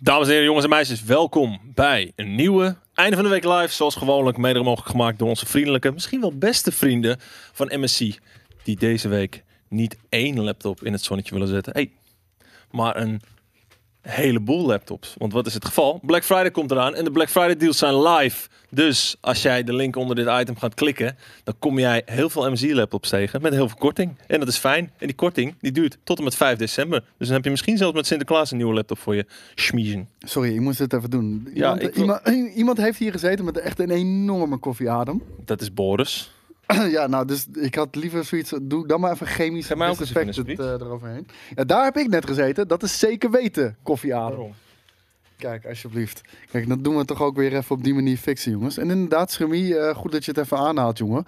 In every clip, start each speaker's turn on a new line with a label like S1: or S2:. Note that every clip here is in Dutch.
S1: Dames en heren, jongens en meisjes, welkom bij een nieuwe Einde van de Week Live. Zoals gewoonlijk, mede mogelijk gemaakt door onze vriendelijke, misschien wel beste vrienden van MSC. Die deze week niet één laptop in het zonnetje willen zetten. Hey, maar een heleboel laptops. Want wat is het geval? Black Friday komt eraan en de Black Friday deals zijn live. Dus als jij de link onder dit item gaat klikken, dan kom jij heel veel MSI laptops tegen met heel veel korting. En dat is fijn. En die korting die duurt tot en met 5 december. Dus dan heb je misschien zelfs met Sinterklaas een nieuwe laptop voor je schmiezen.
S2: Sorry, ik moest het even doen. Iemand,
S1: Ja, ik wil-
S2: iemand, iemand heeft hier gezeten met echt een enorme koffieadem.
S1: Dat is Boris.
S2: ja, nou, dus ik had liever zoiets. Doe dan maar even chemisch
S1: Geef mij ook eens even een
S2: disinfectant, eh, eroverheen. Ja, daar heb ik net gezeten. Dat is zeker weten, koffieadem. Kijk, alsjeblieft. Kijk, dat doen we toch ook weer even op die manier fixen, jongens. En inderdaad, Schemie, eh, goed dat je het even aanhaalt, jongen.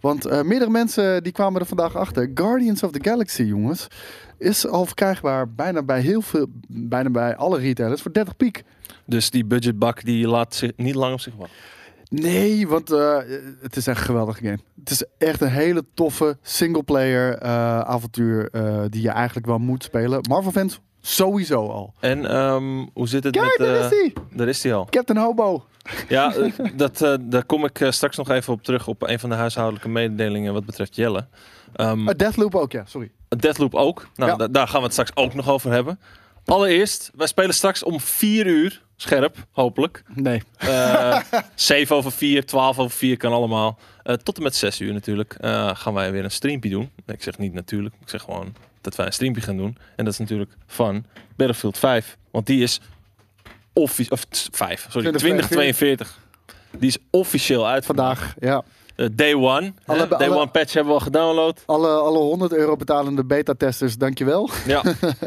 S2: Want eh, meerdere mensen die kwamen er vandaag achter. Guardians of the Galaxy, jongens, is al verkrijgbaar bijna bij heel veel, bijna bij alle retailers voor 30 piek.
S1: Dus die budgetbak die laat zich niet lang op zich wachten.
S2: Nee, want eh, het is echt een geweldige game. Het is echt een hele toffe singleplayer eh, avontuur eh, die je eigenlijk wel moet spelen. Marvel fans sowieso al.
S1: En ehm, hoe zit het
S2: Kijk,
S1: met...
S2: daar
S1: eh,
S2: is hij!
S1: daar is die al.
S2: Captain Hobo.
S1: Ja, eh, dat, eh, daar kom ik eh, straks nog even op terug op een van de huishoudelijke mededelingen wat betreft Jelle. Ehm,
S2: Eh, Deathloop ook, ja, sorry.
S1: Deathloop ook. Nou,
S2: Ja.
S1: da- daar gaan we het straks ook nog over hebben. Allereerst, wij spelen straks om 4 uur, scherp, hopelijk.
S2: Nee.
S1: Eh 7 over 4, 12 over 4 kan allemaal. Eh, tot en met 6 uur natuurlijk eh, gaan wij weer een streampje doen. Ik zeg niet natuurlijk, ik zeg gewoon dat wij een streampje gaan doen. En dat is natuurlijk van Battlefield 5. Want die is officieel, of t- 5, sorry, 2042. Die is officieel uit
S2: Vandaag, ja.
S1: Eh, day one.
S2: Alle-
S1: hè? day
S2: alle-
S1: one patch hebben we al gedownload.
S2: Alle, alle 100 euro betalende beta-testers, dankjewel.
S1: Ja,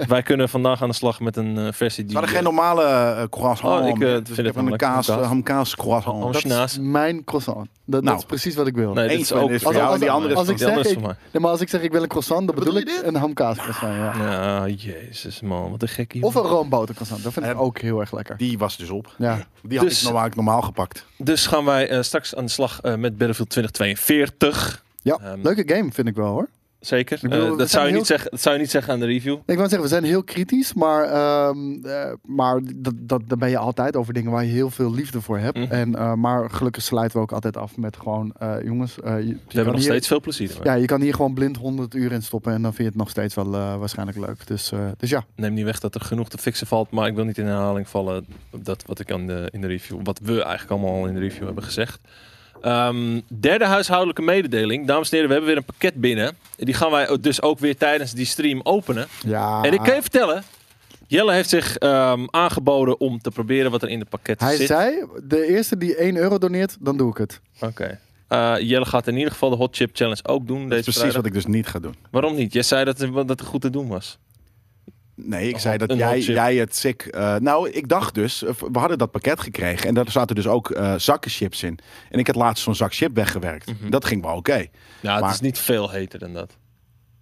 S1: wij kunnen vandaag aan de slag met een eh, versie die...
S3: Het waren geen normale eh, croissant.
S1: Oh, ik, eh,
S3: Dus
S1: vind het
S3: heb
S1: wel
S3: een
S1: lekker,
S3: kaas,
S1: kaas.
S3: eh, hamkaas croissant.
S1: Oh,
S2: Dat
S1: Naast.
S2: is mijn croissant. Dat,
S3: Nou.
S2: dat is precies wat ik wil.
S1: Nee, dit
S3: Eén
S1: is
S3: van
S1: ook...
S3: is voor jou en die andere is
S2: als
S3: voor
S2: ik
S1: Die andere
S2: zeg,
S1: is
S2: ik,
S1: voor mij.
S2: nee, maar als ik zeg ik wil een croissant, dan bedoel,
S3: bedoel je
S2: ik een hamkaas croissant, ja.
S1: Ja, jezus man, wat een gekkie.
S2: Of een roomboter croissant, dat vind ik
S3: Eh,
S2: ook heel erg lekker.
S3: Die was dus op.
S2: Ja.
S3: Die had
S1: Dus-
S3: ik normaal, normaal gepakt.
S1: Dus gaan wij eh, straks aan de slag eh, met Battlefield 2042.
S2: ja,
S1: Ehm,
S2: leuke game vind ik wel hoor.
S1: Zeker.
S2: bedoel,
S1: Eh,
S2: we
S1: dat,
S2: zijn
S1: zou je
S2: heel-
S1: niet zeggen, dat zou je niet zeggen aan de review.
S2: Ik wou zeggen, we zijn heel kritisch, maar, ehm, eh, maar dat, dat, daar ben je altijd over dingen waar je heel veel liefde voor hebt.
S1: Mhm.
S2: En, eh, maar gelukkig sluiten we ook altijd af met gewoon, eh, jongens, eh, je, je
S1: We
S2: kan
S1: hebben nog
S2: hier-
S1: steeds veel plezier. ermee.
S2: Ja, je kan hier gewoon blind 100 uur in stoppen en dan vind je het nog steeds wel eh, waarschijnlijk leuk. Dus, eh, dus ja,
S1: Neem niet weg dat er genoeg te fixen valt, maar ik wil niet in herhaling vallen dat wat ik aan de, in de review, wat we eigenlijk allemaal al in de review hebben gezegd. Ehm, derde huishoudelijke mededeling. Dames en heren, we hebben weer een pakket binnen. Die gaan wij dus ook weer tijdens die stream openen.
S2: ja.
S1: En ik kan je vertellen, Jelle heeft zich ehm, aangeboden om te proberen wat er in het pakket
S2: Hij
S1: zit.
S2: zei, de eerste die 1 euro doneert, dan doe ik het.
S1: Oké. Eh, Jelle gaat in ieder geval de Hot Chip Challenge ook doen
S3: Dat is
S1: deze
S3: precies
S1: vrijdag.
S3: wat ik dus niet ga doen.
S1: Waarom niet? Jij zei dat, dat het goed te doen was.
S3: Nee,
S1: Een
S3: ik zei dat
S1: hot- Oh, een
S3: jij,
S1: hot chip.
S3: jij het sick... eh, nou, ik dacht dus... eh, we hadden dat pakket gekregen en daar zaten dus ook eh zakken chips in. En ik had laatst zo'n zak chip weggewerkt.
S1: Mhm.
S3: Dat ging wel oké.
S1: Nou, het
S3: Maar-
S1: is niet veel heter dan dat.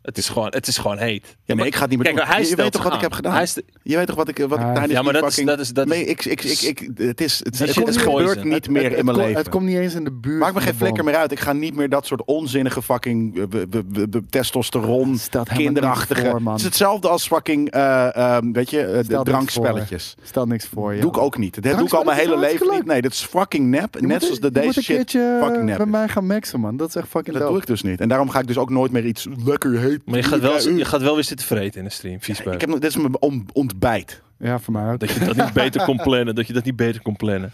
S1: Het is gewoon, het is gewoon heet.
S3: Ja, maar ik ga het niet meer
S1: Kijk,
S3: doen.
S1: hij
S3: je
S1: stelt
S3: weet toch wat
S1: aan.
S3: ik heb gedaan?
S1: Hij st-
S3: Je weet toch wat ik, wat
S2: Ja.
S3: ik tijdens
S1: Ja, maar
S3: die
S1: dat is-
S3: fucking-
S1: dat is- dat is-
S3: nee, ik, ik, ik, ik, het is, het,
S1: Die
S3: het
S1: shit is
S3: gebeurt
S1: poison.
S3: niet meer
S2: het,
S3: in mijn
S2: ko-
S3: leven.
S2: Het komt niet eens in de buurt.
S3: Maakt me geen
S2: van de
S3: flikker
S2: boom.
S3: meer uit. Ik ga niet meer dat soort onzinnige fucking eh, be- be- be- be- testosteron,
S2: Stelt helemaal
S3: kinderachtige.
S2: niks voor, man.
S3: het is hetzelfde als fucking, eh, ehm, weet je, eh, de
S2: niks
S3: drankspelletjes.
S2: Stel niks voor je.
S3: Doe ik ook niet. Dat doe ik al mijn hele
S2: Drankspelletjes zijn
S3: leven
S2: hartstikke
S3: niet. Nee, dat is fucking nep.
S2: Je
S3: Net
S2: moet-
S3: zoals de
S2: je moet
S3: deze
S2: een
S3: shit
S2: keertje eh,
S3: fucking nep
S2: bij
S3: is.
S2: mij gaan maxen, man. Dat is echt fucking
S3: Dat doe
S2: dope.
S3: ik dus niet. En daarom ga ik dus ook nooit meer iets lekker heet.
S1: Maar je gaat wel,
S3: Ja,
S1: je gaat wel weer zitten vreten in de stream. Vies bij.
S3: Ik heb, nog- dit is mijn on- ontbijt.
S2: Ja, voor mij ook.
S1: Dat je dat niet beter kon plannen. Dat je dat niet beter kon plannen.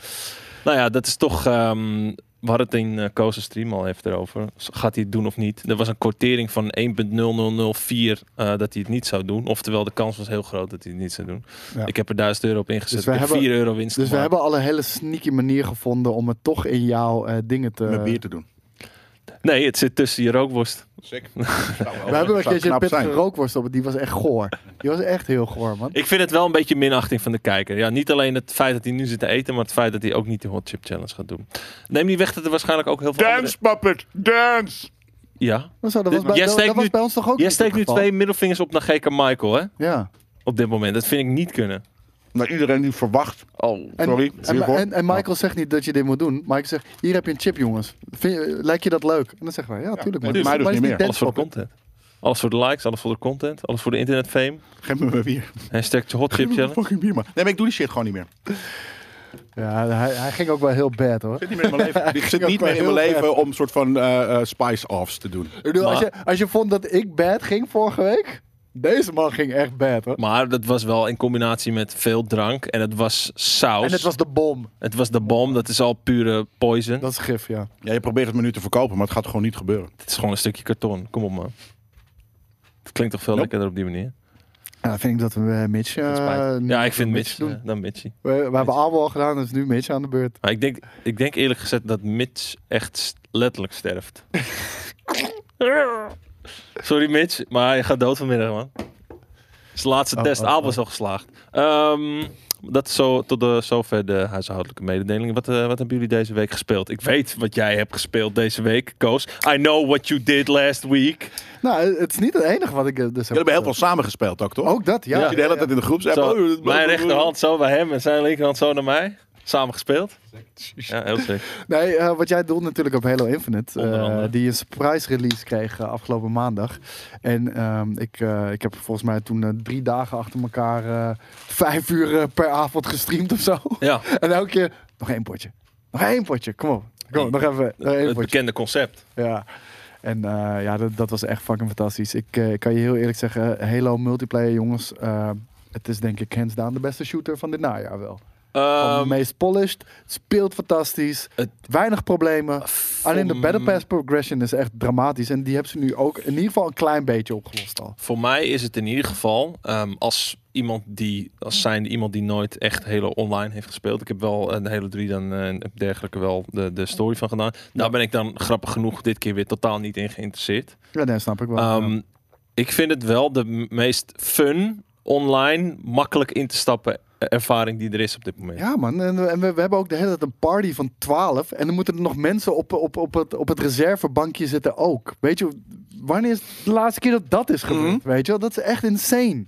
S1: Nou ja, dat is toch... ehm, we hadden het in eh Koos' stream al even erover. Z- Gaat hij het doen of niet? Er was een quotering van 1.0004 eh, dat hij het niet zou doen. Oftewel, de kans was heel groot dat hij het niet zou doen.
S2: Ja.
S1: Ik heb er 1000 euro op ingezet.
S2: Dus wij
S1: ik heb
S2: hebben-
S1: 4 euro winst
S2: Dus we
S1: gemaakt.
S2: hebben al een hele sneaky manier gevonden om het toch in jouw eh, dingen te...
S3: Met bier te doen.
S1: Nee, het zit tussen je rookworst.
S3: Zeker.
S2: we hebben een keertje een pittige
S3: zijn.
S2: rookworst op. Die was echt goor. Die was echt heel goor, man.
S1: Ik vind het wel een beetje minachting van de kijker. Ja, niet alleen het feit dat hij nu zit te eten, maar het feit dat hij ook niet de hot chip challenge gaat doen. Neem niet weg dat er waarschijnlijk ook heel veel andere-
S3: Dance, puppet, dance!
S1: Ja.
S2: Maar zo, dat was,
S1: Dit-
S2: bij,
S1: jij
S2: dat,
S1: steekt
S2: dat was
S1: nu-
S2: bij ons toch ook
S1: Jij
S2: niet
S1: steekt
S2: het
S1: nu
S2: geval?
S1: twee middelvingers op naar GK Michael, hè?
S2: Ja.
S1: Op dit moment. Dat vind ik niet kunnen.
S3: Naar Nou, iedereen die verwacht.
S1: Oh.
S2: En,
S3: Sorry,
S2: En,
S3: hiervoor.
S2: en, en Michael zegt niet dat je dit moet doen. Michael zegt, hier heb je een chip, jongens. Vind je- lijkt je dat leuk? En dan zeggen wij, ja, tuurlijk. man.
S3: mij dus
S2: Maar het is
S3: niet meer.
S2: dance
S1: Alles voor de
S2: poppen.
S1: content. Alles voor de likes, alles voor de content, alles voor de internetfame.
S3: Geef me maar bier.
S1: Hashtag hot chip
S3: Geef me maar
S1: challenge.
S3: fucking bier, man. Nee, maar ik doe die shit gewoon niet meer.
S2: Ja, hij, hij ging ook wel heel bad hoor.
S3: Ik zit niet meer in mijn leven, ik zit
S2: ook
S3: niet
S2: wel
S3: meer in mijn
S2: heel
S3: leven om soort van eh, eh, spice-offs te doen.
S2: Ik bedoel, als,
S1: Maar-
S2: je, als je vond dat ik bad ging vorige week, deze man ging echt bad hoor.
S1: Maar dat was wel in combinatie met veel drank. En het was saus.
S2: En het was de bom.
S1: de bom. Dat is al pure poison.
S2: Dat is gif, ja.
S3: Ja, je probeert het me nu te verkopen, maar het gaat gewoon niet gebeuren.
S1: Het is gewoon een stukje karton. Kom op man. Het klinkt toch veel
S3: Nope.
S1: lekkerder op die manier.
S2: Ja, vind ik dat we eh, Mitch. eh,
S1: Het spijt.
S2: nu
S1: ja, ik vind Mitch.
S2: Mitch doen.
S1: eh, dan Mitchie.
S2: We, we hebben allemaal al gedaan, dus nu Mitch aan de beurt.
S1: Maar ik denk, ik denk eerlijk gezegd dat Mitch echt st- letterlijk sterft. Sorry Mitch, maar je gaat dood vanmiddag man. Zijn laatste
S2: Oh,
S1: test,
S2: oh,
S1: Abel
S2: oh.
S1: is al geslaagd. Ehm, dat zo, tot de, zover de huishoudelijke mededelingen. Wat, eh, wat hebben jullie deze week gespeeld? Ik weet wat jij hebt gespeeld deze week, Koos. I know what you did last week.
S2: Nou, het is niet het enige wat ik eh, dus heb.
S3: Jullie hebben heel veel samengespeeld ook, toch?
S2: Ook dat, ja.
S3: Als je de hele
S2: ja,
S3: tijd in de groep zegt...
S1: Zo,
S3: oh, dat-
S1: mijn rechterhand zo bij hem en zijn linkerhand zo naar mij. Samen gespeeld. Ja, heel sick.
S2: Nee, eh, wat jij doet natuurlijk op Halo Infinite.
S1: Onder
S2: eh,
S1: andere.
S2: die een surprise release kreeg eh, afgelopen maandag. En ehm, ik, eh, ik heb volgens mij toen eh, drie dagen achter elkaar eh, vijf uur eh, per avond gestreamd of zo.
S1: Ja,
S2: en elke keer nog één potje. Nog één potje, kom op. Kom op, nog even. Nog één
S1: het
S2: potje.
S1: bekende concept.
S2: Ja. En eh, ja, dat, dat was echt fucking fantastisch. Ik eh, ik kan je heel eerlijk zeggen, Halo multiplayer jongens, eh, het is denk ik hands down de beste shooter van dit najaar wel. Gewoon
S1: Ehm,
S2: de meest polished, het speelt fantastisch,
S1: het-
S2: weinig problemen. Alleen de
S1: Voor
S2: Battle
S1: m-
S2: Pass progression is echt dramatisch en die hebben ze nu ook in ieder geval een klein beetje opgelost al.
S1: Voor mij is het in ieder geval, ehm, als iemand die, als zijnde iemand die nooit echt hele online heeft gespeeld. Ik heb wel een hele drie dan eh, en dergelijke wel de, de story van gedaan. Daar ben ik dan grappig genoeg dit keer weer totaal niet in geïnteresseerd.
S2: Ja, nee, snap ik wel.
S1: Ehm,
S2: ja.
S1: Ik vind het wel de m- meest fun online, makkelijk in te stappen eh, ervaring die er is op dit moment.
S2: Ja, man, en, we- en we, we hebben ook de hele tijd een party van 12 en dan moeten er nog mensen op, op, op, het, op het reservebankje zitten ook. Weet je, wanneer is de laatste keer dat dat is gebeurd?
S3: Mhm.
S2: Weet je wel, dat is echt insane.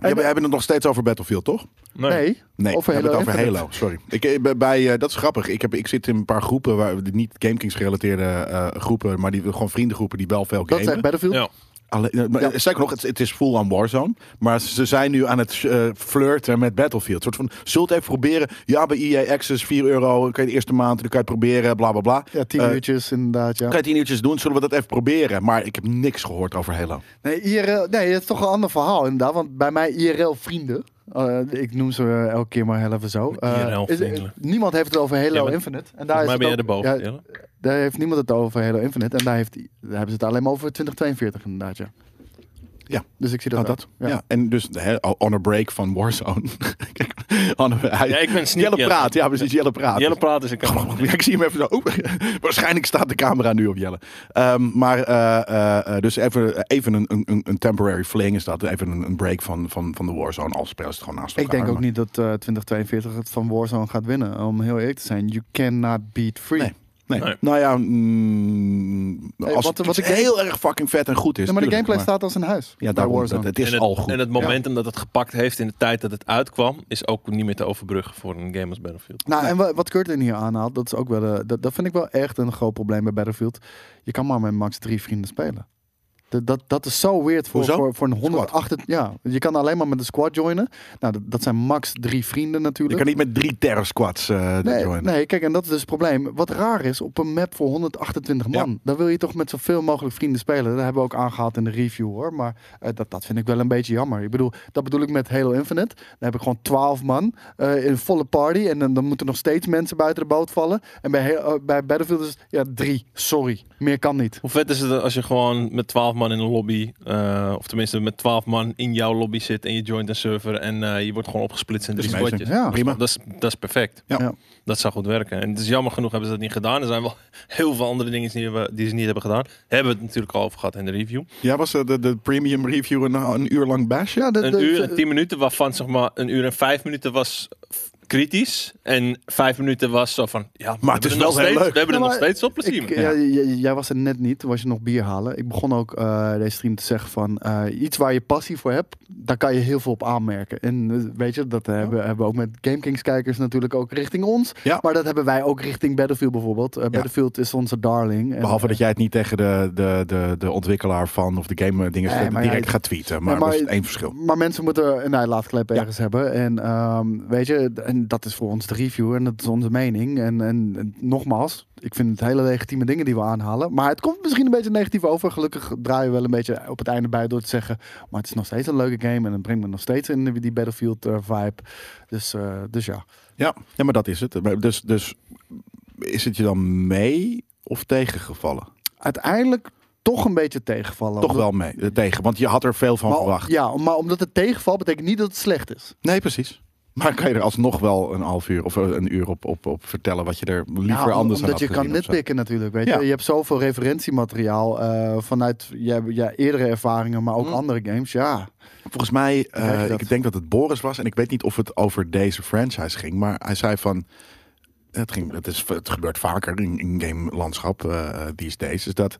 S3: Ja, we hebben het nog steeds over Battlefield, toch?
S2: Nee.
S3: Nee,
S2: Over
S3: we hebben
S2: Halo
S3: het over
S2: Infinite.
S3: Halo. Sorry. Ik, eh, bij- bij, eh, dat is grappig. Ik, heb, ik zit in een paar groepen, waar, die niet GameKings gerelateerde eh, groepen, maar die, gewoon vriendengroepen die wel veel
S2: Dat
S3: gamen.
S2: is echt Battlefield.
S1: Ja.
S3: Alleen, eh, maar,
S2: Ja.
S3: eh, Sterker nog, het, het is full on Warzone. Maar ze zijn nu aan het eh, flirten met Battlefield. Soort van, zult even proberen. Ja, bij EA Access 4 euro. Dan kan je de eerste maand, dan kan je het proberen, bla bla bla.
S2: Ja, tien
S3: Eh,
S2: uurtjes inderdaad, ja.
S3: Kan je tien uurtjes doen, zullen we dat even proberen. Maar ik heb niks gehoord over Halo.
S2: Nee, IRL, nee, dat is toch een ander verhaal inderdaad. Want bij mij IRL-vrienden, eh, ik noem ze eh, elke keer maar heel even zo. eh,
S1: IRL
S2: is-
S1: vrienden.
S2: niemand heeft het over Halo
S1: Ja, maar-
S2: Infinite. En daar,
S1: Volgens
S2: is
S1: mij ben jij
S2: het
S1: de
S2: ook-
S1: boven.
S2: ja,
S1: Jelle.
S2: daar heeft niemand het over Halo Infinite. En daar, heeft, daar hebben ze het alleen maar over 2042 inderdaad, ja.
S3: Ja.
S2: Dus ik zie dat
S3: Nou,
S2: ook.
S3: dat. Ja. en dus hè, on a break van Warzone. Kijk, on a- hij-
S1: Ja, ik ben sneaky,
S3: Jelle
S1: Jelle.
S3: praat, ja precies, Jelle praat.
S1: Jelle praat is een kan.
S3: Ja, ik zie hem even zo. Oeh, waarschijnlijk staat de camera nu op Jelle. Ehm, maar eh, eh, eh, dus even, even een, een, een temporary fling is dat. Even een, een break van, van, van de Warzone. Als spelen ze het gewoon naast elkaar.
S2: Ik denk ook
S3: maar-
S2: niet dat eh, 2042 het van Warzone gaat winnen. Om heel eerlijk te zijn, you cannot beat free.
S3: Nee. Nee.
S1: Nee.
S3: Nou ja, mm,
S2: Hey,
S3: als
S2: wat-
S3: het
S2: wat
S3: iets
S2: ik denk-
S3: heel erg fucking vet en goed is.
S2: Ja, maar de
S3: tuurlijk,
S2: gameplay
S3: maar-
S2: staat als een huis.
S3: Ja,
S2: bij
S3: daarom,
S2: Warzone.
S3: dat, het is
S1: en het,
S3: al goed.
S1: en het momentum dat het gepakt heeft in de tijd dat het uitkwam, is ook niet meer te overbruggen voor een game als Battlefield.
S2: Nou, en wa- wat Curtin hier aanhaalt, dat, is ook wel, eh, dat, dat vind ik wel echt een groot probleem bij Battlefield. Je kan maar met max drie vrienden spelen. Dat, dat, dat is zo weird voor,
S3: Hoezo?
S2: voor, voor een 108. Ja, je kan alleen maar met een squad joinen. Nou, dat, dat zijn max drie vrienden
S3: Je
S2: natuurlijk.
S3: kan niet met drie terror squads eh
S2: Nee,
S3: joinen.
S2: nee, kijk, en dat is dus het probleem. Wat raar is, op een map voor 128 man, dan wil je toch met zoveel mogelijk vrienden spelen. Dat hebben we ook aangehaald in de review hoor. Maar eh, dat, dat vind ik wel een beetje jammer. Ik bedoel, dat bedoel ik met Halo Infinite. Dan heb ik gewoon 12 man eh, in een volle party. En dan, dan moeten nog steeds mensen buiten de boot vallen. En bij, Halo- eh, bij Battlefield is het, ja, drie. Sorry, meer kan niet.
S1: Hoe vet is het als je gewoon met 12 man in een lobby, eh, of tenminste met 12 man in jouw lobby zit en je joint een server en eh, je wordt gewoon opgesplitst in
S3: Dat
S1: drie
S3: is
S1: squadjes.
S3: amazing.
S2: Ja.
S3: Prima.
S1: Dat is, dat is perfect.
S3: Ja.
S2: Ja.
S1: Dat zou goed werken. En het is jammer genoeg hebben ze dat niet gedaan. Er zijn wel heel veel andere dingen die, we- die ze niet hebben gedaan. Hebben we het natuurlijk al over gehad in de review.
S3: Ja, was eh, de, de premium review een, een uur lang bash?
S2: Ja, dat-
S1: Een
S2: dat-
S1: uur en tien minuten, waarvan zeg maar een uur en vijf minuten was f- kritisch. En vijf minuten was zo van, ja, we
S3: Ah, het
S1: hebben
S3: is
S1: er
S3: wel
S1: nog
S3: heel
S1: steeds-
S3: leuk.
S1: We hebben er
S2: Ja,
S1: nog
S2: maar
S1: steeds op plezier
S2: Ik-
S1: mee.
S2: ja, j- j- jij was er net niet, toen was je nog bier halen. Ik begon ook eh, deze stream te zeggen van eh, iets waar je passie voor hebt, daar kan je heel veel op aanmerken. En eh, weet je, dat hebben, hebben we ook met GameKings kijkers natuurlijk ook richting ons.
S3: Ja.
S2: Maar dat hebben wij ook richting Battlefield bijvoorbeeld. Eh, Battlefield is onze darling. En,
S3: Behalve
S2: eh,
S3: dat jij het niet tegen de, de, de, de ontwikkelaar van of de game eh, dingen
S2: Nee, maar
S3: direct
S2: ja,
S3: gaat tweeten. Maar,
S2: Nee, maar-
S3: dat is één verschil.
S2: Maar mensen moeten eh, een uitlaatklep
S3: Ja.
S2: ergens hebben. En ehm, weet je, d- en dat is voor ons de review en dat is onze mening. En, en, en nogmaals, ik vind het hele legitieme dingen die we aanhalen. Maar het komt misschien een beetje negatief over. Gelukkig draaien we wel een beetje op het einde bij door te zeggen. Maar het is nog steeds een leuke game en het brengt me nog steeds in die Battlefield eh, vibe. Dus, eh, dus ja.
S3: Ja. ja, maar dat is het. Maar Dus, dus is het je dan mee of tegengevallen?
S2: Uiteindelijk toch een beetje tegenvallen.
S3: Toch
S2: Omdat-
S3: wel mee, eh, tegen, want je had er veel van
S2: maar,
S3: verwacht.
S2: Ja, maar omdat het tegenvalt betekent niet dat het slecht is.
S3: Nee, precies. Maar kan je er alsnog wel een half uur of eh, een uur op, op, op vertellen wat je er liever
S2: Ja, om-
S3: anders aan
S2: Omdat
S3: had
S2: je kan
S3: gezien of zo?
S2: nitpikken natuurlijk. Weet
S3: Ja.
S2: je? je hebt zoveel referentiemateriaal eh, vanuit je, je eerdere ervaringen, maar ook
S3: Mm.
S2: andere games. Ja,
S3: Volgens mij, eh,
S2: krijg je dat.
S3: ik denk dat het Boris was. En ik weet niet of het over deze franchise ging. Maar hij zei van... Het, ging, het, is, het gebeurt vaker in, in game landschap eh these days. Is dat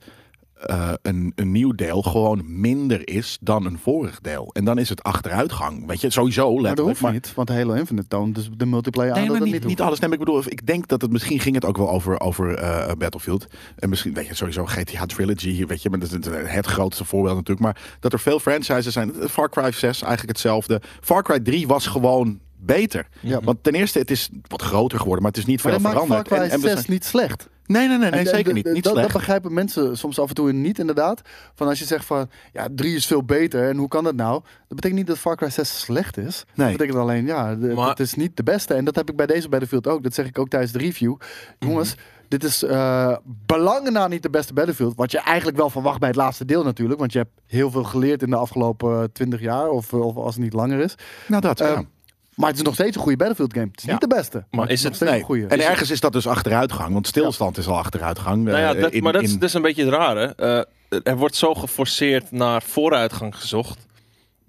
S3: eh, een, een nieuw deel gewoon minder is dan een vorig deel. En dan is het achteruitgang. Weet je, sowieso
S2: maar dat
S3: letterlijk.
S2: hoeft
S3: maar
S2: niet. Want Halo Infinite toont dus de multiplayer aan
S3: Nee,
S2: dat
S3: maar
S2: het
S3: niet,
S2: niet,
S3: niet
S2: hoeft.
S3: alles. Nee, maar ik bedoel, ik denk dat het misschien ging het ook wel over, over eh, Battlefield. En misschien, weet je, sowieso GTA Trilogy, hier, weet je, maar dat is het, het grootste voorbeeld natuurlijk. Maar dat er veel franchises zijn. eh, Far Cry 6 eigenlijk hetzelfde. Far Cry 3 was gewoon beter.
S2: Ja.
S3: Want ten eerste, het is wat groter geworden, maar het is niet
S2: Maar
S3: veel
S2: dat maakt Far
S3: veranderd.
S2: Cry
S3: En- en we
S2: 6
S3: zijn-
S2: niet slecht.
S3: nee, nee, nee, nee,
S2: En- en
S3: zeker
S2: d-
S3: niet.
S2: d-
S3: Niet
S2: dat, dat
S3: slecht.
S2: begrijpen mensen soms af en toe niet inderdaad. Van als je zegt van, ja, 3 is veel beter en hoe kan dat nou? Dat betekent niet dat Far Cry 6 slecht is.
S3: Nee.
S2: Dat betekent alleen, ja, d-
S1: Maar-
S2: het is niet de beste. En dat heb ik bij deze Battlefield ook. Dat zeg ik ook tijdens de review.
S1: Mhm.
S2: Jongens, dit is eh belangen na niet de beste Battlefield. Wat je eigenlijk wel verwacht bij het laatste deel natuurlijk. Want je hebt heel veel geleerd in de afgelopen 20 jaar. Of, eh, of als het niet langer is.
S3: Nou, dat,
S2: Eh,
S3: ja.
S2: Maar het is nog steeds een goede Battlefield game. Het is
S3: Ja.
S2: niet de beste.
S1: Maar is
S2: nog
S1: het...
S2: steeds
S3: Nee.
S2: een goede.
S3: En ergens is dat dus achteruitgang, want stilstand is al achteruitgang.
S1: Nou ja,
S3: eh,
S1: dat,
S3: in-
S1: maar dat is,
S3: in-
S1: dat is een beetje het rare. Eh, er wordt zo geforceerd naar vooruitgang gezocht.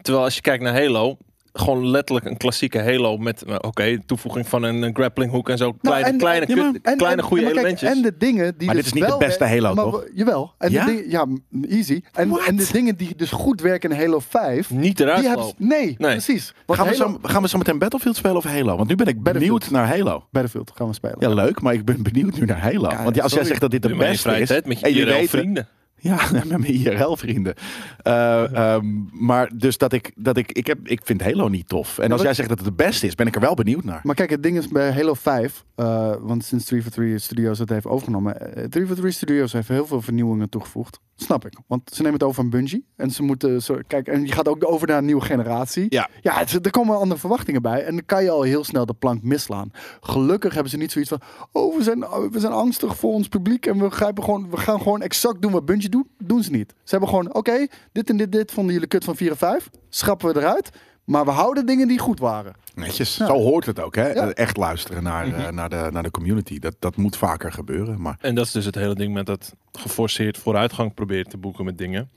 S1: Terwijl als je kijkt naar Halo... Gewoon letterlijk een klassieke Halo met, nou, oké, toevoeging van een, eh, grappling hook en zo. Kleine,
S2: Nou, en-
S1: kleine,
S3: ja, maar-
S1: kut-
S2: En-
S1: kleine
S2: en-
S1: goede
S2: maar kijk,
S1: elementjes.
S2: en de dingen die.
S3: Maar
S2: dus
S3: dit is niet de
S2: wel
S3: beste
S2: werken-
S3: Halo,
S2: maar
S3: toch?
S2: we- Jawel. En
S3: Ja?
S2: De dingen, ja, m- easy. En,
S3: What?
S2: en de dingen die dus goed werken in Halo 5.
S1: Niet eruit
S2: die hebben
S1: lopen.
S2: ze- nee,
S1: Nee.
S2: precies. Want
S3: Gaan we,
S2: Halo,
S3: zo, gaan we zo meteen Battlefield spelen of Halo? Want nu ben ik
S2: Battlefield.
S3: benieuwd naar Halo.
S2: Battlefield gaan we spelen.
S3: Ja, leuk, maar ik ben benieuwd nu naar Halo.
S2: Ja,
S3: Want ja, als jij
S2: sorry.
S3: zegt dat dit de
S1: Doe maar in
S3: beste
S1: vrije
S3: is...
S1: tijd met je
S3: en
S1: IRL
S3: weet-
S1: vrienden.
S3: Ja, met mijn IRL-vrienden. Eh, maar dus dat ik... Dat ik, ik, heb, ik vind Halo niet tof. En als
S2: wat-
S3: jij zegt dat het de beste is, ben ik er wel benieuwd naar.
S2: Maar kijk, het ding is bij Halo 5, eh, want sinds 3 for 3 Studios het heeft overgenomen. eh, 3 for 3 Studios heeft heel veel vernieuwingen toegevoegd. Snap ik. Want ze nemen het over van Bungie. En ze moeten. Zo, kijk, en je gaat ook over naar een nieuwe generatie.
S3: Ja.
S2: Ja, het- er komen andere verwachtingen bij. En dan kan je al heel snel de plank misslaan. Gelukkig hebben ze niet zoiets van. Oh, we zijn, we zijn angstig voor ons publiek. En we, grijpen gewoon, we gaan gewoon exact doen wat Bungie doet. Doen ze niet. Ze hebben gewoon. Oké, dit en dit, dit vonden jullie kut van 4 en 5. Schrappen we eruit. Maar we houden dingen die goed waren.
S3: Netjes.
S2: Ja.
S3: Zo hoort het ook, hè?
S2: Ja. Mhm.
S3: Echt luisteren naar, eh, naar, de, naar de community. Dat, dat moet vaker gebeuren, maar...
S1: En dat is dus het hele ding met dat geforceerd vooruitgang proberen te boeken met dingen.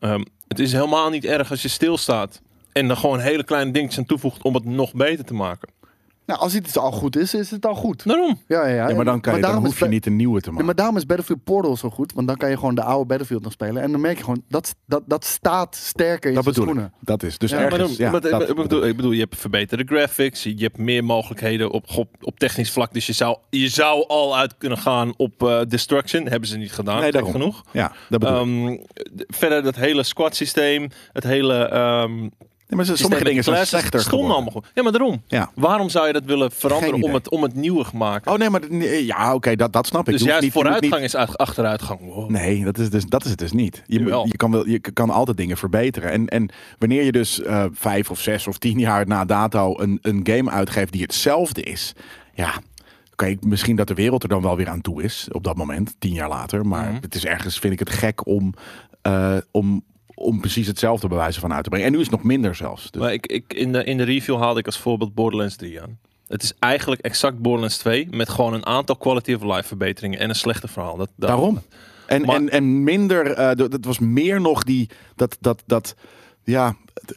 S1: Ehm, het is helemaal niet erg als je stilstaat en er gewoon hele kleine dingetjes aan toevoegt om het nog beter te maken.
S2: Nou, als iets al goed is, is het al goed.
S1: Daarom.
S2: Ja, ja, ja.
S3: Ja, maar dan, kan je, dan
S2: daarom
S3: hoef
S2: is
S3: je
S2: Ba-
S3: niet een nieuwe te
S2: Ja,
S3: maken.
S2: maar daarom is Battlefield Portal zo goed, want dan kan je gewoon de oude Battlefield nog spelen. En dan merk je gewoon, dat, dat, dat staat sterker in
S3: dat
S2: zijn
S3: bedoel
S2: schoenen.
S3: ik. Dat is. Dus
S1: Ja, maar
S3: ergens...
S1: dan-
S3: ja,
S1: maar-
S3: dat-
S1: maar- ik, bedoel, ik bedoel, je hebt verbeterde graphics, je je hebt meer mogelijkheden op, op, op technisch vlak. Dus je zou, je zou al uit kunnen gaan op eh, Destruction. Hebben ze niet gedaan,
S3: Nee,
S1: gek
S3: daarom.
S1: ah, genoeg.
S3: ja, dat bedoel ik.
S1: Ehm, d- verder dat hele squad systeem, het hele ehm,
S3: Nee, maar
S1: systeem met
S3: sommige dingen zijn
S1: classes,
S3: slechter
S1: stonden
S3: geworden.
S1: allemaal goed. Ja, maar daarom.
S3: Ja.
S1: Waarom zou je dat willen veranderen
S3: Geen
S1: om
S3: idee.
S1: het, om het nieuwer te maken?
S3: Oh nee, maar dat- nee, ja, oké, dat, dat snap ik.
S1: dus
S3: Je hoeft
S1: juist
S3: niet- je moet niet-
S1: vooruitgang is uit- achteruitgang. Wow.
S3: Nee, dat is, dus, dat is het dus niet. Je,
S1: Jawel.
S3: moet- je, kan, wel, je kan altijd dingen verbeteren. En, en wanneer je dus eh, vijf of zes of tien jaar na dato een, een game uitgeeft die hetzelfde is, ja, kijk, misschien dat de wereld er dan wel weer aan toe is op dat moment, tien jaar later. Maar
S1: Mhm.
S3: het is ergens, vind ik het gek om, eh, om, om precies hetzelfde bewijzen van uit te brengen. En nu is het nog minder zelfs. Dus,
S1: Maar ik, ik, in, de, in de review haalde ik als voorbeeld Borderlands 3 aan. Het is eigenlijk exact Borderlands 2 met gewoon een aantal quality of life verbeteringen en een slechter verhaal. Dat, dat-
S3: Daarom. En,
S1: Maar-
S3: en, en minder, eh, d- dat was meer nog die, dat, dat, dat ja,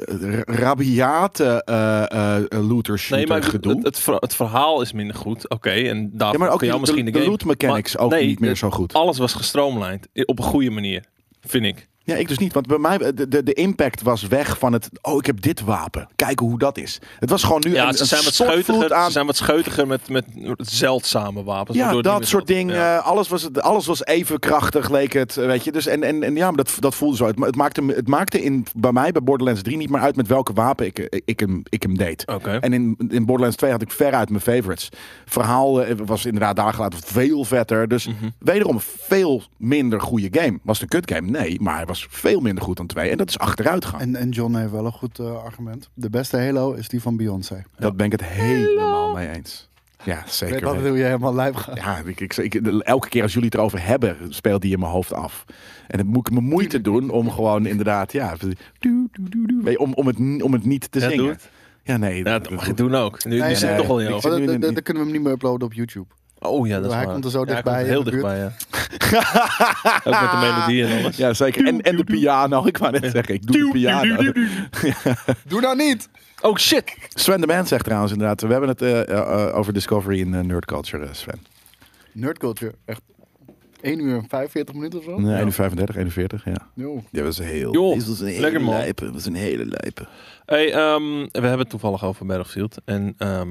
S3: eh, ra- rabiate eh eh looter shooter
S1: Nee, maar ik bedoel,
S3: gedoe.
S1: het, het, ver- het verhaal is minder goed. Oké, en daar
S3: ja, maar ook
S1: kun je
S3: de,
S1: misschien
S3: de,
S1: de, game...
S3: loot mechanics
S1: Maar
S3: ook
S1: nee,
S3: niet meer
S1: het-
S3: zo goed.
S1: Alles was gestroomlijnd. i- Op een goede manier, vind ik.
S3: Ja, ik dus niet. Want bij mij, de, de, de impact was weg van het... Oh, ik heb dit wapen. Kijken hoe dat is. Het was gewoon nu
S1: Ja,
S3: een,
S1: ze
S3: een
S1: zijn, wat
S3: stortvloed
S1: scheutiger,
S3: aan...
S1: ze zijn wat scheutiger met, met zeldzame wapens.
S3: ja,
S1: waardoor het
S3: dat
S1: niet
S3: soort
S1: meer zo-
S3: dingen.
S1: Ja.
S3: eh, Alles, was, het- alles was even krachtig, leek het. eh, Weet je. Dus en, en, en ja, maar dat, dat voelde zo. Het, ma- het maakte, me- het maakte in, bij mij bij Borderlands 3 niet meer uit... met welke wapen ik, eh, ik, hem, ik hem deed.
S1: Oké.
S3: En in, in Borderlands 2 had ik veruit mijn favorites. Verhaal eh, was inderdaad dagen later veel vetter. Dus
S1: Mhm.
S3: wederom veel minder goede game. Was het een kut game? Nee, maar hij was veel minder goed dan 2. En dat is achteruitgang.
S2: En, en John heeft wel een goed eh, argument. De beste Halo is die van Beyoncé.
S3: Dat ben ik het helemaal mee eens. Ja,
S2: Ik
S3: zeker.
S2: weet altijd
S3: weten.
S2: hoe je helemaal lijp gaat.
S3: Ja, ik, ik, ik- elke keer als jullie het erover hebben, speelt die in mijn hoofd af. En dan moet ik mijn moeite doen om gewoon inderdaad, ja, doe, doe, doe, doe, Weet je, om, om, het, n- om het niet te
S1: Ja, doe
S3: zingen.
S1: het.
S3: Ja, nee.
S1: Ja,
S3: dat-
S1: dat mag je doen ook. Nu,
S2: Nee,
S1: nu zit
S2: nee,
S1: het toch al in je
S3: ik
S1: hoofd.
S2: Maar
S3: zit nu
S2: dat-
S3: in-
S2: dat- dat kunnen we hem niet meer uploaden op YouTube.
S1: Oh ja, dat is
S2: Hij
S1: waar.
S2: komt er zo
S1: Ja, hij
S2: dichtbij
S1: komt
S2: in
S1: heel
S2: de
S1: dichtbij, ja. ook met de melodie en alles.
S3: Ja, zeker. En, en de piano. Ik wou net zeggen, ik doe de piano.
S2: Doe dat niet!
S1: Oh shit!
S3: Sven de Man zegt trouwens inderdaad, we hebben het eh, eh, eh, over Discovery in eh, Nerd Culture, eh, Sven.
S2: Nerdculture, echt 1 uur en 45 minuten of zo?
S3: Nee, 35, 41, Eh, ja.
S2: Jo.
S3: Ja, dat was heel...
S1: Joh,
S3: dat was een hele
S1: lekker, man.
S3: lijpe, dat was een hele lijpe.
S1: Hey, ehm, we hebben het toevallig over Battlefield. En ehm,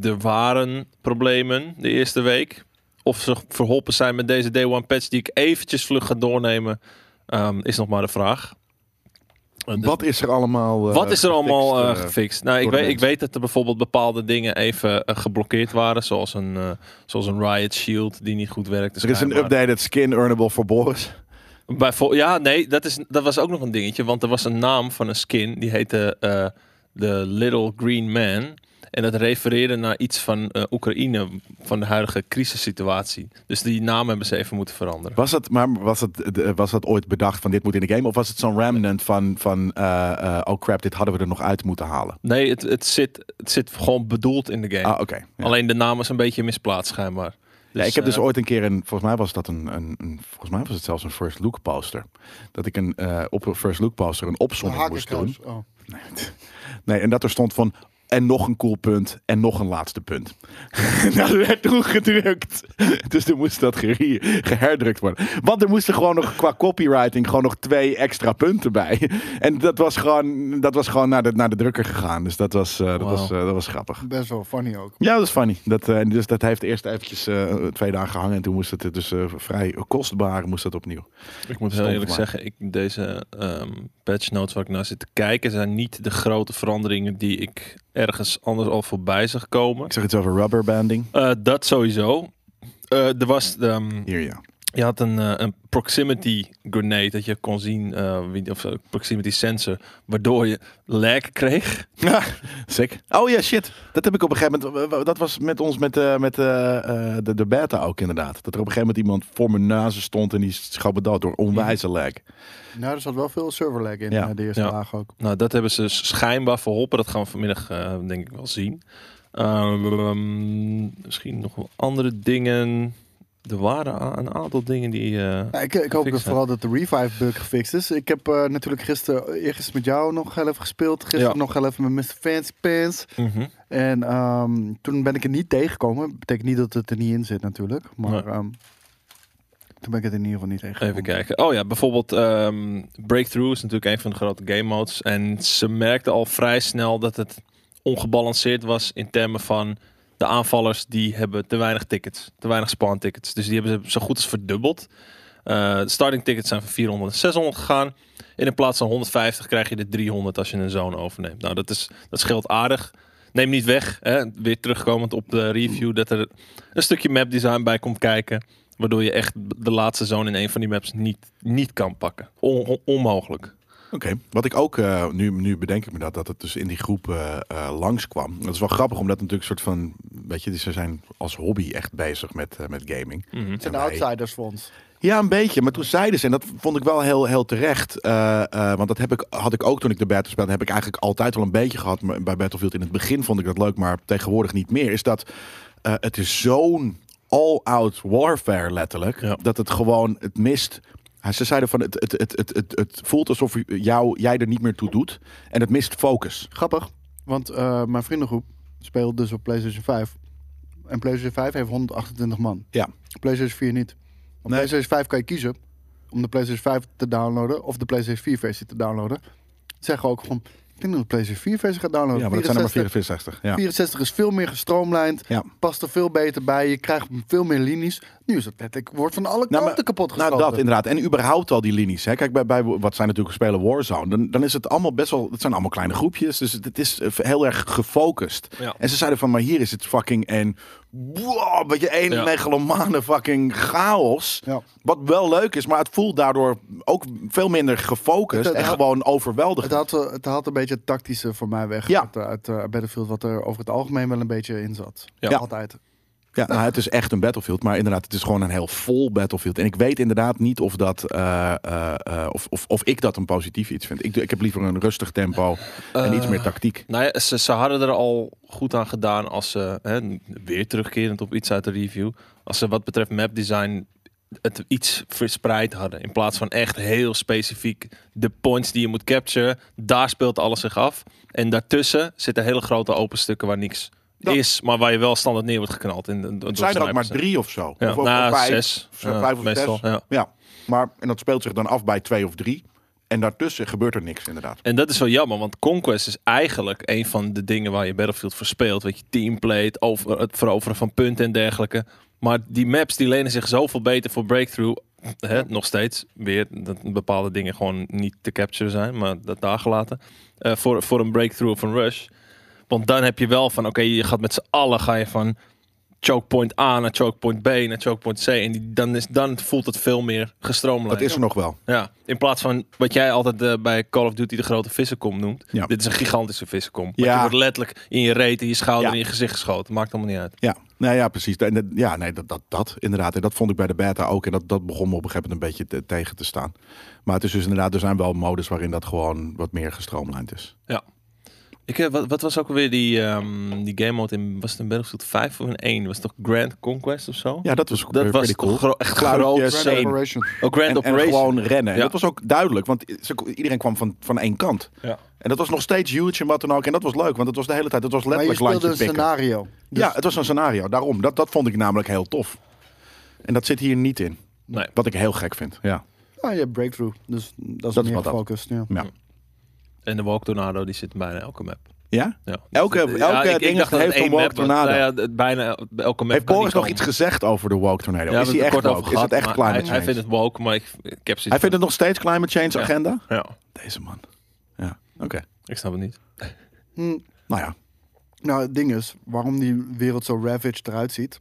S1: er waren problemen de eerste week. Of ze verholpen zijn met deze Day One patch, die ik eventjes vlug ga doornemen, ehm, is nog maar de vraag. Eh, dus-
S3: Wat is er allemaal... eh,
S1: wat is er allemaal eh,
S3: gefixt, eh,
S1: gefixt? Nou, ik
S3: door de
S1: weet, ik
S3: mensen?
S1: weet dat er bijvoorbeeld bepaalde dingen even eh, geblokkeerd waren, zoals een, eh, zoals een Riot Shield die niet goed werkte.
S3: er is een
S1: schijnbaar.
S3: updated skin earnable voor Boris.
S1: Bijvo- ja, nee, dat, is, dat was ook nog een dingetje. Want er was een naam van een skin. Die heette eh The Little Green Man. En dat refereerde naar iets van eh, Oekraïne. Van de huidige crisissituatie. Dus die naam hebben ze even moeten veranderen.
S3: Was dat, maar was dat, de- was dat ooit bedacht van dit moet in de game? Of was het zo'n remnant van, van eh, eh, oh crap, dit hadden we er nog uit moeten halen?
S1: Nee, het, het, zit, het zit gewoon bedoeld in de game.
S3: Ah, oké. Ja.
S1: Alleen de naam is een beetje misplaatst schijnbaar.
S3: Ja, ik heb
S1: eh,
S3: dus ooit een keer een, volgens mij was dat een, een, een- volgens mij was het zelfs een first look poster. Dat ik een, eh, op een first look poster een opzomming moest doen.
S2: Hakenkruis. Oh.
S3: Nee, en dat er stond van, en nog een cool punt, en nog een laatste punt. Nou, dat werd toen gedrukt. dus toen moest dat gehe- geherdrukt worden. Want er moesten gewoon nog, qua copywriting, gewoon nog twee extra punten bij. en dat was gewoon, dat was gewoon naar, de, naar de drukker gegaan. Dus dat was, eh, dat
S1: Wauw.
S3: was, eh, dat was grappig.
S2: Best wel funny ook.
S3: Ja, dat is funny. Dat, eh, dus dat heeft eerst eventjes eh, twee dagen gehangen. En toen moest het eh, dus eh, vrij kostbaar moest dat opnieuw.
S1: Ik moet heel
S3: Stom
S1: eerlijk
S3: gemaakt.
S1: zeggen, ik, deze ehm patch notes waar ik naar zit te kijken... zijn niet de grote veranderingen die ik ergens anders al voorbij zag komen.
S3: Ik zeg iets over rubberbanding.
S1: Eh, dat sowieso. Eh, er was, ehm,
S3: Hier ja.
S1: je had een, eh, een proximity grenade dat je kon zien, eh, wie, of eh, proximity sensor, waardoor je lag kreeg.
S3: Sick. Oh ja, shit. Dat heb ik op een gegeven moment. eh, Dat was met ons met, eh, met eh, eh, de, de beta ook inderdaad. Dat er op een gegeven moment iemand voor mijn nazen stond en die schoot me dood door onwijze lag.
S2: Nou, er zat wel veel server lag in
S3: Ja.
S2: eh, de eerste
S1: Ja.
S2: laag ook.
S1: Nou, dat hebben ze s- schijnbaar verholpen. Dat gaan we vanmiddag eh, denk ik wel zien. Ehm, misschien nog wel andere dingen. Er waren a- een aantal dingen die... eh,
S2: Nou, ik, ik hoop
S1: Gefixt,
S2: dat
S1: hè?
S2: vooral dat de revive bug gefixt is. Ik heb eh, natuurlijk gisteren, eergisteren met jou nog heel even gespeeld. Gisteren
S1: Ja.
S2: nog heel even met Mr. Fans Pants.
S1: mhm.
S2: En ehm, toen ben ik het niet tegengekomen. Betekent niet dat het er niet in zit natuurlijk. Maar
S1: Nee.
S2: ehm, toen ben ik het in ieder geval niet tegengekomen.
S1: Even kijken. Oh ja, bijvoorbeeld ehm, Breakthrough is natuurlijk een van de grote game modes. En ze merkten al vrij snel dat het ongebalanceerd was in termen van de aanvallers die hebben te weinig tickets, te weinig spawn tickets. Dus die hebben ze zo goed als verdubbeld. Eh, de starting tickets zijn van 400 naar 600 gegaan. En in plaats van 150 krijg je de 300 als je een zone overneemt. Nou, dat, is, dat scheelt aardig. Neem niet weg, hè. weer terugkomend op de review, dat er een stukje map design bij komt kijken. Waardoor je echt de laatste zone in een van die maps niet, niet kan pakken. On- on- onmogelijk.
S3: Oké, wat ik ook, eh, nu, nu bedenk ik me dat, dat het dus in die groep eh, eh, langskwam. Dat is wel grappig, omdat natuurlijk een soort van, weet je, ze zijn als hobby echt bezig met, eh, met gaming.
S2: Het zijn de
S3: En wij-
S2: outsiders voor ons.
S3: Ja, een beetje. Maar toen zeiden ze, en dat vond ik wel heel, heel terecht. eh, eh, want dat heb ik, had ik ook toen ik de beta speelde. Heb ik eigenlijk altijd wel een beetje gehad. Maar bij Battlefield in het begin vond ik dat leuk, maar tegenwoordig niet meer. Is dat eh, het is zo'n all-out warfare letterlijk.
S1: Ja.
S3: Dat het gewoon, het mist Hij- Ze zeiden van het, het, het, het, het, het voelt alsof jou, jij er niet meer toe doet. En het mist focus.
S2: Grappig, want eh, mijn vriendengroep speelt dus op PlayStation 5. En PlayStation 5 heeft 128 man.
S3: Ja.
S2: PlayStation 4 niet. Op
S3: Nee.
S2: PlayStation 5 kan je kiezen om de PlayStation 5 te downloaden of de PlayStation 4 versie te downloaden. Zeggen ook gewoon, ik denk dat ik de PlayStation 4 versie ga downloaden.
S3: Ja, maar dat zijn er maar
S2: 64
S3: 64. Ja.
S2: 64 is veel meer gestroomlijnd,
S3: Ja.
S2: past er veel beter bij, je krijgt veel meer linies. Nu is het letterlijk, wordt van alle kanten
S3: maar-
S2: kapot
S3: Nou,
S2: geschoten.
S3: dat inderdaad. En überhaupt al die linies. Hè. Kijk, bij, bij wat zijn natuurlijk spelen Warzone. Dan, dan is het allemaal best wel. Het zijn allemaal kleine groepjes. Dus het, het is eh, heel erg gefocust.
S1: Ja.
S3: En ze zeiden van, maar hier is het fucking en. Wow, wat je één
S1: Ja.
S3: megalomane fucking chaos.
S2: Ja.
S3: Wat wel leuk is, maar het voelt daardoor ook veel minder gefocust.
S2: Het-
S3: en
S2: het-
S3: gewoon overweldigend.
S2: Het had, eh, het had een beetje het tactische voor mij weg
S3: Ja.
S2: uit, eh, uit eh, Battlefield, wat er over het algemeen wel een beetje in zat.
S1: Ja.
S2: Altijd.
S3: Ja, nou, het is echt een battlefield, maar inderdaad, het is gewoon een heel vol battlefield. En ik weet inderdaad niet of, dat, eh, eh, eh, of, of, of ik dat een positief iets vind. Ik, ik heb liever een rustig tempo en
S1: Eh,
S3: iets meer tactiek.
S1: Nou ja, ze, ze hadden er al goed aan gedaan als ze, hè, weer terugkerend op iets uit de review, als ze wat betreft mapdesign het iets verspreid hadden. In plaats van echt heel specifiek de points die je moet capturen, daar speelt alles zich af. En daartussen zitten hele grote open stukken waar niks
S3: Ja.
S1: is, maar waar je wel standaard neer wordt geknald. In, de- door
S3: Het zijn er ook maar
S1: snipers, hè.
S3: drie of zo.
S1: Ja,
S3: of, of
S1: nou,
S3: vijf.
S1: zes.
S3: of zo, vijf of
S1: meestal,
S3: zes.
S1: Ja.
S3: Ja, maar en dat speelt zich dan af bij twee of drie. En daartussen gebeurt er niks, inderdaad.
S1: En dat is wel jammer, want Conquest is eigenlijk een van de dingen waar je Battlefield voor speelt. Weet je, teamplay, het, over, het veroveren van punten en dergelijke. Maar die maps die lenen zich zoveel beter voor breakthrough. Hè, nog steeds weer dat bepaalde dingen gewoon niet te capturen zijn, maar dat daar gelaten. Eh, voor, voor een breakthrough of een rush. Want dan heb je wel van, oké, je gaat met z'n allen ga je van choke point A naar choke point B naar choke point C. En die, dan, is, dan voelt het veel meer gestroomlijnd.
S3: Dat is er nog wel.
S1: Ja, in plaats van wat jij altijd eh, bij Call of Duty de grote vissenkom noemt.
S3: Ja.
S1: Dit is een gigantische vissenkom. Want
S3: Ja.
S1: je wordt letterlijk in je reet, in je schouder,
S3: Ja.
S1: in je gezicht geschoten. Maakt allemaal niet uit.
S3: Ja, nou ja, precies. En dat- Ja, nee, dat, dat, dat inderdaad. En dat vond ik bij de beta ook. En dat, dat begon me op een gegeven moment een beetje te- tegen te staan. Maar het is dus inderdaad, er zijn wel modus waarin dat gewoon wat meer gestroomlijnd is.
S1: Ik, eh, wat, wat was ook alweer die, ehm, die game mode in, was het in Battlefield 5 of in 1? Was het toch Grand Conquest of zo?
S3: Ja, dat was ook
S1: Dat
S3: pretty
S1: was
S3: cool.
S1: toch gro- echt
S3: Cloudjes.
S1: groot.
S3: Grand
S1: insane.
S2: Operation.
S1: Oh, Grand
S3: En, en
S1: Operation.
S3: gewoon rennen. En
S1: Ja.
S3: dat was ook duidelijk, want ze- iedereen kwam van, van één kant.
S1: Ja.
S3: En dat was nog steeds huge en wat dan ook. En dat was leuk, want het was de hele tijd, het was
S2: Maar je
S3: letterlijk
S2: speelde
S3: landje
S2: een
S3: pikken.
S2: scenario. Dus
S3: Ja, het was een scenario. Daarom, dat, dat vond ik namelijk heel tof. En dat zit hier niet in.
S1: Nee.
S3: Wat ik heel gek vind. Ja.
S2: ah, je hebt breakthrough. Dus dat is
S3: Dat is
S2: meer
S3: wat dat.
S2: gefocust. Ja.
S1: Hm. En de Walk Tornado die zit in bijna elke map.
S3: Ja?
S1: Ja.
S3: Elke, elke
S1: Ja, ik- ik
S3: ding
S1: dacht dat
S3: heeft
S1: het
S3: een
S1: één map
S3: walk
S1: was.
S3: tornado.
S1: Nou ja, het- bijna elke map
S3: Heeft
S1: kan die
S3: Boris nog
S1: komen.
S3: iets gezegd over de woke
S1: Ja,
S3: tornado?
S1: we
S3: is hij
S1: hebben het er kort
S3: echt woke?
S1: over
S3: is
S1: gehad,
S3: het echt
S1: maar
S3: climate
S1: hij,
S3: change?
S1: hij vindt het woke, maar ik, ik heb
S3: Hij
S1: zoiets
S3: vindt het nog steeds climate change
S1: Ja.
S3: agenda?
S1: van- Ja,
S3: Deze man. Ja, oké.
S1: ik snap het niet.
S2: Hm,
S3: Nou ja,
S2: nou, het ding is, waarom die wereld zo ravaged eruit ziet,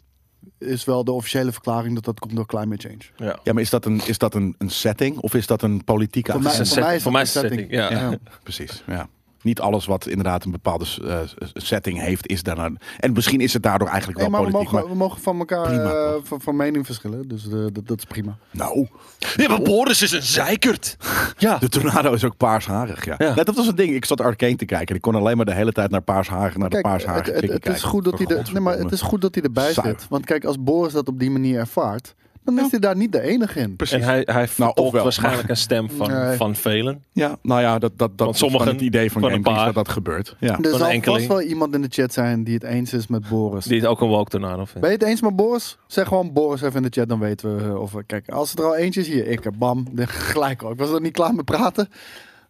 S2: is wel de officiële verklaring dat dat komt door climate change.
S1: Ja.
S3: ja maar is dat, een, is dat een, een setting of is dat een politieke
S2: Voor mij-
S3: agenda?
S1: Voor mij is
S2: dat
S1: voor mij is
S2: een
S1: het setting.
S2: setting.
S1: Ja.
S2: Ja.
S3: Precies, ja. Niet alles wat inderdaad een bepaalde eh, setting heeft is daarna... En misschien is het daardoor eigenlijk
S2: Hey,
S3: wel
S2: maar we
S3: politiek,
S2: mogen, we mogen van elkaar
S3: Prima,
S2: eh,
S3: toch?
S2: van, van mening verschillen, dus eh, dat- dat is prima.
S3: maar... Nou,
S1: Ja, maar Boris is een zeikert. Ja.
S3: de tornado is ook paarshaarig, ja.
S1: Ja.
S3: Nee, dat was het ding. Ik zat Arcane te kijken en ik kon alleen maar de hele tijd naar paarshaarig, naar de
S2: Kijk, het,
S3: paarshaarig
S2: het, het is goed dat hij er, nee, maar het is goed dat hij erbij
S3: Zuiver.
S2: zit. Want kijk, als Boris dat op die manier ervaart, dan
S3: Ja.
S2: is hij daar niet de enige in.
S3: Precies.
S1: En hij, hij vertolkt
S3: ofwel,
S1: waarschijnlijk een stem van,
S2: Nee.
S1: van velen.
S3: Ja, nou ja, dat, dat, dat
S1: Want
S3: is van
S1: sommigen-
S3: het idee van,
S1: van een
S3: Game Kings
S1: paar.
S3: dat dat gebeurt. Ja.
S2: Er
S1: Van
S2: zal
S1: enkeling.
S2: vast wel iemand in de chat zijn die het eens is met Boris.
S1: Die het ook een walk tornado vindt.
S2: Ben je het eens met Boris? Zeg gewoon Boris even in de chat, dan weten we eh, of we... Kijk, als er al eentje is, hier, ik, eh, bam, de- gelijk al. Ik was er niet klaar mee praten.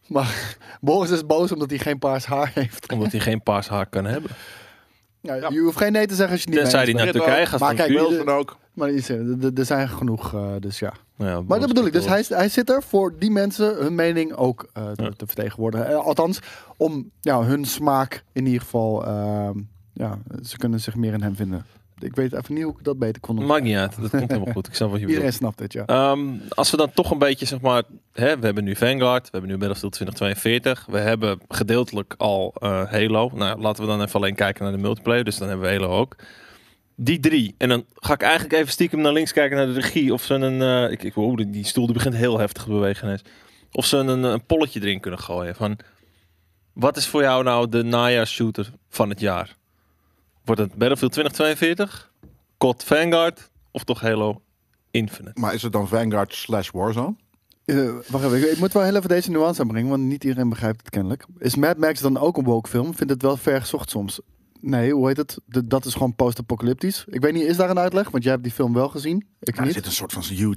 S2: Maar Boris is boos omdat hij geen paars haar heeft.
S1: Omdat hij geen paars haar kan hebben.
S2: Ja,
S3: Ja.
S2: Je hoeft geen nee te zeggen als je het niet
S1: Tenzij
S2: mee
S1: die
S2: eens
S1: naar
S3: Dit
S1: Turkije
S3: ook.
S1: gaat.
S2: Maar
S1: van
S2: kijk,
S1: Cuba.
S2: wil-
S3: dan ook.
S2: bent. Maar iets, eh, d- d- er zijn genoeg, eh, dus ja.
S1: Nou Ja,
S2: Maar
S1: Boris
S2: dat bedoel ik.
S1: vindt
S2: Dus
S1: wel-
S2: hij, hij zit er voor die mensen hun mening ook eh, te,
S1: Ja.
S2: te vertegenwoordigen. Eh, althans, om ja, hun smaak in ieder geval. ehm, ja, ze kunnen zich meer in hem vinden. Ik weet even niet hoe ik dat beter kon. doen.
S1: Maakt niet uit. Dat komt helemaal goed. Ik snap wat je bedoelt.
S2: Iedereen snapt dit, ja.
S1: Ehm, als we dan toch een beetje, zeg maar, hè, we hebben nu Vanguard, we hebben nu Battlefield 2042, we hebben gedeeltelijk al eh, Halo. Nou, laten we dan even alleen kijken naar de multiplayer, dus dan hebben we Halo ook. Die drie. En dan ga ik eigenlijk even stiekem naar links kijken naar de regie. Of ze een. eh, ik, ik, oeh, die- die stoel die begint heel heftig te bewegen. ineens. Of ze een, een polletje erin kunnen gooien. Van, wat is voor jou nou de najaarsshooter van het jaar? Wordt het Battlefield 2042? COD Vanguard? Of toch Halo Infinite?
S3: Maar is het dan Vanguard slash Warzone?
S2: eh, wacht even, ik- ik moet wel heel even deze nuance aanbrengen, want niet iedereen begrijpt het kennelijk. Is Mad Max dan ook een woke film? Vindt het wel ver gezocht soms. Nee, hoe heet het? De- dat is gewoon post-apocalyptisch. Ik weet niet, is daar een uitleg? Want jij hebt die film wel gezien, ik
S3: Ja, er
S2: niet.
S3: zit een soort van huge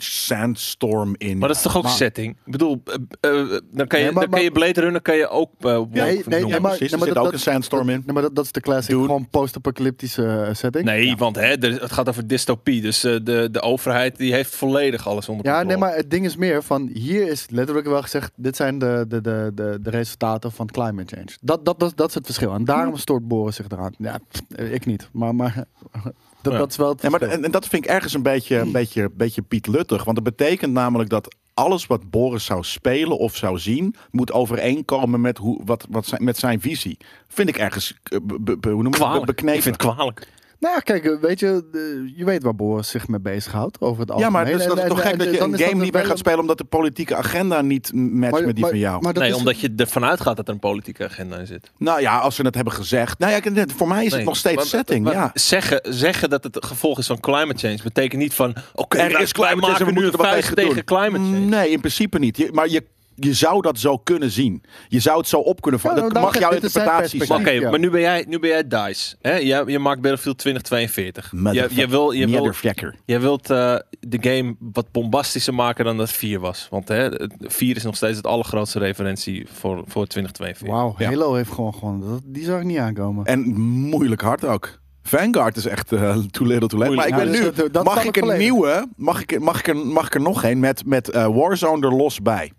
S3: sandstorm in.
S1: Maar dat is toch ook setting? Ik bedoel, eh, eh, dan kan je,
S2: Nee, maar-
S1: dan kan je Blade Runner kan je ook eh woke
S2: Nee, nee,
S1: noemen.
S2: nee, maar-
S3: precies, er
S2: maar
S3: zit
S2: dat-
S3: ook
S2: dat-
S3: een sandstorm in.
S2: Nee, maar dat, dat is de classic,
S3: Dude.
S2: gewoon post-apocalyptische eh, setting.
S1: Nee, want hè, er- het gaat over dystopie. Dus eh, de, de overheid die heeft volledig alles onder
S2: Ja, nee,
S1: controle.
S2: maar het ding is meer van hier is letterlijk wel gezegd: dit zijn de, de, de, de, de resultaten van climate change. Dat, dat, dat, dat is het verschil. En daarom stoort Boris zich eraan. Ja, pff, ik niet, maar, maar dat,
S1: Ja.
S2: dat is wel. Het
S3: Ja, maar de-
S2: verschil.
S3: en, en dat vind ik ergens een beetje, een beetje, beetje Piet Luttig. Want dat betekent namelijk dat alles wat Boris zou spelen of zou zien... moet overeenkomen met, hoe, wat, wat zijn, met zijn visie. Vind ik ergens eh, be- be- be- hoe noem je dat? Be-
S1: kwalijk. Ik
S3: beknepen.
S1: vind het kwalijk.
S2: Nou ja, kijk, eh, weet je, eh, je weet waar Boris zich mee bezighoudt over het
S3: ja,
S2: algemeen.
S3: maar dus
S2: En-
S3: dat is
S2: en-
S3: toch
S2: en-
S3: gek dat
S2: en
S3: je
S2: dan
S3: een
S2: is
S3: game
S2: dat
S3: niet meer
S2: wel-
S3: gaat spelen... omdat de politieke agenda niet matcht
S2: maar-
S3: met die
S2: maar-
S3: van jou.
S2: maar dat
S1: Nee,
S2: is-
S1: omdat je ervan uitgaat dat er een politieke agenda in zit.
S3: nou ja, als ze het hebben gezegd... Nou ja, ik- net, voor mij is
S1: Nee,
S3: het nog steeds
S1: maar-
S3: setting,
S1: maar
S3: ja.
S1: Zeggen, zeggen dat het een gevolg is van climate change betekent niet van... Oké,
S3: Er
S1: wij-
S3: is climate
S1: wij
S3: change en we
S1: maken nu
S3: moeten
S1: een
S3: er wat
S1: vuist
S3: tegen
S1: tegen
S3: doen.
S1: climate change.
S3: Nee, in principe niet. Je- maar je, je zou dat zo kunnen zien. Je zou het zo op kunnen
S2: Ja,
S3: vatten.
S2: nou,
S3: dat
S2: dan
S3: mag
S2: zeg-
S3: jouw
S2: dit is zijn
S3: interpretatie
S1: Maar
S3: zijn.
S2: perspectief.
S1: Oké,
S2: Ja.
S1: maar nu ben jij, nu ben jij DICE. Hè? Je, je maakt Battlefield 2042. Je, je, wil, je, wil,
S3: Motherfucker.
S1: je wilt eh, de game wat bombastischer maken dan dat 4 was. Want hè, het 4 is nog steeds het allergrootste referentie voor, voor 2042.
S2: Wauw,
S3: Ja.
S2: Halo heeft gewoon gewoon. dat- Die zag ik niet
S1: Eh,
S2: aankomen.
S3: En moeilijk hard ook. Vanguard is echt eh, too little too late.
S1: Moeilijk.
S3: Maar ik
S2: Ja,
S3: ben
S2: dus
S3: nu,
S2: dat- dat
S3: mag
S2: snap
S3: ik
S2: ik
S3: een
S2: volledig.
S3: nieuwe, mag ik, mag, ik er, mag ik er nog een met, met eh, Warzone er los bij?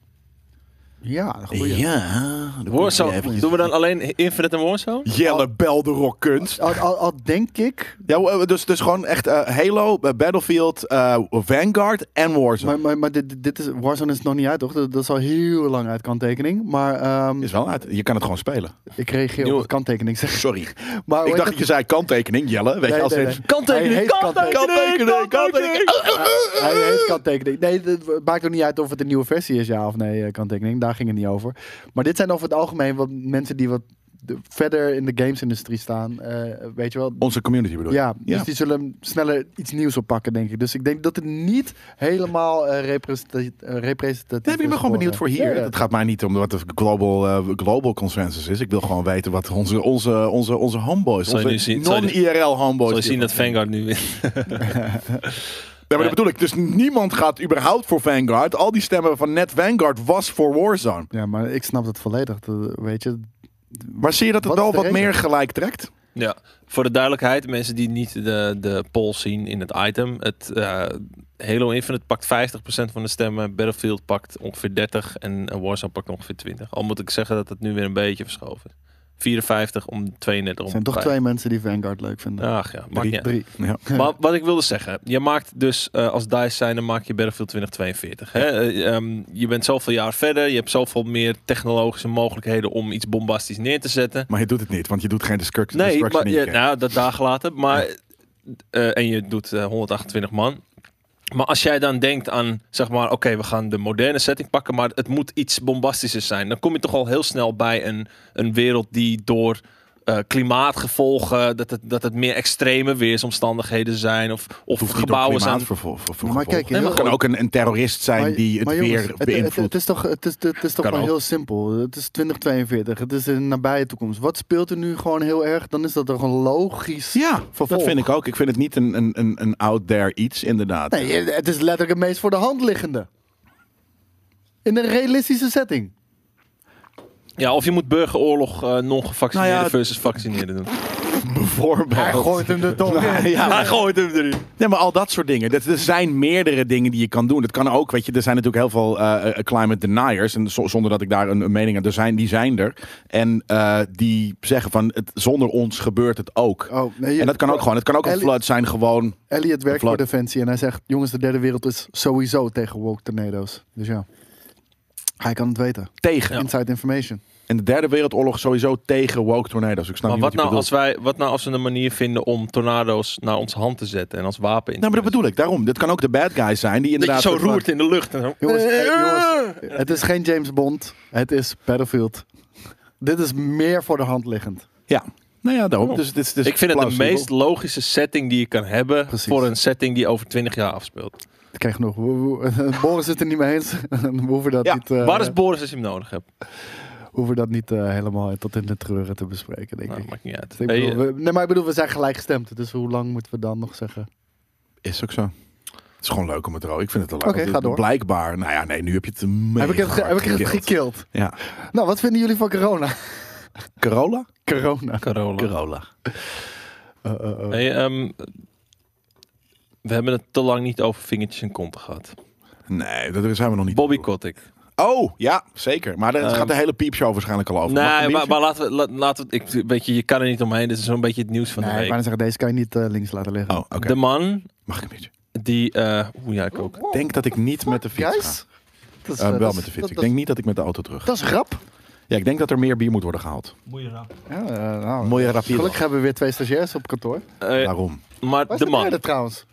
S2: Ja, een goeie.
S3: Ja. dan kom je
S1: Warzone,
S3: eventjes.
S1: doen we dan alleen Infinite en Warzone?
S3: Jelle Bel de rock kunst.
S2: Al, al, al denk ik,
S3: Ja, eh, dus, dus gewoon echt eh, Halo, eh, Battlefield, eh, Vanguard en Warzone.
S2: maar, maar, maar dit, dit is, Warzone is nog niet uit, toch? Dat, dat is al heel lang uit kanttekening. Maar ehm,
S3: is wel uit. Je kan het gewoon spelen.
S2: ik reageer
S1: Nieuwe-
S2: op kanttekening. Zeg.
S3: Sorry.
S2: Maar hoe
S3: ik
S2: heet
S3: dacht
S2: het?
S3: dat je zei kanttekening, Jelle. Weet
S2: Nee,
S3: je, als
S2: nee,
S3: het-
S2: nee. Hij
S1: Kanttekening,
S2: heet kanttekening.
S1: kanttekening, kanttekening.
S2: Hij heeft kanttekening. Nee, het maakt ook niet uit of het een nieuwe versie is, ja of nee, eh, kanttekening. Daar ging het niet over. Maar dit zijn over het algemeen wat mensen die wat de- verder in de gamesindustrie staan. eh, weet je wel.
S3: Onze community bedoel je?
S2: Ja, dus die zullen sneller iets nieuws oppakken, denk ik. Dus ik denk dat het niet helemaal eh, representatief, eh, representatief
S3: Nee, maar ik ben
S2: is
S3: gewoon benieuwd voor
S2: geworden. eh,
S3: hier.
S2: Ja, ja.
S3: Het gaat mij niet om wat de global, eh, global consensus is. Ik wil gewoon weten wat onze, onze, onze, onze homeboys,
S1: Zal je nu
S3: onze
S1: zien- zal je-
S3: non-IRL homeboys...
S1: Zal je zien dat
S3: Nee,
S1: Vanguard nu wint.
S3: maar dat bedoel ik. Dus niemand gaat überhaupt voor Vanguard. Al die stemmen van net Vanguard was voor Warzone.
S2: Ja, maar ik snap dat volledig. Dat, weet je,
S3: Maar zie je dat het
S2: Wat is
S3: wel
S2: de
S3: wat
S2: reden?
S3: meer gelijk trekt?
S1: Ja, voor de duidelijkheid, mensen die niet de, de poll zien in het item. Het eh, Halo Infinite pakt 50% van de stemmen, Battlefield pakt ongeveer 30 en eh, Warzone pakt ongeveer 20. Al moet ik zeggen dat het nu weer een beetje verschoven is. 54 om 32
S2: er
S1: om
S2: zijn toch twee mensen die Vanguard leuk vinden.
S1: Ach ja, maakt niet uit.
S2: Drie.
S3: Ja.
S1: Maar wat ik wilde zeggen, je maakt dus eh, als DICE zijn, dan maak je Battlefield 2042. Hè? Eh, ehm, je bent zoveel jaar verder, je hebt zoveel meer technologische mogelijkheden om iets bombastisch neer te zetten.
S3: Maar je doet het niet, want je doet geen destruct-
S1: Nee,
S3: destruction.
S1: maar,
S3: in
S1: ja,
S3: je-
S1: nou, dat dagen later. Maar, eh, en je doet eh, 128 man. Maar als jij dan denkt aan, zeg maar, oké, we gaan de moderne setting pakken, maar het moet iets bombastischers zijn. Dan kom je toch al heel snel bij een, een wereld die door eh, klimaatgevolgen, dat het, dat het meer extreme weersomstandigheden zijn, of, of
S3: Het hoeft niet door
S1: gebouwen zijn.
S3: klimaat vervol- ver- ver-
S2: Maar
S3: gevolgen.
S2: kijk,
S3: het
S2: heel-
S3: kan ook een, een terrorist zijn
S2: Maar-
S3: die het
S2: maar jongens,
S3: weer
S2: het- Het, het
S3: beïnvloedt.
S2: is toch, het is, het is toch
S1: Kan
S2: gewoon
S1: ook.
S2: heel simpel. Het is 2042. Het is een nabije toekomst. Wat speelt er nu gewoon heel erg? Dan is dat toch een logisch
S3: Ja,
S2: vervolg.
S3: dat vind ik ook. Ik vind het niet een, een, een, een out there iets, inderdaad.
S2: Nee, het is letterlijk het meest voor de hand liggende. In een realistische setting.
S1: Ja, of je moet burgeroorlog eh non-gevaccineerden
S3: Nou ja,
S1: versus vaccineerden doen. Ah,
S3: Bijvoorbeeld.
S2: Hij gooit hem de tong in.
S3: ja,
S1: Hij gooit hem erin.
S3: nee, maar al dat soort dingen. Dat, er zijn meerdere dingen die je kan doen. Het kan ook, weet je, er zijn natuurlijk heel veel eh, eh, climate deniers. En zo- zonder dat ik daar een, een mening aan... Er zijn, die zijn er. En eh, die zeggen van, het, zonder ons gebeurt het ook.
S2: Oh, nee,
S3: en dat kan ook gewoon. Het kan ook een
S2: Ellie-
S3: flood zijn, gewoon...
S2: Elliot werkt
S3: Vlak.
S2: voor Defensie en hij zegt... jongens, de derde wereld is sowieso tegen woke tornado's. Dus ja, hij kan het weten.
S3: Tegen.
S2: Inside information.
S3: En de derde wereldoorlog sowieso tegen woke tornado's. Ik snap
S1: Maar
S3: niet
S1: wat
S3: wat je
S1: nou,
S3: bedoelt.
S1: als wij, wat nou als we een manier vinden om tornado's naar onze hand te zetten en als wapen in te
S3: Nou, maar dat bedoel ik. Daarom. Dit kan ook de bad guys zijn die
S1: Dat je
S3: inderdaad...
S1: zo
S3: soort van-
S1: roert in de lucht. En zo.
S2: Jongens, eh, jongens, het is geen James Bond. Het is Battlefield. Dit is meer voor de hand liggend.
S3: Ja. Nou ja, daarom.
S1: Oh.
S3: Dus, dit is- dit is
S1: ik vind het de
S3: plausibel.
S1: meest logische setting die je kan hebben
S2: Precies.
S1: voor een setting die over 20 jaar afspeelt.
S2: Ik krijg nog. we- we- Boris zit er niet mee eens. We hoeven dat
S3: Ja,
S2: niet, eh,
S1: Waar is Boris als je hem nodig hebt?
S2: hoeven dat niet eh, helemaal tot in de treuren te bespreken, denk
S1: Nou,
S2: ik.
S1: maakt niet uit.
S2: Dus ik
S1: Hey, eh,
S2: bedoel, we- nee, maar ik bedoel, we zijn gelijkgestemd. Dus hoe lang moeten we dan nog zeggen?
S3: Is ook zo. Het is gewoon leuk om het erover. Ik vind het wel leuk.
S2: Oké,
S3: Want
S2: ga door.
S3: Blijkbaar. Nou ja, nee, nu heb je het
S2: Heb ik het, ge-
S3: mega
S2: heb ik het
S3: gekild.
S2: gekild?
S3: Ja.
S2: Nou, wat vinden jullie van corona?
S3: Corolla?
S2: corona.
S1: Carola.
S3: Corolla.
S2: Eh, eh, eh.
S1: Hey, ehm, we hebben het te lang niet over vingertjes en konten gehad.
S3: Nee, dat- daar zijn we nog niet.
S1: Bobby Kotick.
S3: Oh, ja, zeker. Maar dat
S1: Ehm,
S3: gaat de hele piepshow waarschijnlijk al over. Mag ik een
S1: Nee, maar,
S3: biertje?
S1: maar laten we... la- Laten we ik, weet je, je kan er niet omheen. Dit is zo'n beetje het nieuws van
S2: nee,
S1: de
S2: ik
S1: week.
S2: wou net zeggen, deze kan je niet eh, links laten liggen.
S3: Oh, oké.
S1: De man
S3: Mag ik een beetje?
S1: die... eh Oeh, ja, ik ook.
S3: Ik denk dat ik niet met de fiets
S2: Guys?
S3: ga.
S2: Dat is,
S3: Eh,
S2: eh,
S3: wel
S2: dat
S3: met
S2: is-
S3: de fiets.
S2: dat-
S3: Ik denk niet dat ik met de auto terug.
S2: Dat is grap.
S3: Ja, ik denk dat er meer bier moet worden gehaald.
S2: Ja, eh, nou,
S3: Mooie rapido.
S2: Gelukkig hebben we weer twee stagiairs op kantoor.
S1: Eh,
S3: Waarom?
S1: maar
S2: Waar
S1: de
S2: is
S1: man.
S2: Nou, derde trouwens?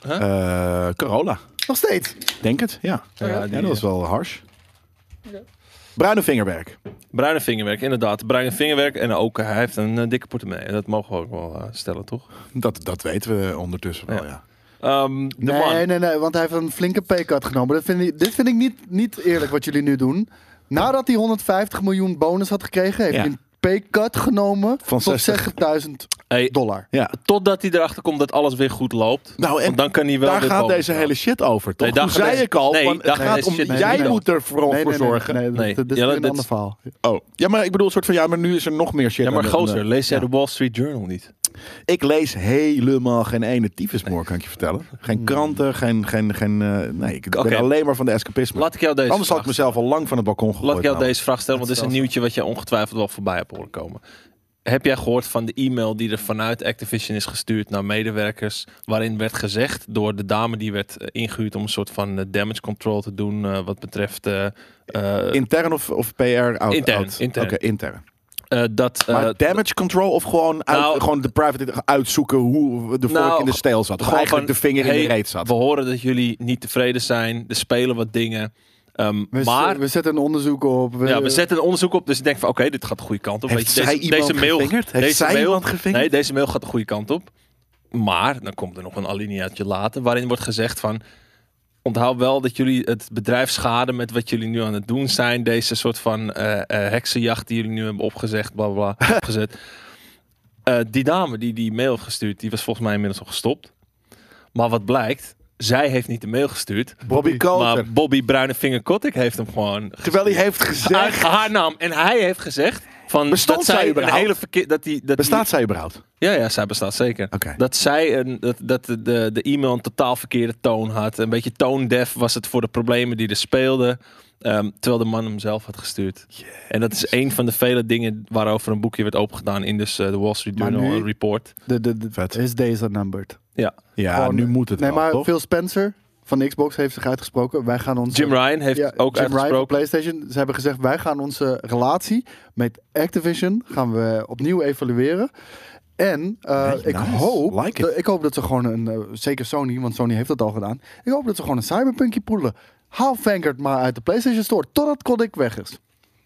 S3: Eh, Corolla.
S2: Nog steeds.
S3: Denk het, ja.
S1: Ja,
S3: Ja,
S1: die-
S3: dat is wel harsh. Bruine vingerwerk.
S1: Bruine vingerwerk, inderdaad. Bruine vingerwerk. En ook, hij heeft een eh, dikke portemonnee. En Dat mogen we ook wel eh, stellen, toch?
S3: Dat, dat weten we ondertussen wel,
S1: Ja.
S3: ja.
S1: Ehm, de man.
S2: Nee, nee, nee, want hij heeft een flinke paycut genomen. Dat vind ik, dit vind ik niet, niet eerlijk wat jullie nu doen. Nadat hij 150 miljoen bonus had gekregen, heeft
S3: Ja.
S2: hij een paycut genomen
S3: Van
S2: tot
S3: 60.
S2: 60.000
S1: Hey,
S2: dollar.
S3: ja.
S1: totdat hij erachter komt dat alles weer goed loopt.
S3: Nou, en
S1: Want dan kan hij wel
S3: daar
S1: weer
S3: gaat
S1: boven
S3: deze
S1: staan.
S3: hele shit over, toch?
S1: Nee, daar
S3: Toen
S1: gaat
S3: zei
S1: deze-
S3: ik al,
S1: nee,
S3: van,
S1: daar
S3: het
S1: gaat
S3: gaat
S1: deze
S3: om,
S1: shit niet
S3: jij
S2: meer
S3: moet er vooral voor zorgen.
S2: Nee, dat-
S1: Nee.
S2: dat, is
S1: Ja,
S2: weer
S1: dat-
S2: een ander verhaal.
S3: Oh, ja, maar ik bedoel, soort van, ja, maar nu is er nog meer shit.
S1: Ja, maar
S3: aan de-
S1: gozer, lees jij
S3: ja.
S1: de Wall Street Journal niet?
S3: Ik lees helemaal geen ene tyfus meer, kan ik je vertellen. Geen kranten, geen... geen, geen eh, nee, ik
S1: Hmm. Oké.
S3: ben alleen maar van de escapisme.
S1: Laat ik jou deze,
S3: Anders had
S1: vraag,
S3: ik mezelf al lang van het balkon gegooid.
S1: laat ik jou
S3: namelijk.
S1: deze vraag stellen, want dit is een nieuwtje wat je ongetwijfeld wel voorbij hebt horen komen. Heb jij gehoord van de e-mail die er vanuit Activision is gestuurd naar medewerkers, waarin werd gezegd door de dame die werd eh, ingehuurd om een soort van eh, damage control te doen eh, wat betreft eh, eh,
S3: Intern of, of PR? Out,
S1: Intern,
S3: out?
S1: intern.
S3: Oké, intern.
S1: eh, dat eh,
S3: Maar damage control of gewoon, uit,
S1: Nou-
S3: gewoon de private uitzoeken hoe de vork
S1: Nou,
S3: in de steel zat? Of
S1: gewoon
S3: eigenlijk de
S1: van,
S3: vinger in de
S1: hey,
S3: reet zat?
S1: we horen dat jullie niet tevreden zijn, er spelen wat dingen, ehm,
S2: We,
S1: maar
S2: we zetten een onderzoek op. We,
S1: Ja, we zetten een onderzoek op, dus ik denk van oké, dit gaat de goede kant op.
S3: Heeft
S1: Weet je,
S3: zij
S1: deze,
S3: iemand
S1: deze mail,
S3: gevingerd? Heeft
S1: deze
S3: zij
S1: mail,
S3: iemand gevingerd?
S1: Nee, deze mail gaat de goede kant op. Maar, dan komt er nog een alineaatje later, waarin wordt gezegd van... Onthoud wel dat jullie het bedrijf schaden met wat jullie nu aan het doen zijn. Deze soort van eh, eh, heksenjacht die jullie nu hebben opgezegd, bla bla, bla, opgezet. Eh, die dame die die mail heeft gestuurd, die was volgens mij inmiddels al gestopt. Maar wat blijkt, zij heeft niet de mail gestuurd.
S3: Bobby Coulter.
S1: Maar Bobby Bruine Vinger Kotick heeft hem gewoon
S3: Terwijl hij heeft
S1: uit
S3: gezegd...
S1: haar naam. En hij heeft gezegd van
S3: Bestond
S1: dat
S3: zij
S1: zij een
S3: überhaupt?
S1: hele verkeer dat die dat
S3: Bestaat zij überhaupt?
S1: die- ja ja zij bestaat zeker.
S3: Oké.
S1: Dat zij een dat, dat de, de, de e-mail een totaal verkeerde toon had. Een beetje toondef was het voor de problemen die er speelden. ehm, terwijl de man hem zelf had gestuurd. En dat is een van de vele dingen waarover een boekje werd opengedaan in dus, eh, de Wall Street
S2: Maar
S1: Journal
S2: nu-
S1: een report.
S2: de, de, de-
S3: Vet.
S2: his days are numbered.
S1: Ja.
S3: Ja,
S2: Gewoon-
S3: nu moet het
S2: Nee,
S3: wel,
S2: maar
S3: toch?
S2: Phil Spencer van Xbox heeft zich uitgesproken. Wij gaan ons...
S1: Jim Ryan heeft
S2: Ja,
S1: ook
S2: Jim Ryan van
S1: uitgesproken.
S2: PlayStation. Ze hebben gezegd: wij gaan onze relatie met Activision gaan we opnieuw evalueren. En eh,
S3: Nee,
S2: ik,
S3: nice.
S2: hoop,
S3: Like it.
S2: dat- ik hoop dat ze gewoon een, eh, zeker Sony, want Sony heeft dat al gedaan. Ik hoop dat ze gewoon een cyberpunkje poelen. Haal Vanguard maar uit de PlayStation Store totdat Kodik weg is.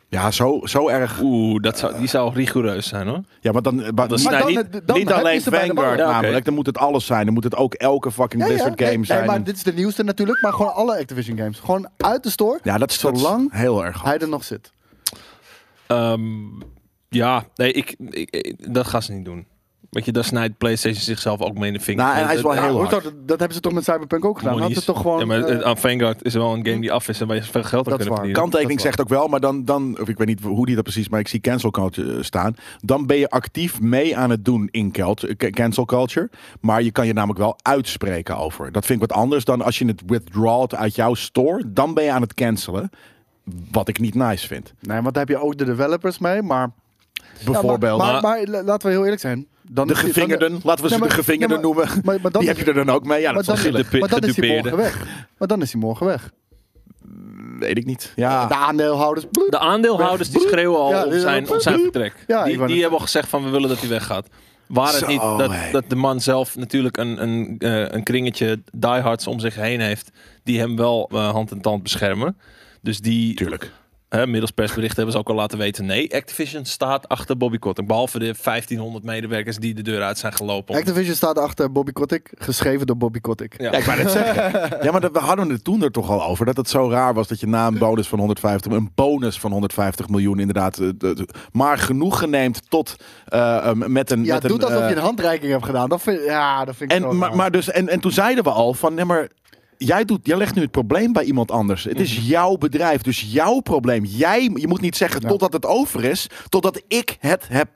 S3: Ja, zo, zo erg.
S1: Oeh, dat zou, die zou rigoureus zijn hoor.
S3: Ja, maar dan... Maar,
S1: Dat is-
S3: maar
S1: Nee,
S2: dan,
S1: niet-
S2: dan
S3: Nou, niet
S2: heb je
S3: alleen
S2: ze bij de
S3: Vanguard
S1: Ja, oké.
S3: namelijk. Dan moet het alles zijn. Dan moet het ook elke fucking
S2: Ja, ja,
S3: Blizzard
S2: nee,
S3: game
S2: nee,
S3: zijn.
S2: maar dit is de nieuwste natuurlijk, maar gewoon alle Activision games. Gewoon uit de store,
S3: Ja, dat is dat is
S2: Zolang
S3: heel erg.
S2: hij er nog zit.
S1: Ehm, ja, nee, ik, ik, ik- dat gaan ze niet doen. Weet je, daar snijdt PlayStation zichzelf ook mee in de vinger.
S3: Nou, en hij is wel
S1: Eh,
S3: heel
S1: eh,
S2: Hoezo?
S3: hard.
S2: dat, dat hebben ze toch met Cyberpunk ook gedaan? Hadden
S1: monies.
S2: ze toch gewoon...
S1: Ja, maar
S2: eh,
S1: eh, aan Vanguard is wel een game die af is en waar je veel geld aan
S2: Dat is
S1: kunnen
S2: waar.
S1: verdienen.
S3: Kanttekening
S2: Dat is
S3: zegt ook wel, maar dan, dan, of ik weet niet hoe die dat precies, maar ik zie cancel culture eh, staan. Dan ben je actief mee aan het doen in culture, eh, cancel culture. Maar je kan je namelijk wel uitspreken over. Dat vind ik wat anders dan als je het withdrawt uit jouw store. Dan ben je aan het cancelen. Wat ik niet nice vind.
S2: Nee, want daar heb je ook de developers mee, maar...
S3: Bijvoorbeeld
S2: Ja, maar, maar, maar la- laten we heel eerlijk zijn. Dan
S3: de
S2: is die-
S3: gevingerden, laten we ze
S2: Nee, maar-
S3: de gevingerden
S2: nee, maar-
S3: noemen.
S2: Maar, maar dan,
S3: die
S2: is,
S3: heb je er dan ook mee. Ja,
S2: maar
S3: dat is wel
S2: dan, is,
S3: gillen.
S1: gedupe-
S2: maar dan is hij
S1: gedupeerde.
S2: morgen weg. Maar dan is hij morgen weg.
S3: Weet ik niet. Ja.
S2: De aandeelhouders. bloed.
S1: De aandeelhouders die schreeuwen al
S2: Ja,
S1: om
S2: dit is
S1: zijn,
S2: ook-
S1: om zijn vertrek.
S2: Ja,
S1: die
S2: ik wou net
S1: die hebben al gezegd van we willen dat hij weggaat. Waar
S3: Zo,
S1: het niet dat,
S3: hey.
S1: dat de man zelf natuurlijk een, een, eh, een kringetje diehards om zich heen heeft. Die hem wel eh, hand en tand beschermen. Dus die
S3: Tuurlijk.
S1: Hè, middels persbericht hebben ze ook al laten weten. Nee, Activision staat achter Bobby Kotick. Behalve de 1500 medewerkers die de deur uit zijn gelopen.
S2: Activision staat achter Bobby Kotick, geschreven door Bobby Kotick.
S1: Ja.
S3: Nou. Ja, ik wou net zeggen. Ja, maar dat, we hadden het toen er toch al over. Dat het zo raar was dat je na een bonus van 150, een bonus van 150 miljoen inderdaad. eh, de- de- maar genoegen neemt tot eh, eh, met een.
S2: Ja,
S3: met
S2: doe
S3: een,
S2: dat alsof
S3: eh,
S2: je een handreiking hebt gedaan. Dat vind, ja, dat vind ik zo
S3: en, maar,
S2: raar.
S3: maar dus, en, en toen zeiden we al van nee, maar. Jij, doet, jij legt nu het probleem bij iemand anders. Het
S2: Mhm.
S3: is jouw bedrijf, dus jouw probleem. Jij, je moet niet zeggen
S2: Ja.
S3: totdat het over is, totdat ik het heb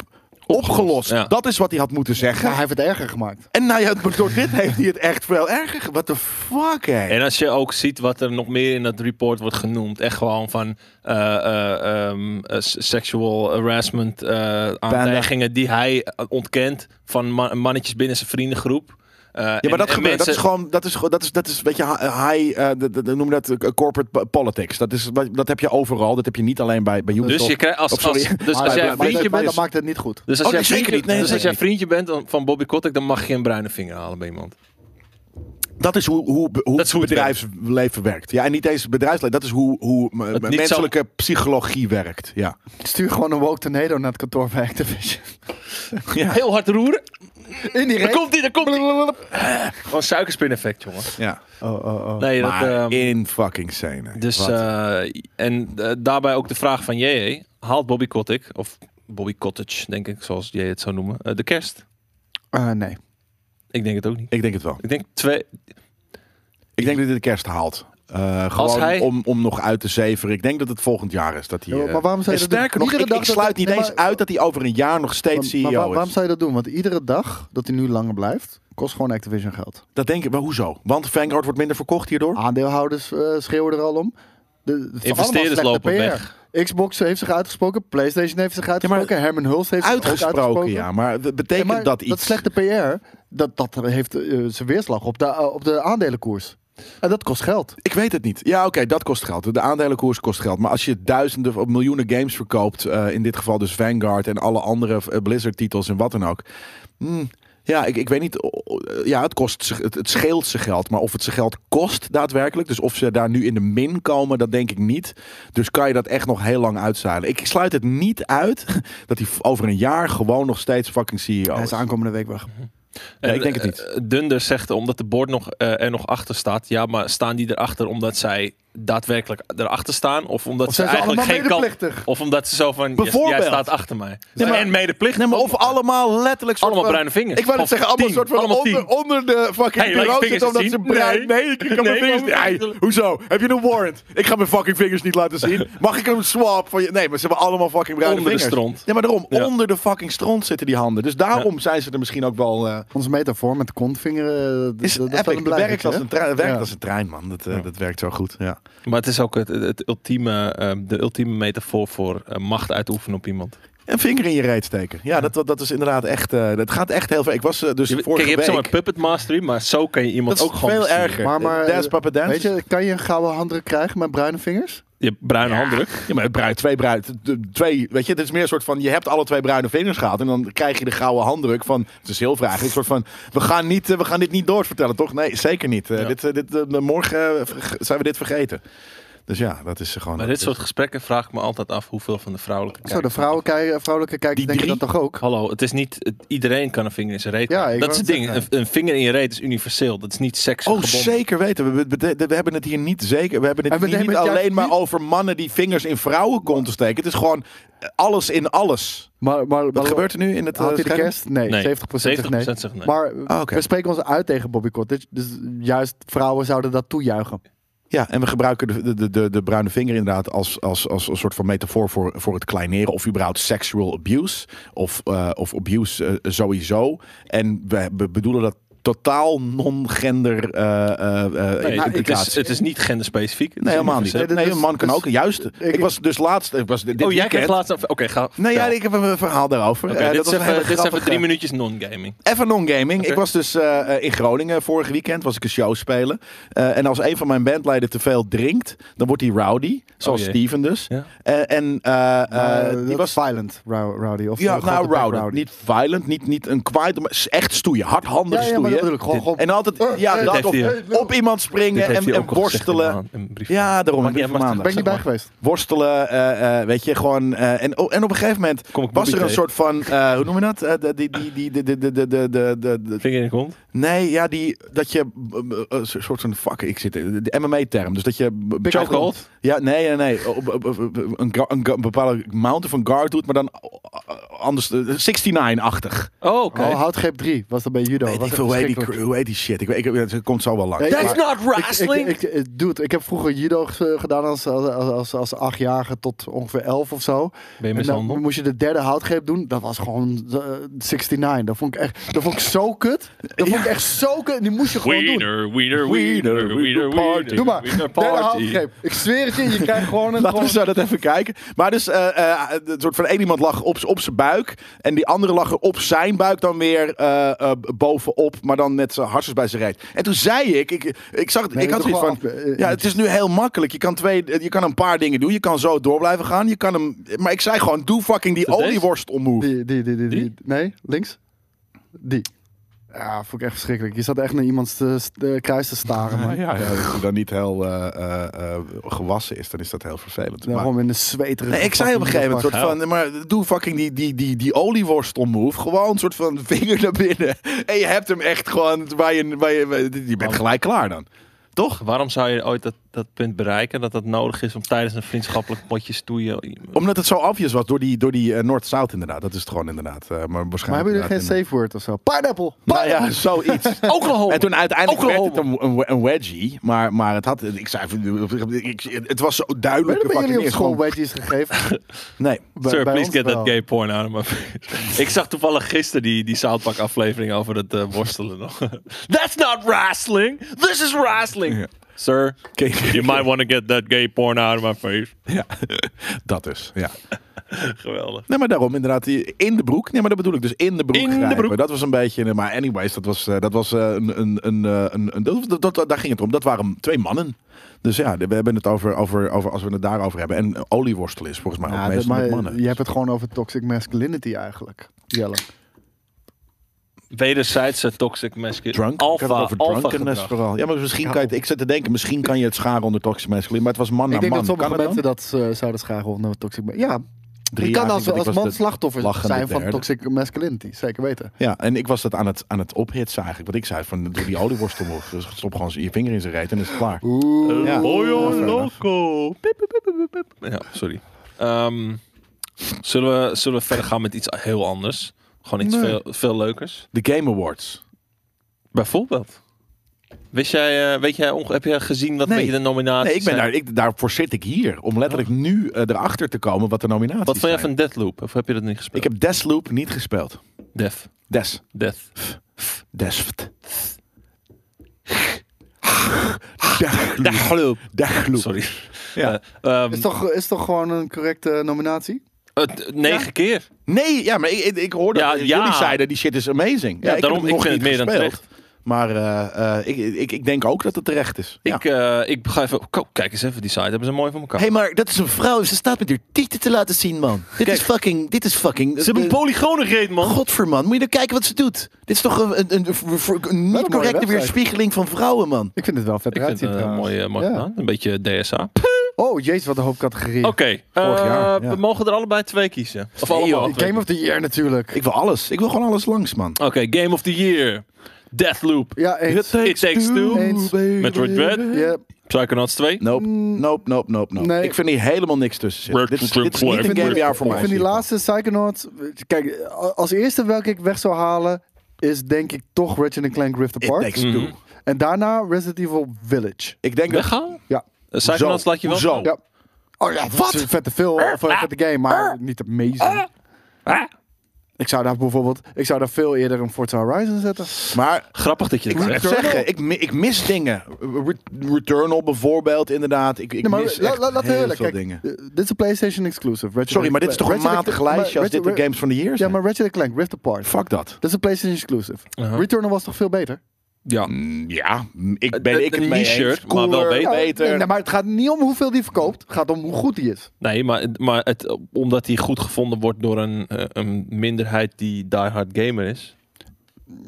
S3: opgelost.
S1: ja.
S3: Dat is wat hij had moeten
S2: Ja,
S3: zeggen.
S2: hij heeft het erger gemaakt.
S3: En nou ja, door dit heeft hij het echt veel erger. ge- What the fuck, hè?
S1: En als je ook ziet wat er nog meer in dat report wordt genoemd. Echt gewoon van eh, eh, ehm, eh, s- sexual harassment eh aantijgingen die hij eh, ontkent van ma- mannetjes binnen zijn vriendengroep. Eh,
S3: Ja, maar dat gebeurt.
S1: mensen-
S3: Dat is gewoon, dat is, gewoon- dat is, dat is, weet je, hi- high, eh, de- de- de- noem dat eh, corporate po- politics. Dat, is, wat- dat heb je overal. Dat heb je niet alleen bij, bij Ubisoft.
S1: Dus je krijgt als,
S3: Of Oh, sorry. Ah,
S1: als, dus
S2: Maar,
S1: als jij
S2: maar-
S1: een
S2: maar,
S1: vriendje
S2: dat, maar dat
S1: bent,
S2: maakt het niet goed.
S1: dus als
S3: Oh, nee,
S1: jij een vriendje,
S3: zeker niet. Nee,
S1: dus als jij
S3: zeker
S1: een vriendje bent dan- van Bobby Kotick, dan mag je geen bruine vinger halen bij iemand.
S3: dat is hoe, hoe, hoe,
S1: Dat is hoe
S3: het
S1: het
S3: bedrijfsleven werkt. Ja, en niet eens bedrijfsleven. Dat is hoe, hoe m-
S1: Het niet
S3: menselijke psychologie werkt. Ja.
S2: Stuur gewoon een woke tornado naar het kantoor van Activision.
S3: ja.
S1: Heel hard roeren.
S2: In die
S1: Daar
S2: reet.
S1: komt hij, daar komt hij. Gewoon suikerspin effect, jongen.
S3: ja.
S2: Oh, oh, oh.
S1: Nee, dat,
S3: Maar
S1: ehm,
S3: in fucking scène.
S1: Dus,
S3: Wat?
S1: eh, en eh, daarbij ook de vraag van JJ. Haalt Bobby Kotick, of Bobby Cottage, denk ik, zoals jij het zou noemen, eh, de kerst?
S2: Eh, nee.
S1: Ik denk het ook niet.
S3: ik denk het wel.
S1: Ik denk twee...
S3: Ik denk dat dit de kerst haalt. Eh, gewoon
S1: hij-
S3: om, om nog uit te zeveren. Ik denk dat het volgend jaar is dat hij.
S2: Ja,
S3: eh,
S2: maar waarom zou
S3: en
S2: je dat
S3: sterker
S2: doen?
S3: nog, ik,
S2: Iedere
S3: ik
S2: dag dat-
S3: sluit niet
S2: nee,
S3: eens
S2: maar-
S3: uit dat hij over een jaar nog steeds
S2: Maar-
S3: CEO
S2: maar waar- waarom
S3: is.
S2: zou je dat doen? Want iedere dag dat hij nu langer blijft, kost gewoon Activision geld.
S3: Dat denk ik, maar hoezo? Want Vanguard wordt minder verkocht hierdoor?
S2: Aandeelhouders eh, schreeuwen er al om. De, het is allemaal
S1: Investeerders
S2: slechte
S1: lopen
S2: PR.
S1: weg.
S2: Xbox heeft zich uitgesproken, PlayStation heeft zich uitgesproken, Herman Hulst heeft zich ook
S3: Uitgesproken,
S2: uitgesproken.
S3: ja. Maar d-
S2: Ja,
S3: betekent
S2: maar
S3: dat iets?
S2: Dat slechte PR, dat, dat heeft eh, zijn weerslag op de, eh, op de aandelenkoers. En dat kost geld.
S3: Ik weet het niet. Ja, oké, dat kost geld. De aandelenkoers kost geld. Maar als je duizenden of miljoenen games verkoopt, eh, in dit geval dus Vanguard en alle andere eh, Blizzard-titels en wat dan ook. Hmm, ja, ik, ik weet niet. o- o- Ja, het, kost, ze- het, het scheelt ze geld. Maar of het ze geld kost daadwerkelijk, dus of ze daar nu in de min komen, dat denk ik niet. Dus kan je dat echt nog heel lang uitzeilen. Ik sluit het niet uit dat hij v- over een jaar gewoon nog steeds fucking CEO
S2: Hij
S3: is.
S2: is aankomende week weg.
S3: Nee, ik
S1: En,
S3: denk het niet.
S1: eh, Dunder zegt, omdat de board nog, eh, er nog achter staat. Ja, maar staan die erachter omdat zij daadwerkelijk erachter staan? Of omdat
S2: Of
S1: ze
S2: zijn ze
S1: eigenlijk
S2: allemaal
S1: geen kant...
S2: medeplichtig?
S1: Of omdat ze zo van, jij- jij
S3: Bijvoorbeeld.
S1: staat achter mij.
S3: Nee, maar-
S1: en medeplicht.
S3: Nee, maar of allemaal letterlijk soort
S1: Allemaal
S3: van-
S1: bruine vingers.
S3: Ik wou net
S1: Of
S3: zeggen, allemaal
S1: tien.
S3: soort van
S1: Allemaal
S3: onder,
S1: tien.
S3: onder de
S1: Hey,
S3: fucking
S1: laat je
S3: bureau
S1: vingers
S3: zitten omdat
S1: eens
S3: ze
S1: zien.
S3: bruin...
S1: Nee.
S3: Nee, ik kan mijn
S1: Nee,
S3: vingers niet...
S1: maar-
S3: Hey, hoezo? Heb je een warrant? Ik ga mijn fucking vingers niet laten zien. Mag ik hem swap van je... Nee, maar ze hebben allemaal fucking bruine
S1: Onder de
S3: vingers.
S1: stront.
S3: Ja, maar daarom.
S1: Ja.
S3: Onder de fucking stront zitten die handen. Dus daarom zijn ze er misschien ook wel... eh
S2: Onze metafoor met de kontvinger, eh, d-
S3: is
S2: dat is
S3: epic.
S2: wel een
S3: Het
S2: blijvertje,
S3: werkt als
S2: hè?
S3: een, trein- het werkt
S2: Ja.
S3: als een trein, man. Dat, eh,
S1: Ja.
S3: dat werkt zo goed. Ja.
S1: Maar het is ook het, het ultieme, eh, de ultieme metafoor voor eh, macht uitoefenen op iemand.
S3: Een vinger in je reet steken. Ja, dat, dat, dat is inderdaad echt... eh, dat gaat echt heel ver. Ik was eh, dus
S1: Je, kijk,
S3: vorige
S1: je hebt zo'n
S3: week...
S1: puppet mastery, maar zo kan je iemand
S3: Dat is
S1: ook gewoon
S3: veel
S1: besturen.
S3: erger.
S2: Maar- maar,
S3: dance,
S2: eh,
S3: papa, dance.
S2: Weet je, kan je een gouden handdruk krijgen met bruine vingers?
S1: Je hebt bruine handdruk.
S3: Ja, maar bruin, twee bruin, t- t- twee, weet je, het is meer een soort van, je hebt alle twee bruine vingers gehad en dan krijg je de gouden handdruk van, het is een zilveren eigenlijk, een soort van, we gaan, niet, eh, we gaan dit niet doorvertellen, toch? Nee, zeker niet. Eh,
S1: Ja.
S3: dit, eh, dit, eh, morgen eh, verge- zijn we dit vergeten. Dus ja, dat is gewoon... Oh,
S1: Maar
S3: dat
S1: dit soort gesprekken vraag ik me altijd af hoeveel van de vrouwelijke
S2: Zo, de
S1: kijkers-
S2: vrouwen kijken, vrouwelijke kijkers
S3: Die
S2: denken dat
S3: drie?
S2: toch ook?
S1: Hallo, het is niet het- iedereen kan een vinger in zijn reet.
S2: Ja,
S1: hebben.
S2: ik
S1: dat is
S2: wou
S1: het
S2: het
S1: ding. Een,
S2: zeggen.
S1: een vinger in je reet is universeel. Dat is niet seks.
S3: Oh, zeker weten. We, we, we- we hebben het hier niet zeker. We hebben het
S2: En we
S3: hier niet
S2: nemen het
S3: alleen
S2: juist
S3: maar
S2: niet-
S3: over mannen die vingers in vrouwen konden steken. Het is gewoon eh, alles in alles.
S2: Maar, maar,
S3: Wat
S2: maar-
S3: gebeurt er nu in het eh,
S2: Haalt hij de
S3: scherm?
S2: kerst? Nee, 70% zegt nee.
S1: zegt nee.
S2: Maar
S3: Ah, oké.
S2: we spreken ons uit tegen Bobby Cottage. Dus juist vrouwen zouden dat toejuichen.
S3: Ja, en we gebruiken de, de, de, de bruine vinger inderdaad als, als, als een soort van metafoor voor, voor het kleineren. Of überhaupt sexual abuse. Of, eh, of abuse eh, sowieso. En we, we bedoelen dat totaal non-gender eh, eh, eh,
S1: nee, het,
S3: implicaties.
S1: is, het is niet genderspecifiek. Het
S3: Nee,
S1: is
S3: helemaal niet.
S1: universeel.
S2: Nee,
S3: Nee,
S2: dit
S3: een
S2: is-
S3: man kan
S2: dus-
S3: ook. Juist. Ik,
S2: ik-
S3: was dus laatst... Ik was dit
S1: Oh, jij
S3: weekend-
S1: krijgt laatst. een- Oké, ga.
S3: Nee, ja,
S1: vertel.
S3: ik heb een verhaal daarover.
S1: Oké,
S3: Eh,
S1: dit,
S3: dat
S1: is
S3: was een hele
S1: even, dit is even
S3: grappige-
S1: drie minuutjes non-gaming.
S3: Even non-gaming.
S1: Oké.
S3: Ik was dus eh, eh, in Groningen vorig weekend, was ik een show spelen. Eh, en als een van mijn bandleden te veel drinkt, dan wordt hij rowdy. Zoals
S1: Oh jee.
S3: Steven dus.
S1: Ja. Nou,
S3: Eh, en eh, eh,
S2: Maar, eh,
S3: die
S2: dat
S3: was
S2: is violent, Rou- Rowdy. Of
S3: ja,
S2: grote
S3: nou,
S2: bek
S3: rowdy. Niet violent, niet, niet een kwaad, maar s- echt stoeien. Hardhandig
S2: Ja, ja, maar
S3: stoeien. je?
S2: bedoel ik, gewoon,
S1: Dit-
S2: gewoon
S3: En altijd
S2: Eh,
S3: ja,
S2: eh,
S3: dat,
S1: dit
S3: of
S1: heeft
S2: hij-
S3: op iemand
S1: Dit
S3: springen
S1: heeft
S3: en,
S1: hij
S3: en
S1: ook al gezegd in
S3: worstelen.
S1: een- een brief.
S3: Ja, daarom.
S1: Maakt
S3: een
S1: niet uit,
S3: brief
S1: maar-
S3: van
S2: ben
S3: maandag.
S2: ik niet bij geweest.
S3: Worstelen, eh, eh, weet je, gewoon. eh, en, oh, en op een gegeven moment
S1: Kom ik
S3: was er
S1: Bobby
S3: een
S1: tegen.
S3: soort van. eh, hoe noem je dat? Eh, de- die, die, die, de- de- de- de- de- de- de- de-
S1: Vinger in de kont.
S3: Nee, ja, die, dat je. eh, eh, een soort van. Fuck, ik zit. in- De MMA-term. Dus dat je.
S1: Chokehold.
S3: Ja, nee, nee, nee. Op, op- op- op- een, gu- een gu- een bepaalde mountain van guard doet, maar dan anders. eh, 69-achtig.
S1: Oh, oké.
S2: Oh, houtgreep 3 was dat bij judo.
S3: Weet
S2: was
S3: ik veel, hoe heet die-
S2: verschrikkelijk.
S3: hoe heet die shit? Ik, weet- ik, het komt zo wel lang.
S2: Nee,
S1: That's
S2: maar-
S1: not wrestling.
S2: Ik, ik, ik, dude, ik heb vroeger judo ge- gedaan als, als, als, als achtjarige tot ongeveer elf of zo.
S1: ben je
S2: En dan
S1: mishandeld?
S2: moest je de derde houtgreep doen. Dat was gewoon eh, 69. Dat vond ik echt dat vond ik zo kut. Dat vond ik echt zo kut. Die moest je gewoon doen.
S1: wiener,
S3: Wiener, wiener, party.
S2: Doe maar. Derde houtgreep. Ik zweer het je. Je krijgt gewoon een...
S3: Laten we
S2: gewoon-
S3: zo dat even kijken. Maar dus eh eh, een soort van één iemand lag op, op zijn buik. En die andere lag er op zijn buik dan weer eh, eh, bovenop. Maar dan met zijn harsjes bij zijn reet. En toen zei ik, ik, ik zag het,
S2: Nee,
S3: ik had
S2: doe
S3: zoiets van...
S2: gewoon af, eh,
S3: Ja, het is nu heel makkelijk. Je kan, twee, eh, je kan een paar dingen doen. Je kan zo door blijven gaan. Je kan hem, maar ik zei gewoon, doe fucking die
S1: Dat deze?
S3: olieworst omhoog.
S2: Eh, Die, die, die, die, die.
S1: Die?
S2: Nee, links. Die. Ja, vond ik echt verschrikkelijk. Je zat echt naar iemands eh, st- eh, kruis te staren. man.
S3: ja, als het dan niet heel eh, gewassen is, dan is dat heel vervelend.
S2: Daarom in de zweterige...
S3: Nee, ik zei op een gegeven moment soort
S1: fucking
S3: van, maar doe fucking die, die, die, die olieworst move. Gewoon een soort van vinger naar binnen. En je hebt hem echt gewoon waar je, waar je, waar je, je bent gelijk klaar dan. Toch?
S1: Waarom zou je ooit dat, dat punt bereiken? Dat dat nodig is om tijdens een vriendschappelijk potje stoeien.
S3: Omdat het zo obvious was door die, door die eh, Noord-Zuid inderdaad. Dat is het gewoon inderdaad. eh, maar waarschijnlijk
S2: Maar hebben jullie geen
S3: inderdaad in-
S2: safe word of zo? Pineapple!
S3: Nou ja, zoiets.
S2: Oh,
S1: Oklahoma.
S3: En toen uiteindelijk werd
S1: Oklahoma.
S3: het een, een, een wedgie. Maar, maar het had, ik zei, van, ik, het was zo duidelijk.
S2: Werden bij
S3: fucking
S2: jullie op
S3: eerst
S2: school
S3: gewoon-
S2: wedgies gegeven?
S3: Nee.
S2: Bij-
S1: Sir,
S2: bij
S1: please
S2: ons
S1: get
S2: wel.
S1: that gay porn out of my face. Ik zag toevallig gisteren die, die South Park aflevering over het eh, worstelen nog. That's not wrestling! This is wrestling!
S3: Ja.
S1: Sir,
S3: Oké.
S1: you might want to get that gay porn out of my face.
S3: Ja, dat dus. Ja.
S1: Geweldig.
S3: Nee, maar daarom inderdaad. die- In de broek. Nee, maar dat bedoel ik. Dus in de broek.
S1: In de
S3: grijpen.
S1: broek.
S3: Dat was een beetje. Maar anyways, dat was, eh, dat was eh, een. een, een, eh, een, een dat, dat- dat- daar ging het om. Dat waren twee mannen. Dus ja, we hebben het over. over, over als we het daarover hebben. En eh, olieworstel is volgens mij
S2: Ja,
S3: ook
S2: dat-
S3: meestal met
S2: maar
S3: mannen.
S2: je hebt het gewoon over toxic masculinity eigenlijk. Jelle.
S3: Nou,
S1: Wederzijdse toxic masculinity.
S3: Drunk. Ik had
S1: Alpha,
S3: het over
S1: alpha
S3: drunkenness
S1: gedrag.
S3: vooral. Ja, maar misschien kan je het, ik zit te denken, misschien kan je het scharen onder toxic masculine, maar het was man
S2: ik
S3: naar
S2: denk
S3: man.
S2: dat sommige
S3: Kan het
S2: mensen
S3: dan?
S2: dat eh, zouden scharen onder toxic ma- Ja,
S3: Drie
S2: je kan
S3: jaar
S2: als,
S3: denk
S2: als
S3: ik, was de
S2: man slachtoffer
S3: lachende
S2: zijn van
S3: derde.
S2: toxic masculinity. Zeker weten.
S3: Ja, en ik was dat aan het, aan het ophitsen eigenlijk. Wat ik zei, van doe die olieworstel omhoog. Dus stop gewoon je vinger in zijn reet en is het klaar.
S2: Oeh.
S3: Ja.
S1: Pollo
S3: Ja,
S1: Loco. Pip, pip, pip, pip, pip. Ja, sorry. Ehm, zullen, we, zullen we verder gaan met iets heel anders? Gewoon iets
S3: Nee.
S1: veel, veel leukers.
S3: De Game Awards.
S1: Bijvoorbeeld. Wist jij, eh, weet jij, onge- heb jij gezien wat
S3: Nee.
S1: een beetje de nominaties
S3: Nee, ik ben
S1: zijn?
S3: daar, ik, daarvoor zit ik hier. Om letterlijk nu eh, erachter te komen wat de nominaties
S1: Wat vond jij
S3: zijn.
S1: van Deathloop? Of heb je dat niet gespeeld?
S3: Ik heb Desloop niet gespeeld.
S1: Death.
S3: Des.
S1: Death.
S3: Desft. Dagloop.
S1: Deathloop.
S3: Dagloop.
S1: Sorry.
S3: Ja.
S1: Eh, ehm,
S2: Is toch, is toch gewoon een correcte nominatie?
S1: het- negen keer.
S3: Nee, ja, maar ik, ik, ik hoorde
S1: Ja,
S3: dat
S1: ja.
S3: jullie zeiden, die shit is amazing.
S1: Ja,
S3: ik
S1: daarom,
S3: heb
S1: ik
S3: nog
S1: vind
S3: niet
S1: het meer dan
S3: gespeeld. Maar eh, eh, ik, ik, ik denk ook dat het terecht is. Ja.
S1: Ik, eh, ik ga even... ko- Kijk eens even, die site hebben ze mooi voor elkaar.
S4: Hé, maar dat is een vrouw. Ze staat met haar tieten te laten zien, man. Dit is fucking... Dit is fucking...
S1: ze hebben een
S4: eh,
S1: polygonen reet, man.
S4: Godver, man. Moet je nou kijken wat ze doet. Dit is toch een, een, een, een- een
S2: mooie
S4: niet correcte
S2: website.
S4: weerspiegeling van vrouwen, man.
S2: Ik vind het wel vet
S1: ik vind
S2: eruit
S1: het
S2: zien
S1: eh,
S2: trouwens.
S1: mooi, eh, mooi
S2: Ja.
S1: gedaan. Een beetje DSA.
S2: Oh, jezus, wat een hoop categorieën.
S1: Oké,
S3: Vorig
S1: eh,
S3: jaar, ja.
S1: we mogen er allebei twee kiezen. Of
S3: Nee,
S1: allemaal
S3: joh.
S1: twee.
S2: Oh, Game of the Year natuurlijk.
S3: Ik wil alles. Ik wil gewoon alles langs, man.
S1: Oké, Game of the Year. Deathloop.
S2: ja, eens.
S1: It Takes Two.
S2: Eens.
S1: Metroid Dread.
S2: Ja,
S1: Psychonauts 2.
S3: Nope,
S1: Mm.
S3: nope, nope, nope, nope.
S2: Nee.
S3: Ik vind hier helemaal niks tussen zitten.
S1: Red
S3: Dit is,
S1: Club
S3: dit is niet
S1: Flag.
S3: een
S2: Ik vind-
S3: gamejaar voor
S2: ik
S3: mij.
S2: vind die laatste Psychonauts... Kijk, als eerste welke ik weg zou halen... is denk ik toch Ratchet Clank Rift
S3: It
S2: Apart.
S3: takes
S1: Mhm.
S3: two.
S2: En daarna Resident Evil Village.
S3: Ik denk dat...
S1: Weggaan?
S2: Ja.
S1: Eh, Psychonauts
S3: Zo.
S1: laat je wel
S3: Zo.
S1: gaan?
S2: Ja. Oh ja, wat? Een vette film,
S1: Eh,
S2: of een vette game, maar niet amazing. Ik zou daar bijvoorbeeld... Ik zou daar veel eerder een Forza Horizon zetten.
S3: Maar
S1: Grappig dat je
S3: ik
S1: dat
S3: moet
S1: zegt.
S3: echt zeggen, ik, mi- ik mis dingen. Re- Returnal bijvoorbeeld, inderdaad. Ik, ik
S2: Nee, maar
S3: mis
S2: la-
S3: echt
S2: la- laten we
S3: heel
S2: eerlijk,
S3: veel
S2: kijk,
S3: dingen.
S2: eh, Dit is een PlayStation exclusive. Ratchet
S3: Sorry,
S2: and
S3: maar dit is toch een
S2: Ratchet and
S3: matig
S2: Clank-
S3: lijstje
S2: maar
S3: als dit de
S2: Ratchet-
S3: Games van de Year
S2: Ja,
S3: zijn?
S2: maar Ratchet Clank Rift Apart.
S3: Fuck dat.
S2: Dat is een PlayStation exclusive.
S1: Uh-huh.
S2: Returnal was toch veel beter?
S1: Ja.
S3: Mm, Ja, mm, ik
S1: Het-
S3: ben
S1: het-
S3: ik het
S1: een
S3: mee
S1: niche-shirt,
S3: eens.
S1: maar wel
S3: Cooler,
S1: beter.
S3: beter.
S2: Nee, nee, maar het gaat niet om hoeveel die verkoopt. Het gaat om hoe goed die is.
S1: Nee, maar, maar het, omdat hij goed gevonden wordt door een, eh, een minderheid die diehard gamer is.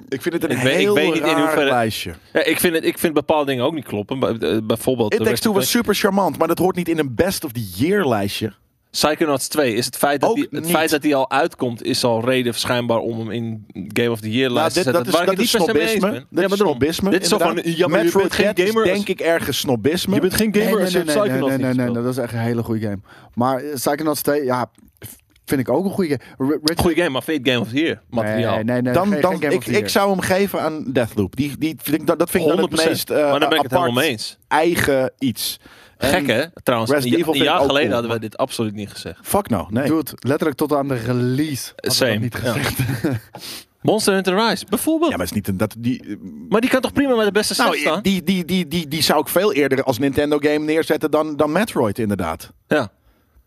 S3: Ik vind het een
S1: Ik weet- ik
S3: heel
S1: weet niet in
S3: raar
S1: hoeverre-
S3: lijstje.
S1: Ja, ik, vind het, ik vind bepaalde dingen ook niet kloppen. Bij- eh, Bijvoorbeeld...
S3: It
S1: de
S3: Takes
S1: Rest
S3: Two
S1: of
S3: was super charmant, maar dat hoort niet in een best of the year lijstje. Nou,
S1: Psychonauts 2 is het feit dat,
S3: Ook
S1: die, het
S3: niet.
S1: feit dat die al uitkomt, is al reden schijnbaar om hem in Game of the Year
S3: Nou,
S1: lijst te
S3: dit,
S1: zetten.
S3: dat is,
S1: waar ik
S3: dat
S1: het
S3: is
S1: niet per se mee eens
S3: snobisme.
S1: ben.
S3: Dat
S1: Ja,
S3: is
S1: maar daarom.
S3: snobisme.
S1: Dit is zo van,
S3: inderdaad.
S1: ja, maar je
S3: Metroid
S1: bent geen
S3: Dread is
S1: gamer als-
S3: denk ik ergens snobisme.
S1: Je bent geen gamer
S2: nee,
S1: als je
S2: nee, nee, nee,
S1: Psychonauts
S2: nee,
S1: niet
S2: nee, nee,
S1: speelt.
S2: dat is echt een hele goede game. Maar eh, Psychonauts 2, ja, v- vind ik ook een goede game. R- Ratchet-
S1: Goeie game, maar vind je het Game of the Year materiaal?
S2: Nee, nee, nee,
S3: dan,
S2: geen-
S3: dan,
S2: geen Game
S3: ik,
S2: of the Year.
S3: ik zou hem geven aan Deathloop. Die, die, vind ik, dat, dat vind ik dan het
S1: 100%.
S3: meest eh,
S1: maar daar ben ik het
S3: apart,
S1: helemaal mee eens.
S3: eigen iets. En-
S1: Gek hè? Trouwens,
S3: Resident
S1: een, ja-
S3: Evil
S1: een
S3: vind ik
S1: jaar
S3: ook
S1: geleden
S3: cool,
S1: hadden we dit absoluut niet gezegd.
S3: Fuck nou, nee.
S2: Dude, letterlijk tot aan de release. had ik
S1: Same,
S2: dat niet
S1: ja.
S2: gezegd.
S1: Monster Hunter Rise, bijvoorbeeld.
S3: Ja, maar het is niet een, dat, die, eh,
S1: Maar die kan toch prima met de beste set
S3: nou,
S1: staan?
S3: die, die, die, die, die zou ik veel eerder als Nintendo game neerzetten dan, dan Metroid inderdaad.
S1: Ja.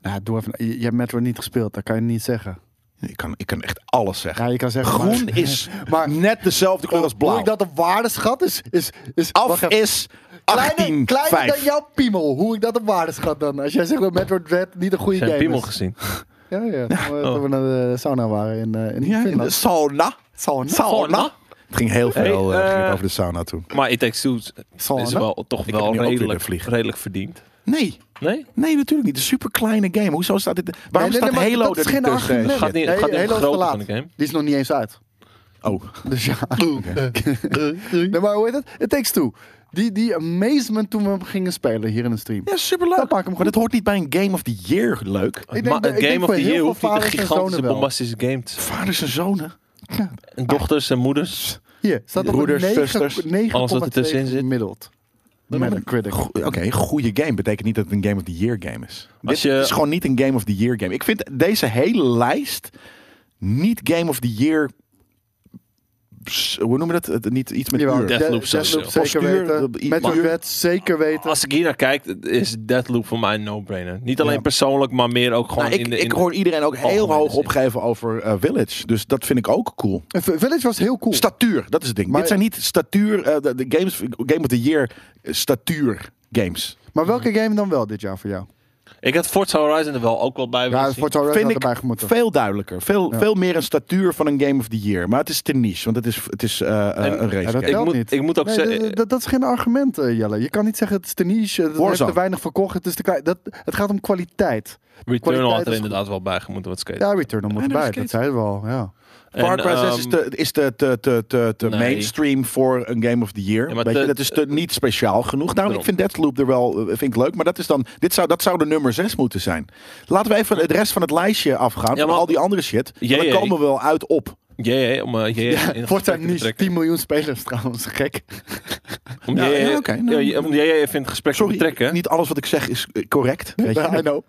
S2: Nou, doe even. Je, je hebt Metro niet gespeeld, dat kan je niet zeggen.
S3: Ik kan, ik kan echt alles zeggen.
S2: Ja, je kan zeggen.
S3: Groen
S2: maar-
S3: is
S2: Maar-
S3: net dezelfde kleur als
S2: Hoe
S3: blauw.
S2: ik dat een waardeschat is, is, is
S3: Af
S2: wacht even.
S3: is 18,
S2: kleiner, kleiner dan
S3: 5.
S2: jouw piemel. Hoe ik dat een waardeschat dan? Als jij zegt dat Metro Dread niet een goede
S1: Zijn
S2: game
S1: piemel
S2: is.
S1: gezien.
S2: Ja, ja. Toen we, toen we naar de sauna waren in, eh in
S3: Ja, in de
S2: Finland.
S1: dus
S3: sauna.
S2: Sauna.
S3: Sauna. Het ging heel
S1: Hey,
S3: veel eh,
S1: eh,
S3: ging het over de sauna toen.
S1: Maar It Takes Two
S2: Sauna.
S1: is wel, toch
S3: heb
S1: wel
S3: nu ook weer
S1: redelijk,
S3: weer vliegen.
S1: redelijk verdiend.
S3: Nee,
S1: Nee?
S3: nee, natuurlijk niet. Een super kleine game. Hoezo staat dit? Waarom
S2: Nee, nee,
S3: staat
S2: nee, maar
S3: Halo
S2: dat is
S3: er niet
S2: geen
S3: tussen?
S2: argument.
S1: Gaat niet,
S2: Nee,
S1: gaat niet om
S2: Halo
S1: de
S2: is
S1: grootte
S2: te
S1: van de game.
S2: Die is nog niet eens uit.
S3: Oh,
S2: Dus ja. nee, maar hoe heet het? It takes two. Die, die amazement toen we hem gingen spelen hier in de stream.
S3: ja, superleuk.
S2: Dan pak ik hem gewoon.
S3: Maar dat hoort niet bij een Game of the Year leuk.
S2: Ik denk
S1: maar
S2: dat-
S1: een
S2: ik denk
S1: Game of
S2: voor
S1: the
S2: heel
S1: Year
S2: veel
S1: hoeft niet een
S2: vaders en
S1: gigantische
S2: zonen wel.
S1: bombastische game te zijn.
S3: Vaders en zonen.
S1: En dochters en moeders.
S2: Hier, staat op
S3: Broeders,
S2: een 9
S3: zusters,
S2: 9,2
S1: alles wat ertussenin zit.
S2: gemiddeld. Metacritic.
S3: Go- eh, Oké, een goede game betekent niet dat het een Game of the Year game is. Dit
S1: je-
S3: is gewoon niet een Game of the Year game. Ik vind deze hele lijst niet Game of the Year. s- Hoe noemen we dat? Het- Niet iets met
S2: Jawel,
S3: uur.
S1: Ja, Deathloop sowieso.
S2: zeker
S3: Postuur, eh,
S2: weten.
S3: i-
S2: Met
S3: maar-
S2: uw wet zeker weten.
S1: Als ik hier naar kijk, is Deathloop voor mij een no-brainer. Niet alleen
S2: Ja.
S1: persoonlijk, maar meer ook gewoon
S3: Nou, ik,
S1: in de... in
S3: ik
S1: de-
S3: hoor iedereen ook heel
S1: algemene
S3: hoog
S1: zin.
S3: opgeven over eh, Village. Dus dat vind ik ook cool.
S2: En V- Village was heel cool.
S3: Statuur, dat is het ding.
S2: Maar-
S3: Dit zijn niet statuur, eh, de, de games, Game of the Year eh, statuur games.
S2: maar welke game dan wel dit jaar voor jou?
S1: Ik had Forza Horizon er wel ook wel bij willen
S2: Ja,
S1: zien.
S2: Forza Horizon
S3: vind
S2: had
S3: ik
S2: erbij gemoeten.
S3: Veel duidelijker. Veel,
S2: Ja.
S3: veel meer een statuur van een Game of the Year. Maar het is te niche, want het is, het is eh, eh,
S1: En-
S3: een race
S2: Ja, dat
S3: game.
S1: ik,
S2: telt
S1: moet,
S2: niet.
S1: ik moet ook
S2: Nee,
S1: zeggen...
S2: dat- dat, dat is geen argument, eh, Jelle. Je kan niet zeggen het is te niche, het heeft
S3: Warzone.
S2: te weinig verkocht, het is te klein. Dat, het gaat om kwaliteit.
S1: Returnal had
S2: kwaliteit
S1: er
S2: is
S1: inderdaad wel bij gemoeten wat skate.
S2: Ja, Returnal moet
S3: Ja, dat
S2: erbij,
S3: is
S2: dat zei het wel. Ja.
S1: En,
S3: Far Cry 6 is
S1: ehm,
S3: te, is te, te, te, te, te
S1: Nee.
S3: mainstream voor een Game of the Year.
S1: Ja, maar
S3: Weet
S1: te-
S3: je, dat is te, niet speciaal genoeg. Daarom,
S1: Daarom.
S3: ik vind Deathloop er wel eh, vind ik leuk. Maar dat, is dan, dit zou, dat zou de nummer 6 moeten zijn. Laten we even het rest van het lijstje afgaan.
S1: Ja,
S3: Ja,
S1: maar-
S3: al die andere shit.
S1: Jee,
S3: dan
S1: jee.
S3: komen we wel uit op.
S1: JJ, om eh, JJ in
S2: Forza
S1: gesprek te
S2: niche,
S1: betrekken.
S2: 10 miljoen spelers trouwens, gek.
S1: Om
S3: Ja,
S1: JJ,
S3: ja, oké, nou,
S1: ja, om JJ even in het gesprek te
S3: Sorry,
S1: betrekken.
S3: niet alles wat ik zeg is eh, correct. Weet je?
S2: I know.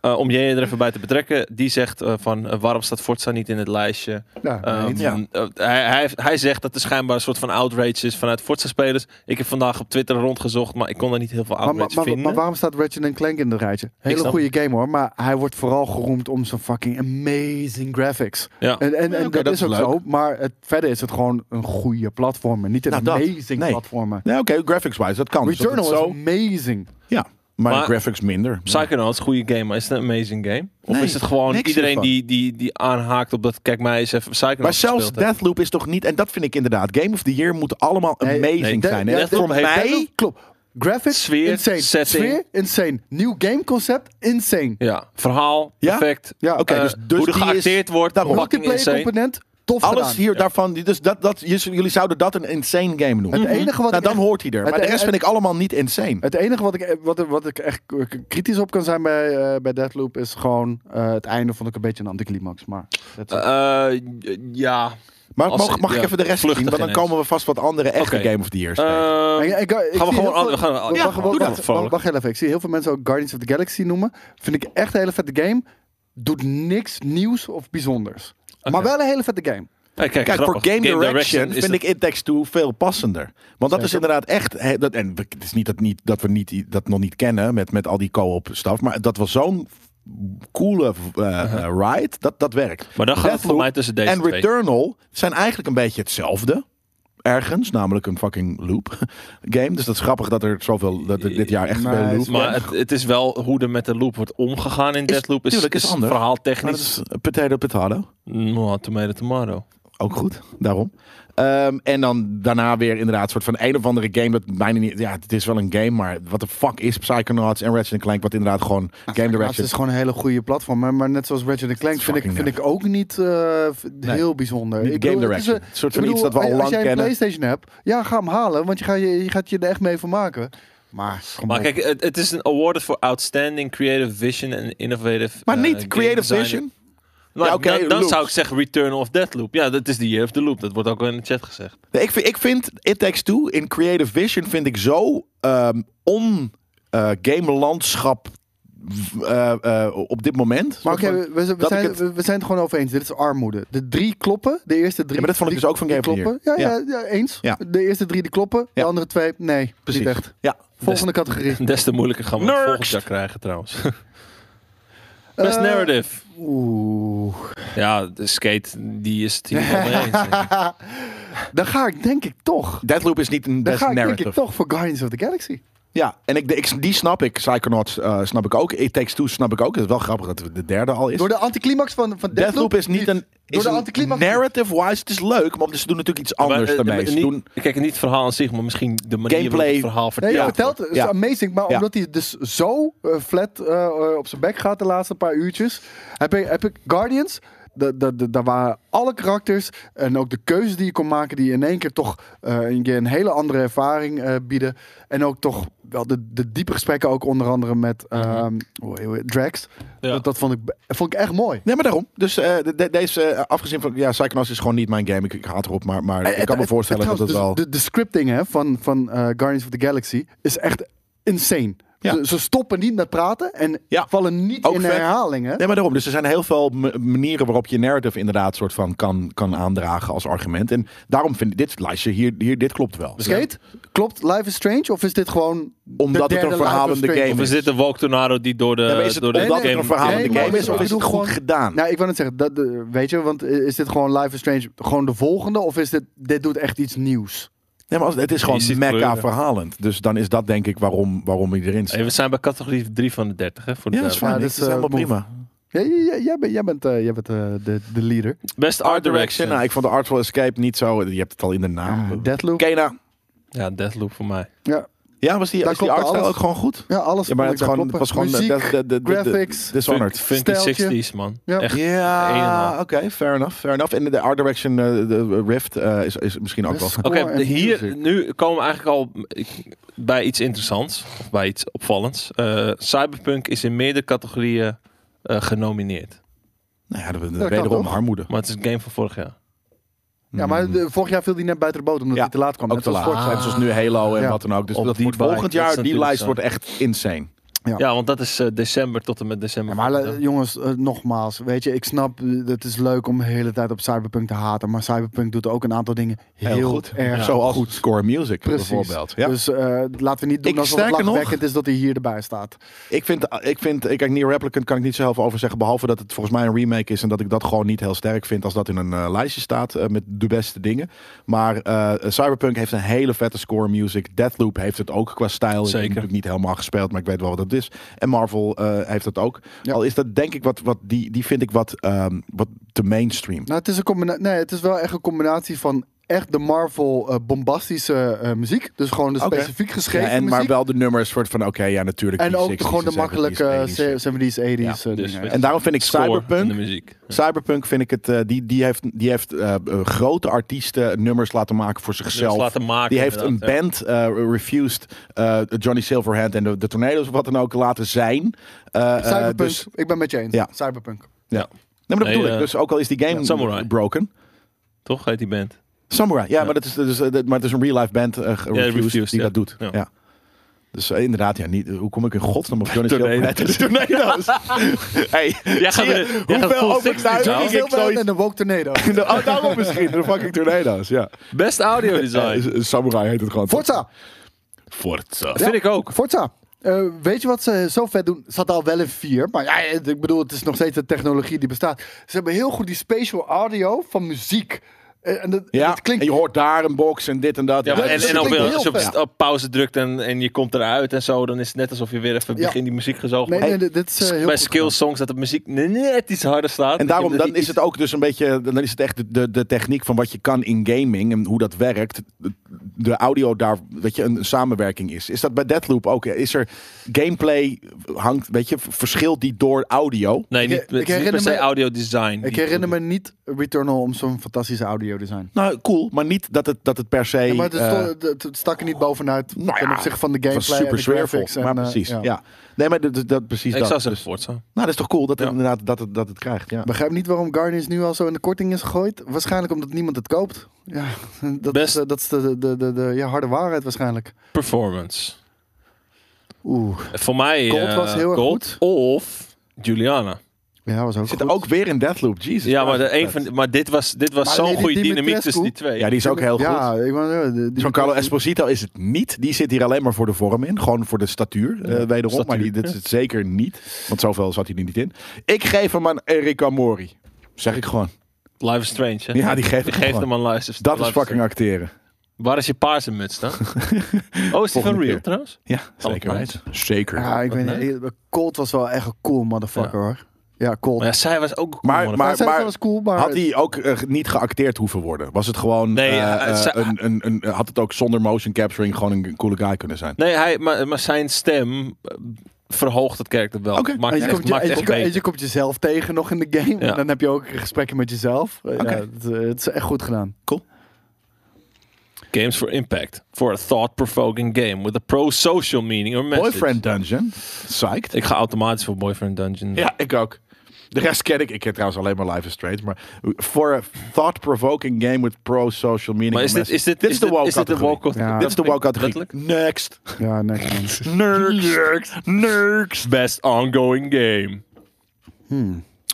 S1: Eh, om JJ er even bij te betrekken. Die zegt eh, van eh, waarom staat Forza niet in het lijstje?
S2: Ja,
S1: Ehm,
S2: nee,
S3: ja.
S1: eh, hij, hij, heeft- hij zegt dat er schijnbaar een soort van outrage is vanuit Forza-spelers. Ik heb vandaag op Twitter rondgezocht, maar ik kon er niet heel veel
S2: Maar,
S1: outrage
S2: maar, maar,
S1: vinden.
S2: maar waarom staat Ratchet Clank in de rijtje? Hele
S1: snap
S2: goede game hoor, maar hij wordt vooral geroemd om zijn fucking amazing graphics.
S1: Ja.
S2: En, en, en
S3: Ja, oké,
S2: dat,
S3: dat
S2: is
S3: is
S2: ook
S3: leuk.
S2: zo, maar het, verder is het gewoon een goede platformer, niet een
S3: Nou, dat.
S2: amazing
S3: Nee.
S2: platformer.
S3: Nee, oké, graphics-wise, dat kan. Dus dat
S2: Returnal
S3: het
S2: is
S3: zo-
S2: amazing.
S3: Ja, maar,
S1: Maar-
S3: graphics minder.
S1: Psychonauts, goede game, maar is het een amazing game? Of
S3: Nee,
S1: is het gewoon
S3: niks
S1: iedereen
S3: hiervan.
S1: die, die, die aanhaakt op dat, kijk mij eens even Psychonauts
S3: Maar zelfs
S1: gespeeld heeft.
S3: Deathloop is toch niet... En dat vind ik inderdaad. Game of the Year moet allemaal
S2: Nee,
S3: amazing
S1: nee,
S2: De-
S3: zijn.
S2: ja,
S3: En
S1: Deathloop
S3: voor
S1: heeft-
S3: mij...
S2: Deathloop, klopt. Graphics,
S1: Sfeer,
S2: insane.
S1: setting.
S2: Sfeer, insane. Nieuw gameconcept, insane.
S1: Ja, verhaal,
S3: Ja?
S1: perfect.
S2: Ja,
S3: Oké,
S1: Eh,
S3: dus, dus
S1: hoe er
S3: die is-
S1: geacteerd wordt,
S3: Daarom.
S1: fucking
S2: Multiplayer
S1: insane.
S2: component, tof
S3: Alles
S2: gedaan.
S3: hier daarvan, dus dat, dat, jullie zouden dat een insane game noemen.
S2: Het enige wat
S3: nou,
S2: ik
S3: dan hoort hij er.
S2: het
S3: Maar de
S2: en-
S3: rest vind
S2: en-
S3: ik allemaal niet insane.
S2: Het enige wat ik, eh, wat, wat ik echt k- kritisch op kan zijn bij, eh, bij Deathloop is gewoon eh, het einde vond ik een beetje een anticlimax. Maar dat is-
S1: Eh, ja,
S3: Maar
S1: als-
S3: mag, mag
S1: ja,
S3: ik even de rest zien?
S1: vluchtig
S3: Want dan
S1: ineens.
S3: komen we vast wat andere echte
S1: Oké.
S3: Game of the Year's
S1: Eh,
S3: tegen.
S2: Ik- ik- ik zie
S1: gaan we
S2: heel
S1: gewoon...
S2: veel-
S1: aan- we gaan,
S2: Wacht,
S1: ja,
S2: wacht, wacht,
S1: doe dat.
S2: wacht, wacht, wacht heel even. Ik zie heel veel mensen ook Guardians of the Galaxy noemen. Vind ik echt een hele vette game. Doet niks nieuws of bijzonders. Maar wel een hele vette game.
S1: Hey, kijk,
S3: Kijk,
S1: grappig.
S3: voor game, direction,
S1: is
S3: vind
S1: het-
S3: ik It Takes Two veel passender. Want dat is
S2: Zeker.
S3: inderdaad echt... hè, dat, en we- het is niet dat, niet, dat we niet, i- dat nog niet kennen met, met al die co-op staf. Maar dat was zo'n coole eh, eh, ride. Dat, dat werkt.
S1: Uh-huh. Maar dan gaat het voor
S3: Deathloop
S1: mij tussen deze
S3: en
S1: twee.
S3: Returnal zijn eigenlijk een beetje hetzelfde. Ergens, namelijk een fucking loop game. Dus dat is grappig dat er zoveel. Dat er dit jaar echt
S2: Nee,
S3: veel loop.
S1: Maar het, het is wel hoe er met de loop wordt omgegaan in Deathloop. Is,
S3: tuurlijk, is
S1: is
S3: anders.
S1: verhaal
S3: Maar dat
S1: technisch.
S3: is potato potato.
S1: Nou, tomato tomato.
S3: Ook goed, daarom. Ehm, en dan daarna weer inderdaad soort van een of andere game dat bijna niet... Ja, het is wel een game, maar wat de fuck is Psychonauts en Ratchet Clank? Wat inderdaad gewoon game
S2: Het
S3: direction...
S2: is gewoon een hele goede platform. Maar, maar net zoals Ratchet Clank vind ik,
S3: fucking
S2: vind ik ook niet eh, v- heel bijzonder.
S3: Niet
S2: ik
S3: game
S2: bedoel, het is
S3: direction.
S2: een-
S3: Een soort
S2: ik
S3: van iets dat we al
S2: als
S3: lang
S2: jij een
S3: kennen.
S2: PlayStation hebt, ja, ga hem halen. Want je, ga, je, je gaat je er echt mee vermaken. Maar, kom
S1: Maar
S2: op.
S1: kijk, het, het is een award voor Outstanding Creative Vision en Innovative
S3: Maar
S1: eh,
S3: niet
S1: game
S3: Creative
S1: designer.
S3: Vision.
S1: Nou,
S3: Ja, oké,
S1: dan, dan
S3: Loop.
S1: zou ik zeggen Return of Deathloop. Ja, dat is de Year of the Loop. Dat wordt ook al in de chat gezegd.
S3: Nee, ik, vind, ik vind It Takes Two in Creative Vision vind ik zo ehm on eh, game landschap v- eh, eh, op dit moment.
S2: Maar
S3: Soort
S2: oké,
S3: van-
S2: we- we, we,
S3: dat
S2: zijn,
S3: ik het-
S2: we, we zijn het gewoon over eens. Dit is armoede. De drie kloppen, de eerste drie.
S3: Ja, maar dat vond ik
S2: die-
S3: dus ook van
S2: die
S3: Game of the
S2: kloppen. Ja,
S3: Year.
S2: ja. ja, eens.
S3: Ja.
S2: De eerste drie die kloppen, de
S3: Ja.
S2: andere twee, nee,
S3: Precies.
S2: niet echt.
S3: ja.
S2: Volgende categorie.
S1: Des te moeilijker gaan we het
S3: Next.
S1: volgend jaar krijgen trouwens. Best
S2: Eh,
S1: narrative.
S2: Oeh.
S1: Ja, de skate, die is het hier wel mee eens. denk ik.
S2: Dan ga ik denk ik toch.
S3: Deathloop is niet een
S2: Dan
S3: best
S2: ga ik
S3: narrative.
S2: denk ik toch voor Guardians of the Galaxy.
S3: Ja, en ik, ik, die snap ik. Psychonauts eh, snap ik ook. It Takes Two snap ik ook. Het is wel grappig dat het de derde al is.
S2: Door de anticlimax van, van
S3: Deathloop is niet een...
S2: Door
S3: Is
S2: de
S3: een
S2: anticlimax.
S3: narrative-wise, het is leuk, maar ze doen natuurlijk iets anders
S1: Maar, eh,
S3: daarmee.
S1: maar
S3: Ze
S1: niet-
S3: doen,
S1: Kijk, niet het verhaal aan zich, maar misschien de manier waarop
S3: Gameplay.
S1: het verhaal
S2: Nee,
S1: verteld
S2: je
S1: wordt.
S2: vertelt, het is
S3: Ja.
S2: amazing, maar
S3: Ja.
S2: omdat hij dus zo eh, flat eh, eh, op zijn bek gaat de laatste paar uurtjes, heb ik, heb ik Guardians, da- da- da- daar waren alle karakters en ook de keuzes die je kon maken, die in één keer toch eh, een, keer een hele andere ervaring eh, bieden. En ook toch wel de, de diepe gesprekken, ook onder andere met ehm, hoe- hoe- Drax.
S1: Ja.
S2: Dat, dat vond, ik, be- vond ik echt mooi.
S3: Nee, maar daarom. Dus eh, de- de- deze, eh, afgezien van... Ja, Psychonauts is gewoon niet mijn game. Ik, ik haat erop, maar,
S2: Eh,
S3: maar ik kan me voorstellen
S2: trouwens,
S3: dat het wel...
S2: dus De, de scripting hè, van, van eh, Guardians of the Galaxy is echt insane.
S3: Ja.
S2: Ze, ze stoppen niet met praten en
S3: Ja.
S2: vallen niet
S3: Ook
S2: in
S3: vet.
S2: herhalingen.
S3: Nee, maar daarom. Dus er zijn heel veel m- manieren waarop je narrative inderdaad soort van kan, kan aandragen als argument. En daarom vind ik dit lijstje hier, hier dit klopt wel.
S1: Eh,
S2: Skate, klopt Life is Strange of is dit gewoon
S3: Omdat
S2: de
S3: het een
S2: derde
S3: verhalende
S2: Life is
S3: game
S1: Of
S3: is.
S1: is dit een Walk Tornado die door de,
S3: Ja, maar is het
S1: door de
S3: omdat het
S1: game...
S3: een verhalende
S2: Nee,
S3: game
S2: maar
S3: is? Of
S2: ik
S3: is het
S2: bedoel
S3: goed
S2: gewoon-
S3: gedaan?
S2: Nou, ik wou net zeggen, dat, eh, weet je, want eh, is dit gewoon Life is Strange gewoon de volgende of is dit, dit doet echt iets nieuws?
S3: nee, maar als, het is
S1: Je
S3: gewoon
S1: ziet
S3: mecca
S1: kleuren.
S3: verhalend. Dus dan is dat denk ik waarom, waarom hij erin zit.
S1: Hey, we zijn bij categorie 3 van de 30, hè? Voor de
S3: Ja, dat is
S1: duidelijkheid.
S3: fijn.
S2: Ja,
S3: dat
S2: dat
S3: is
S2: is, eh,
S3: helemaal
S2: move.
S3: prima.
S2: Ja, ja, ja, jij bent, jij bent, eh, jij bent eh, de, de leader.
S1: Best Art Direction.
S3: Nou, ik vond de Artful Escape niet zo... Je hebt het al in de naam.
S2: Ja, Deathloop.
S3: Kena.
S1: Ja, Deathloop voor mij.
S2: Ja,
S3: Ja, was die,
S2: Daar
S3: was die
S2: klopt
S3: artstijl
S2: alles.
S3: ook gewoon goed?
S2: ja, alles
S3: Ja, maar
S2: vond
S3: het,
S2: ik daar
S3: gewoon, het was
S2: kloppen.
S3: gewoon... de-
S2: Muziek,
S3: de- de- de- de-
S2: graphics.
S3: Dishonored.
S1: Funky
S2: Stijltje.
S1: 60s, man.
S2: Ja.
S1: Echt.
S3: Ja,
S1: helemaal.
S3: oké, fair enough, fair enough. En de Art Direction eh, de Rift eh, is, is misschien ook wel...
S2: Best-
S1: Oké,
S2: Score en
S1: hier,
S2: music.
S1: nu komen we eigenlijk al ik- bij iets interessants. Of bij iets opvallends. Eh, Cyberpunk is in meerdere categorieën eh, genomineerd.
S3: Nou ja, de, de
S2: kan
S3: wederom
S2: toch?
S3: armoede.
S1: Maar het is een game van vorig jaar.
S2: Ja, maar de- vorig jaar viel die net buiten de boot omdat
S3: Mm. Ja,
S2: hij te laat kwam.
S3: Ook
S2: Net
S3: te
S2: als
S3: laat. Ah,
S2: vorig jaar.
S3: Net zoals nu Halo en
S2: Ja.
S3: wat dan ook. Dus
S1: Op
S3: dat
S1: die
S3: wordt
S1: bike,
S3: volgend
S1: dat is
S3: jaar, die
S1: natuurlijk
S3: lijst
S1: zo.
S3: wordt echt insane.
S2: Ja.
S1: Ja, want dat is eh, december tot en met december.
S2: Ja, maar
S1: Ja.
S2: eh, jongens, eh, nogmaals, weet je, ik snap, eh, het is leuk om de hele tijd op Cyberpunk te haten, maar Cyberpunk doet ook een aantal dingen heel,
S3: goed.
S2: erg
S3: Zoals
S2: goed.
S3: Score Music
S2: Precies.
S3: bijvoorbeeld. Ja.
S2: Dus eh, laten we niet doen
S3: Ik-
S2: alsof het
S3: sterker nog-
S2: lachwekkend is dat hij hier erbij staat.
S3: ik vind, ik vind, ik kijk, Near Replicant kan ik niet zo heel veel over zeggen, behalve dat het volgens mij een remake is en dat ik dat gewoon niet heel sterk vind als dat in een eh, lijstje staat eh, met de beste dingen. Maar eh, Cyberpunk heeft een hele vette score music. Deathloop heeft het ook qua stijl. Ik heb
S1: Zeker.
S3: natuurlijk niet helemaal gespeeld, maar ik weet wel wat dat is. En Marvel eh, heeft dat ook.
S2: Ja.
S3: Al is dat denk ik wat, wat die, die vind ik wat, ehm, wat te mainstream.
S2: Nou, het is, een combina- nee, het is wel echt een combinatie van echt de Marvel eh, bombastische eh, muziek, dus gewoon de
S3: Oké.
S2: specifiek geschreven
S3: Ja, en, maar
S2: muziek.
S3: wel de nummers soort van oké, ja natuurlijk.
S2: en ook
S3: 60s,
S2: gewoon de
S3: 70s,
S2: makkelijke
S3: 80s, 80s.
S2: 70s, 80s eh,
S1: Dus,
S2: dingen.
S1: weet je,
S3: En daarom vind ik
S1: score en
S3: Cyberpunk
S1: de muziek.
S3: Cyberpunk vind ik het, eh, die, die heeft, die heeft eh, eh, grote artiesten nummers laten maken voor
S1: Dus
S3: zichzelf.
S1: laten maken.
S3: die heeft een
S1: inderdaad, ja.
S3: band, eh, Refused, eh, Johnny Silverhand en de, de Tornadoes of wat dan ook laten zijn. Eh, eh,
S2: Cyberpunk,
S3: dus,
S2: ik ben met je eens.
S3: Ja.
S2: Cyberpunk.
S3: nee, maar dat
S1: Nee,
S3: bedoel
S1: eh,
S3: ik. Dus ook al is die game
S1: ja, Samurai.
S3: broken.
S1: Toch heet die band?
S3: Samurai, ja,
S1: Ja.
S3: Maar, dat is, dat is, eh, dat- maar het is een real-life band, eh, Refused,
S1: Refused,
S3: die
S1: ja.
S3: dat doet. Ja.
S1: Ja.
S3: Dus eh, inderdaad, ja, niet, hoe kom ik in godsnaam op Johnny Silverhand en
S1: Tornadoes.
S3: de Tornadoes? hey,
S1: Jij gaat
S3: zie je
S1: weer- jij gaat
S3: hoeveel
S1: full 60s
S3: overtuiging
S1: nou?
S3: ik zoiets...
S2: en de Woke Tornado.
S3: Oh, daarom misschien, de fucking Tornadoes, ja.
S1: Best audio
S3: Ja,
S1: design.
S3: s- Samurai heet het gewoon.
S2: Forza!
S3: Forza.
S1: Vind ik ook.
S2: Eh, Forza. Eh, weet je wat ze zo vet doen? Ze hadden al wel een 4, maar ja, eh, ik bedoel, het is nog steeds de technologie die bestaat. Ze hebben heel goed die spatial audio van muziek Eh, En dat,
S3: Ja,
S2: dat klinkt
S3: en je hoort daar een box en dit en dat.
S1: Ja, maar
S2: dat
S1: en,
S2: is-
S1: en
S2: dat
S1: ook,
S2: klinkt
S1: wel, als je op,
S2: heel vet.
S1: op pauze drukt en, en je komt eruit en zo, dan is het net alsof je weer even
S2: Ja.
S1: begin die muziek gezogen
S2: Nee,
S1: wordt.
S2: nee, dit- dit is eh, heel
S1: Bij
S2: goed
S1: skillsongs dat de muziek net iets harder staat.
S3: En daarom dan is
S1: het
S3: het ook dus een beetje, dan is het echt de, de, de techniek van wat je kan in gaming en hoe dat werkt. de- De audio daar, weet je, een samenwerking is. Is dat bij Deadloop ook? Is er gameplay hangt, weet je, verschilt die door audio?
S1: Nee,
S2: Ik-
S1: niet,
S2: ik
S1: het is niet per
S2: herinner
S1: se
S2: me-
S1: audio design.
S2: Ik herinner me niet Returnal om zo'n fantastische audio design.
S3: Nou, cool, maar niet dat het, dat het per se.
S2: Ja, maar het, is
S3: eh,
S2: toch- het- het stak er niet bovenuit
S3: nou
S2: ten
S3: ja,
S2: opzichte van de
S3: het was
S2: gameplay
S3: super
S2: en de
S3: sfeervol.
S2: graphics. en,
S3: maar
S2: eh,
S3: precies, ja. Nee, maar dat, dat precies
S1: Ik
S3: dat.
S1: zou zeggen
S3: Dus-
S1: Forza.
S3: nou, dat is toch cool dat het
S1: Ja.
S3: inderdaad dat het, dat het krijgt. Ja.
S2: Begrijp niet waarom Guardians nu al zo in de korting is gegooid. Waarschijnlijk omdat niemand het koopt. Ja, dat
S1: Best-
S2: is, eh, dat is de, de, de, de ja, harde waarheid waarschijnlijk.
S1: Performance.
S2: Oeh.
S1: Voor mij
S2: Gold
S1: eh,
S2: was heel erg
S1: Gold
S2: goed.
S1: Of Juliana.
S2: Ja, was ook
S3: Zit
S2: goed.
S3: er ook weer in Deathloop, Jesus.
S1: Ja, maar, de,
S3: Christ.
S1: een van, maar dit was, dit was
S2: Maar
S1: zo'n
S2: nee, die
S1: goede dynamiek
S2: Dimitrescu-
S1: tussen die twee.
S3: Ja, die is ook heel goed.
S2: Ja, ik wou zeggen, de- die-
S3: Zo'n Carlo Esposito is het niet. Die zit hier alleen maar voor de vorm in. Gewoon voor de statuur, eh, wederom.
S1: statuur,
S3: Maar die, dit is het zeker niet. Want zoveel zat hij er niet in. Ik geef hem aan Erika Mori. Zeg ik gewoon.
S1: Life is Strange, hè?
S3: Ja, die geef
S1: Die
S3: ik
S1: geeft
S3: gewoon.
S1: hem aan luister.
S3: Dat is
S1: Life
S3: fucking acteren.
S1: Waar is je paarse muts dan? oh, is die van
S3: Volgende
S1: Real
S3: keer.
S1: trouwens?
S3: Ja, zeker
S1: Allemaal.
S3: weten. Zeker.
S2: Ja, ik weet
S1: nou?
S2: niet. eh, Colt was wel echt een cool motherfucker hoor. Ja, Colt.
S1: Maar ja, zij was ook...
S3: Maar-
S1: cool, man.
S3: maar-
S2: Maar, zij was cool, maar...
S3: Had hij ook eh, niet geacteerd hoeven worden? Was het gewoon...
S1: Nee,
S3: eh,
S1: eh,
S3: eh,
S1: ze-
S3: een, een, een, had het ook zonder motion capturing gewoon een coole guy kunnen zijn?
S1: nee, hij, maar, maar zijn stem eh, verhoogt het karakter wel.
S3: Oké.
S1: Maakt
S2: en
S1: het
S2: je,
S1: echt,
S2: komt je,
S1: maakt
S2: en
S1: het
S2: je,
S1: echt
S2: en
S1: beter.
S2: je komt jezelf tegen nog in de game.
S1: Ja.
S2: En dan heb je ook gesprekken met jezelf. Ja,
S3: Oké.
S2: het, eh, het is echt goed gedaan.
S1: Games for Impact. For a thought-provoking game with a pro-social meaning or message.
S3: Boyfriend Dungeon. Psyched.
S1: Ik ga automatisch voor Boyfriend Dungeon.
S3: Ja, ik ook. De rest ken ik. Ik ken trouwens alleen maar Life is Strange. Maar for a thought-provoking game with pro-social meaning.
S1: Maar is dit,
S3: message.
S1: is dit,
S3: dit is de wow
S1: Is dit de
S3: categorie.
S1: wow categorie?
S2: Ja.
S3: Dit is de wow categorie.
S1: Letterlijk?
S3: Next.
S2: Ja, niks.
S3: Next. Next.
S1: Best ongoing game.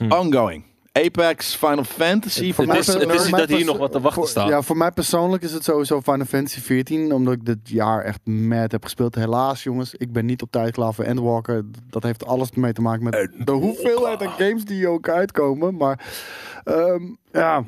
S3: Ongoing. Apex, Final Fantasy. Voor
S1: Hmm. Het
S3: mij
S1: is, het is niet dat hier nog wat te wachten
S2: voor,
S1: staat.
S2: Ja, voor mij persoonlijk is het sowieso Final Fantasy 14, omdat ik dit jaar echt mad heb gespeeld. Helaas, jongens, ik ben niet op tijd klaar voor Endwalker. Dat heeft alles mee te maken met de hoeveelheid aan games die ook uitkomen. Maar ehm, ja,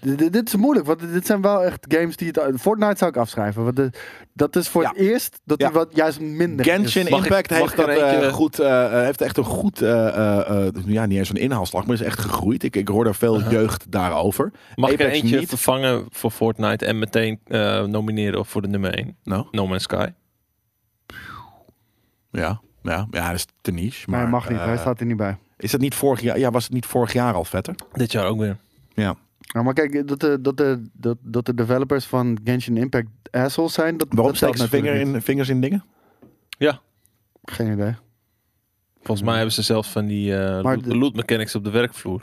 S2: dit, dit- dit is moeilijk, want dit zijn wel echt games die het... Fortnite zou ik afschrijven, want de- dat is voor
S3: Ja.
S2: het eerst dat
S3: Ja.
S2: die wat juist minder
S3: Genshin
S2: is.
S1: Mag ik-
S3: Impact
S1: mag
S3: heeft,
S1: ik er
S3: dat, eh,
S1: eentje-
S3: goed, eh, eh, heeft echt een goed, eh, eh, eh, ja niet eens een inhaalslag, maar is echt gegroeid. Ik, ik hoor daar
S1: Uh-huh.
S3: veel jeugd daarover.
S1: Mag ik er
S3: Apex
S1: eentje
S3: niet?
S1: vervangen voor Fortnite en meteen eh, nomineren voor de nummer 1?
S3: Nou,
S1: No Man's Sky.
S3: ja, ja, ja, dat is te niche. Maar
S2: Nee, mag niet, hij
S3: eh,
S2: staat er niet bij.
S3: Is dat niet vorig jaar? Ja, was het niet vorig jaar al vetter?
S1: Dit jaar ook weer.
S3: Ja.
S2: Ja, Nou, maar kijk, dat de, dat, de, dat, dat de developers van Genshin Impact assholes zijn, dat
S3: Waarom
S2: dat
S3: steken
S2: telt
S3: ze vinger
S2: natuurlijk
S3: in, vingers in dingen?
S2: niet. Geen idee.
S1: Volgens mij hebben ze zelfs van die eh loot,
S2: de-
S1: loot mechanics op de werkvloer.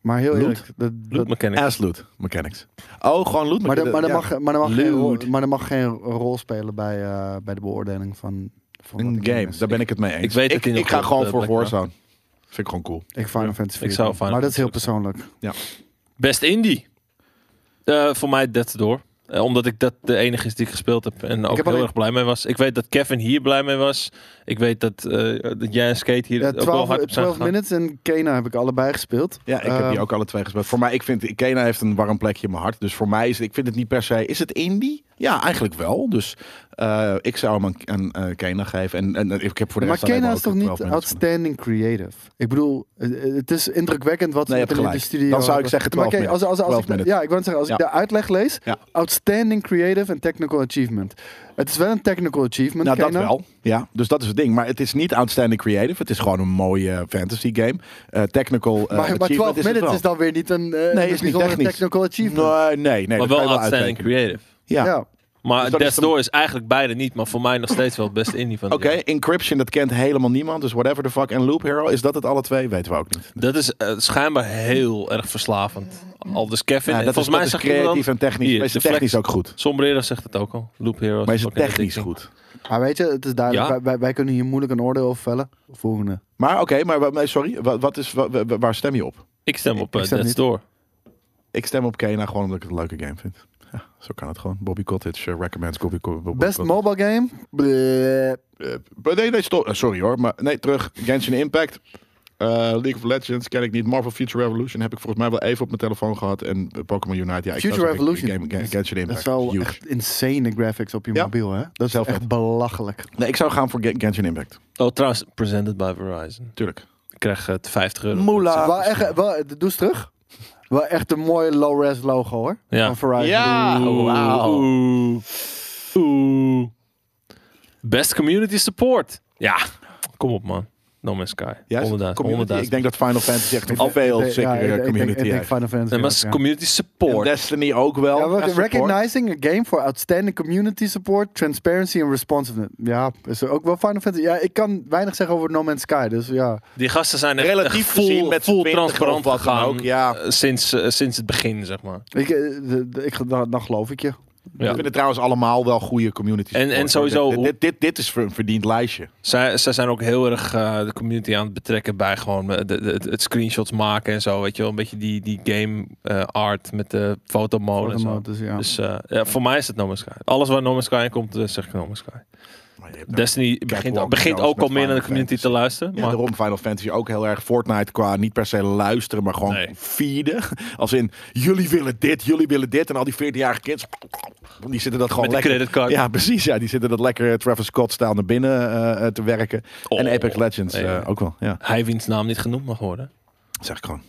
S2: Maar heel
S3: Loot?
S2: eerlijk, dat,
S1: Loot
S2: dat,
S1: mechanics.
S3: Ass loot mechanics. Oh, gewoon loot
S2: maar, dat,
S3: mechanics.
S2: maar, dat
S3: Ja.
S2: mag, maar, dat mag geen
S3: Loot.
S2: rol, maar dat mag geen rol spelen bij, eh, bij de beoordeling van, van wat
S3: Een
S2: de
S3: game,
S2: is.
S3: daar ben ik het mee eens.
S1: ik weet dat
S3: ik,
S1: die nog
S3: ik ga
S1: op,
S3: gewoon
S1: eh,
S3: voor
S1: Black Mirror.
S3: Warzone. Vind ik gewoon cool.
S2: Ik Final Fantasy
S1: zou
S2: 14.
S1: Final
S2: maar dat is heel
S1: Fantasy
S2: persoonlijk.
S1: Best Indie. Eh, voor mij Dead Door. Eh, omdat ik dat de enige is die ik gespeeld heb en ook
S2: heb
S1: heel
S2: alleen-
S1: erg blij mee was. Ik weet dat Kevin hier blij mee was. Ik weet dat, eh, dat jij en Skate hier
S2: Ja,
S1: ook wel
S2: 12,
S1: hard op zijn
S2: 12
S1: gegaan.
S2: Minutes en Kena heb ik allebei gespeeld.
S3: Ja, ik heb
S2: Ehm,
S3: die ook alle twee gespeeld. Voor mij, ik vind, Kena heeft een warm plekje in mijn hart. Dus voor mij is, ik vind het niet per se, is het indie? Ja, eigenlijk wel. Dus eh, ik zou hem aan, aan eh, Kena geven. En, en, eh, ik heb voor de
S2: Maar
S3: rest alleen
S2: Kena
S3: maar
S2: is
S3: ook
S2: toch niet
S3: 12 mensen.
S2: outstanding creative? Ik bedoel, eh, eh, het is indrukwekkend wat ze
S3: Nee, je
S2: met
S3: hebt
S2: hem in de
S3: gelijk.
S2: studio
S3: Dan zou ik
S2: hebben.
S3: zeggen
S2: Maar
S3: 12
S2: kijk, als, als, als, ik,
S3: 12 minutes.
S2: Ja, ik wou het zeggen, als
S3: Ja.
S2: ik de uitleg lees.
S3: Ja.
S2: Outstanding creative en technical achievement. Het is wel een technical achievement,
S3: Nou, dat
S2: Kena.
S3: wel. Ja, dus dat is het ding. Maar het is niet outstanding creative. Het is gewoon een mooie fantasy game. Eh, technical eh,
S2: Maar, maar
S3: achievement
S2: 12
S3: is het
S2: minutes
S3: wel.
S2: is dan weer niet een, eh
S3: Nee,
S2: een
S3: is niet
S2: bijzondere
S3: technisch.
S2: technical achievement.
S3: Nee, nee, nee.
S1: Maar
S3: dat kan je
S1: wel outstanding
S3: uitrekenen.
S1: creative.
S3: Ja.
S2: Ja.
S1: Maar
S3: Dus
S1: Death
S3: dat is
S1: Door
S3: de-
S1: is eigenlijk beide niet, maar voor mij nog steeds wel het beste indie van het
S3: Oké, Encryption, dat kent helemaal niemand. Dus whatever the fuck. En Loop Hero, is dat het alle twee? Weten we ook niet.
S1: Dat is eh, schijnbaar heel erg verslavend. Al dus Kevin.
S3: Ja,
S1: en
S3: dat
S1: volgens
S3: is,
S1: mij
S3: dat
S1: zegt
S3: is creatief
S1: iemand-
S3: en technisch.
S1: Hier,
S3: maar is
S1: de
S3: het technisch
S1: flex.
S3: ook goed?
S1: Sombrero zegt het ook al. Loop Heroes.
S3: Maar is het
S1: fucking
S3: technisch
S1: addicting.
S3: goed?
S2: Maar weet je, het is duidelijk.
S1: Ja.
S2: Wij, wij, wij kunnen hier moeilijk een oordeel over vellen. Volgende.
S3: Maar oké, maar wa- nee, sorry. Wat, wat is, wa- wa- wa- waar stem je op?
S1: Ik stem op
S2: Ik
S1: eh,
S2: stem
S1: Death
S2: niet.
S1: Door.
S3: Ik stem op Kena gewoon omdat ik het een leuke game vind. Ja, zo kan het gewoon. Bobby Cottage eh, recommends Bobby Co- Bobby
S2: Best
S3: Cottage.
S2: mobile game? Bleh.
S3: Eh, nee, nee, stop. Eh, sorry hoor. Maar nee, terug. Genshin Impact. Eh, League of Legends ken ik niet. Marvel Future Revolution heb ik volgens mij wel even op mijn telefoon gehad. En eh, Pokémon Unite. Ja, ik
S2: Future
S3: zou zeggen,
S2: Revolution.
S3: Game, game, Genshin
S2: Dat is
S3: Impact.
S2: wel
S3: Huge.
S2: echt insane graphics op je
S3: Ja.
S2: mobiel, hè? Dat is
S3: Heel
S2: echt
S3: vet.
S2: belachelijk.
S3: Nee, ik zou gaan voor Gen- Genshin Impact.
S1: Oh, trouwens, presented by Verizon.
S3: Tuurlijk.
S1: Ik krijg het 50 euro.
S2: Moela. Wel echt, wel, doe eens terug. Wel echt een mooi low-res logo, hoor.
S1: Ja.
S2: Van Verizon.
S3: Ja,
S1: Oeh,
S3: wauw.
S1: oeh, oeh. Best community support. Ja, kom op man. No Man's Sky.
S3: Ja, is het
S1: 100.000.
S3: community?
S1: 100.000.
S3: Ik denk dat Final Fantasy echt een veel
S2: Ja, ik-
S3: zekere
S2: ik denk-
S3: community
S2: Ik denk
S3: heeft.
S2: Final Fantasy.
S1: eh, Nee, maar
S2: ook,
S1: s-
S2: ja.
S1: community
S3: En
S1: support.
S3: Destiny ook wel.
S2: Ja, maar
S3: Ja, support.
S2: recognizing a game for outstanding community support, transparency and responsiveness. Ja, is er ook wel Final Fantasy. Ja, ik kan weinig zeggen over No Man's Sky, dus ja.
S1: Die gasten zijn echt,
S3: Relatief
S1: echt full,
S3: gezien met
S1: full
S3: 20
S1: transparant
S3: of wat dan
S1: gegaan.
S3: ook, ja.
S1: eh, sinds, eh, sinds het begin, zeg maar.
S2: Ik, eh, de- de- ik, dan, dan geloof
S1: Oh,
S2: ik je.
S3: Ik
S1: Ja.
S3: vind het trouwens allemaal wel goede communities.
S1: En- en sowieso-
S3: Dit, dit, dit, dit is een verdiend lijstje.
S1: Zij, zij zijn ook heel erg eh, de community aan het betrekken bij gewoon eh, de, de- het- het screenshots maken en zo. Weet je wel, een beetje die, die game eh, art met de fotomode en zo.
S2: Dus, ja.
S1: Dus eh, ja, voor mij is het No Man's Sky. Alles waar No Man's Sky in komt, eh, zeg ik No Man's Sky.
S3: Maar je hebt
S1: Destiny begint,
S3: Catwalk
S1: begint
S3: trouwens
S1: ook al
S3: met
S1: meer naar de
S3: Final
S1: community te
S3: Fantasy.
S1: luisteren.
S3: Ja,
S1: maar
S3: daarom Final Fantasy ook heel erg Fortnite qua niet per se luisteren, maar gewoon
S1: Nee.
S3: feeden. Als in, jullie willen dit, jullie willen dit. En al die 14-jarige kids, die zitten dat gewoon
S1: Met die
S3: lekker...
S1: creditcard.
S3: Ja, precies. Ja, die zitten dat lekker eh, Travis Scott-stijl naar binnen eh, eh, te werken.
S1: Oh,
S3: en Apex Legends
S1: nee.
S3: eh, ook wel, ja.
S1: hij wiens naam niet genoemd mag worden.
S3: Dat zeg ik gewoon.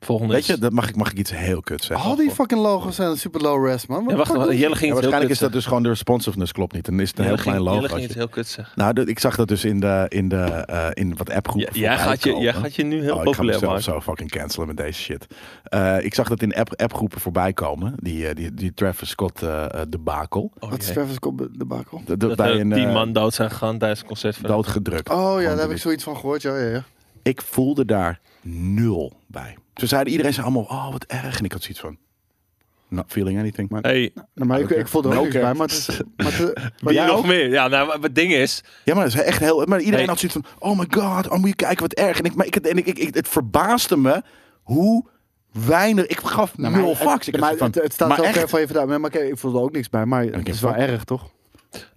S1: Volgende
S3: Weet
S1: is...
S3: je, dat mag, ik, mag ik iets heel kut zeggen?
S2: Al die fucking logos zijn super low res, man. Wat
S1: Ja,
S2: de
S1: wacht,
S2: fuck doe
S1: wacht,
S2: je?
S1: Jelle ging Oh, iets
S3: Oh, Ja,
S1: heel
S3: waarschijnlijk
S1: kut
S3: is dat
S1: zeggen.
S3: dus gewoon de responsiveness klopt niet. Dan is het een heel
S1: Jelle
S3: klein
S1: ging- Jelle ging
S3: logo.
S1: iets heel kut zeggen.
S3: Nou, dat- ik zag dat dus in de, in de, eh, in wat appgroepen.
S1: Ja, jij,
S3: voorbij
S1: gaat je, jij
S3: komen.
S1: gaat je nu heel
S3: Oh, ik ga
S1: populair
S3: mezelf
S1: maken.
S3: zo fucking cancelen met deze shit. Eh, ik zag dat in app, appgroepen voorbij komen. Die, eh, die, die Travis Scott eh eh, debakel.
S1: Oh,
S2: Wat is
S1: jee.
S2: Travis Scott Oh, de bakel?
S3: Dat,
S1: Dat er
S3: een,
S1: tien
S3: eh,
S1: man dood zijn gegaan tijdens het concert. van-
S3: doodgedrukt.
S2: Oh ja,
S3: Gewoon
S2: daar heb ik
S3: delete.
S2: zoiets van gehoord. Ja, ja, ja.
S3: Ik voelde daar nul bij. Ze zeiden, iedereen zei allemaal, oh wat erg. En ik had zoiets van, not feeling anything. Maar,
S1: Hey,
S2: Nou, maar ik,
S3: Oké.
S2: ik voel er ook
S3: Oké.
S2: niks bij, maar het is... Maar het, maar
S1: wie
S2: jij
S1: nog
S2: ook?
S1: meer? Ja, nou, maar het ding is...
S3: ja, maar, ze echt heel, maar iedereen
S1: Nee.
S3: had zoiets van, oh my god, oh moet je kijken wat erg. En, ik, maar ik, en ik, ik, ik- het verbaasde me hoe weinig, ik gaf
S2: Nou, maar
S3: nul
S2: het-
S3: fucks. Ik
S2: maar
S3: had zoiets van,
S2: het, het staat
S3: maar
S2: zo
S3: echt,
S2: ver van je vandaan. Maar, maar kijk, ik voel er ook niks bij, maar het is wel
S3: fuck.
S2: erg, toch?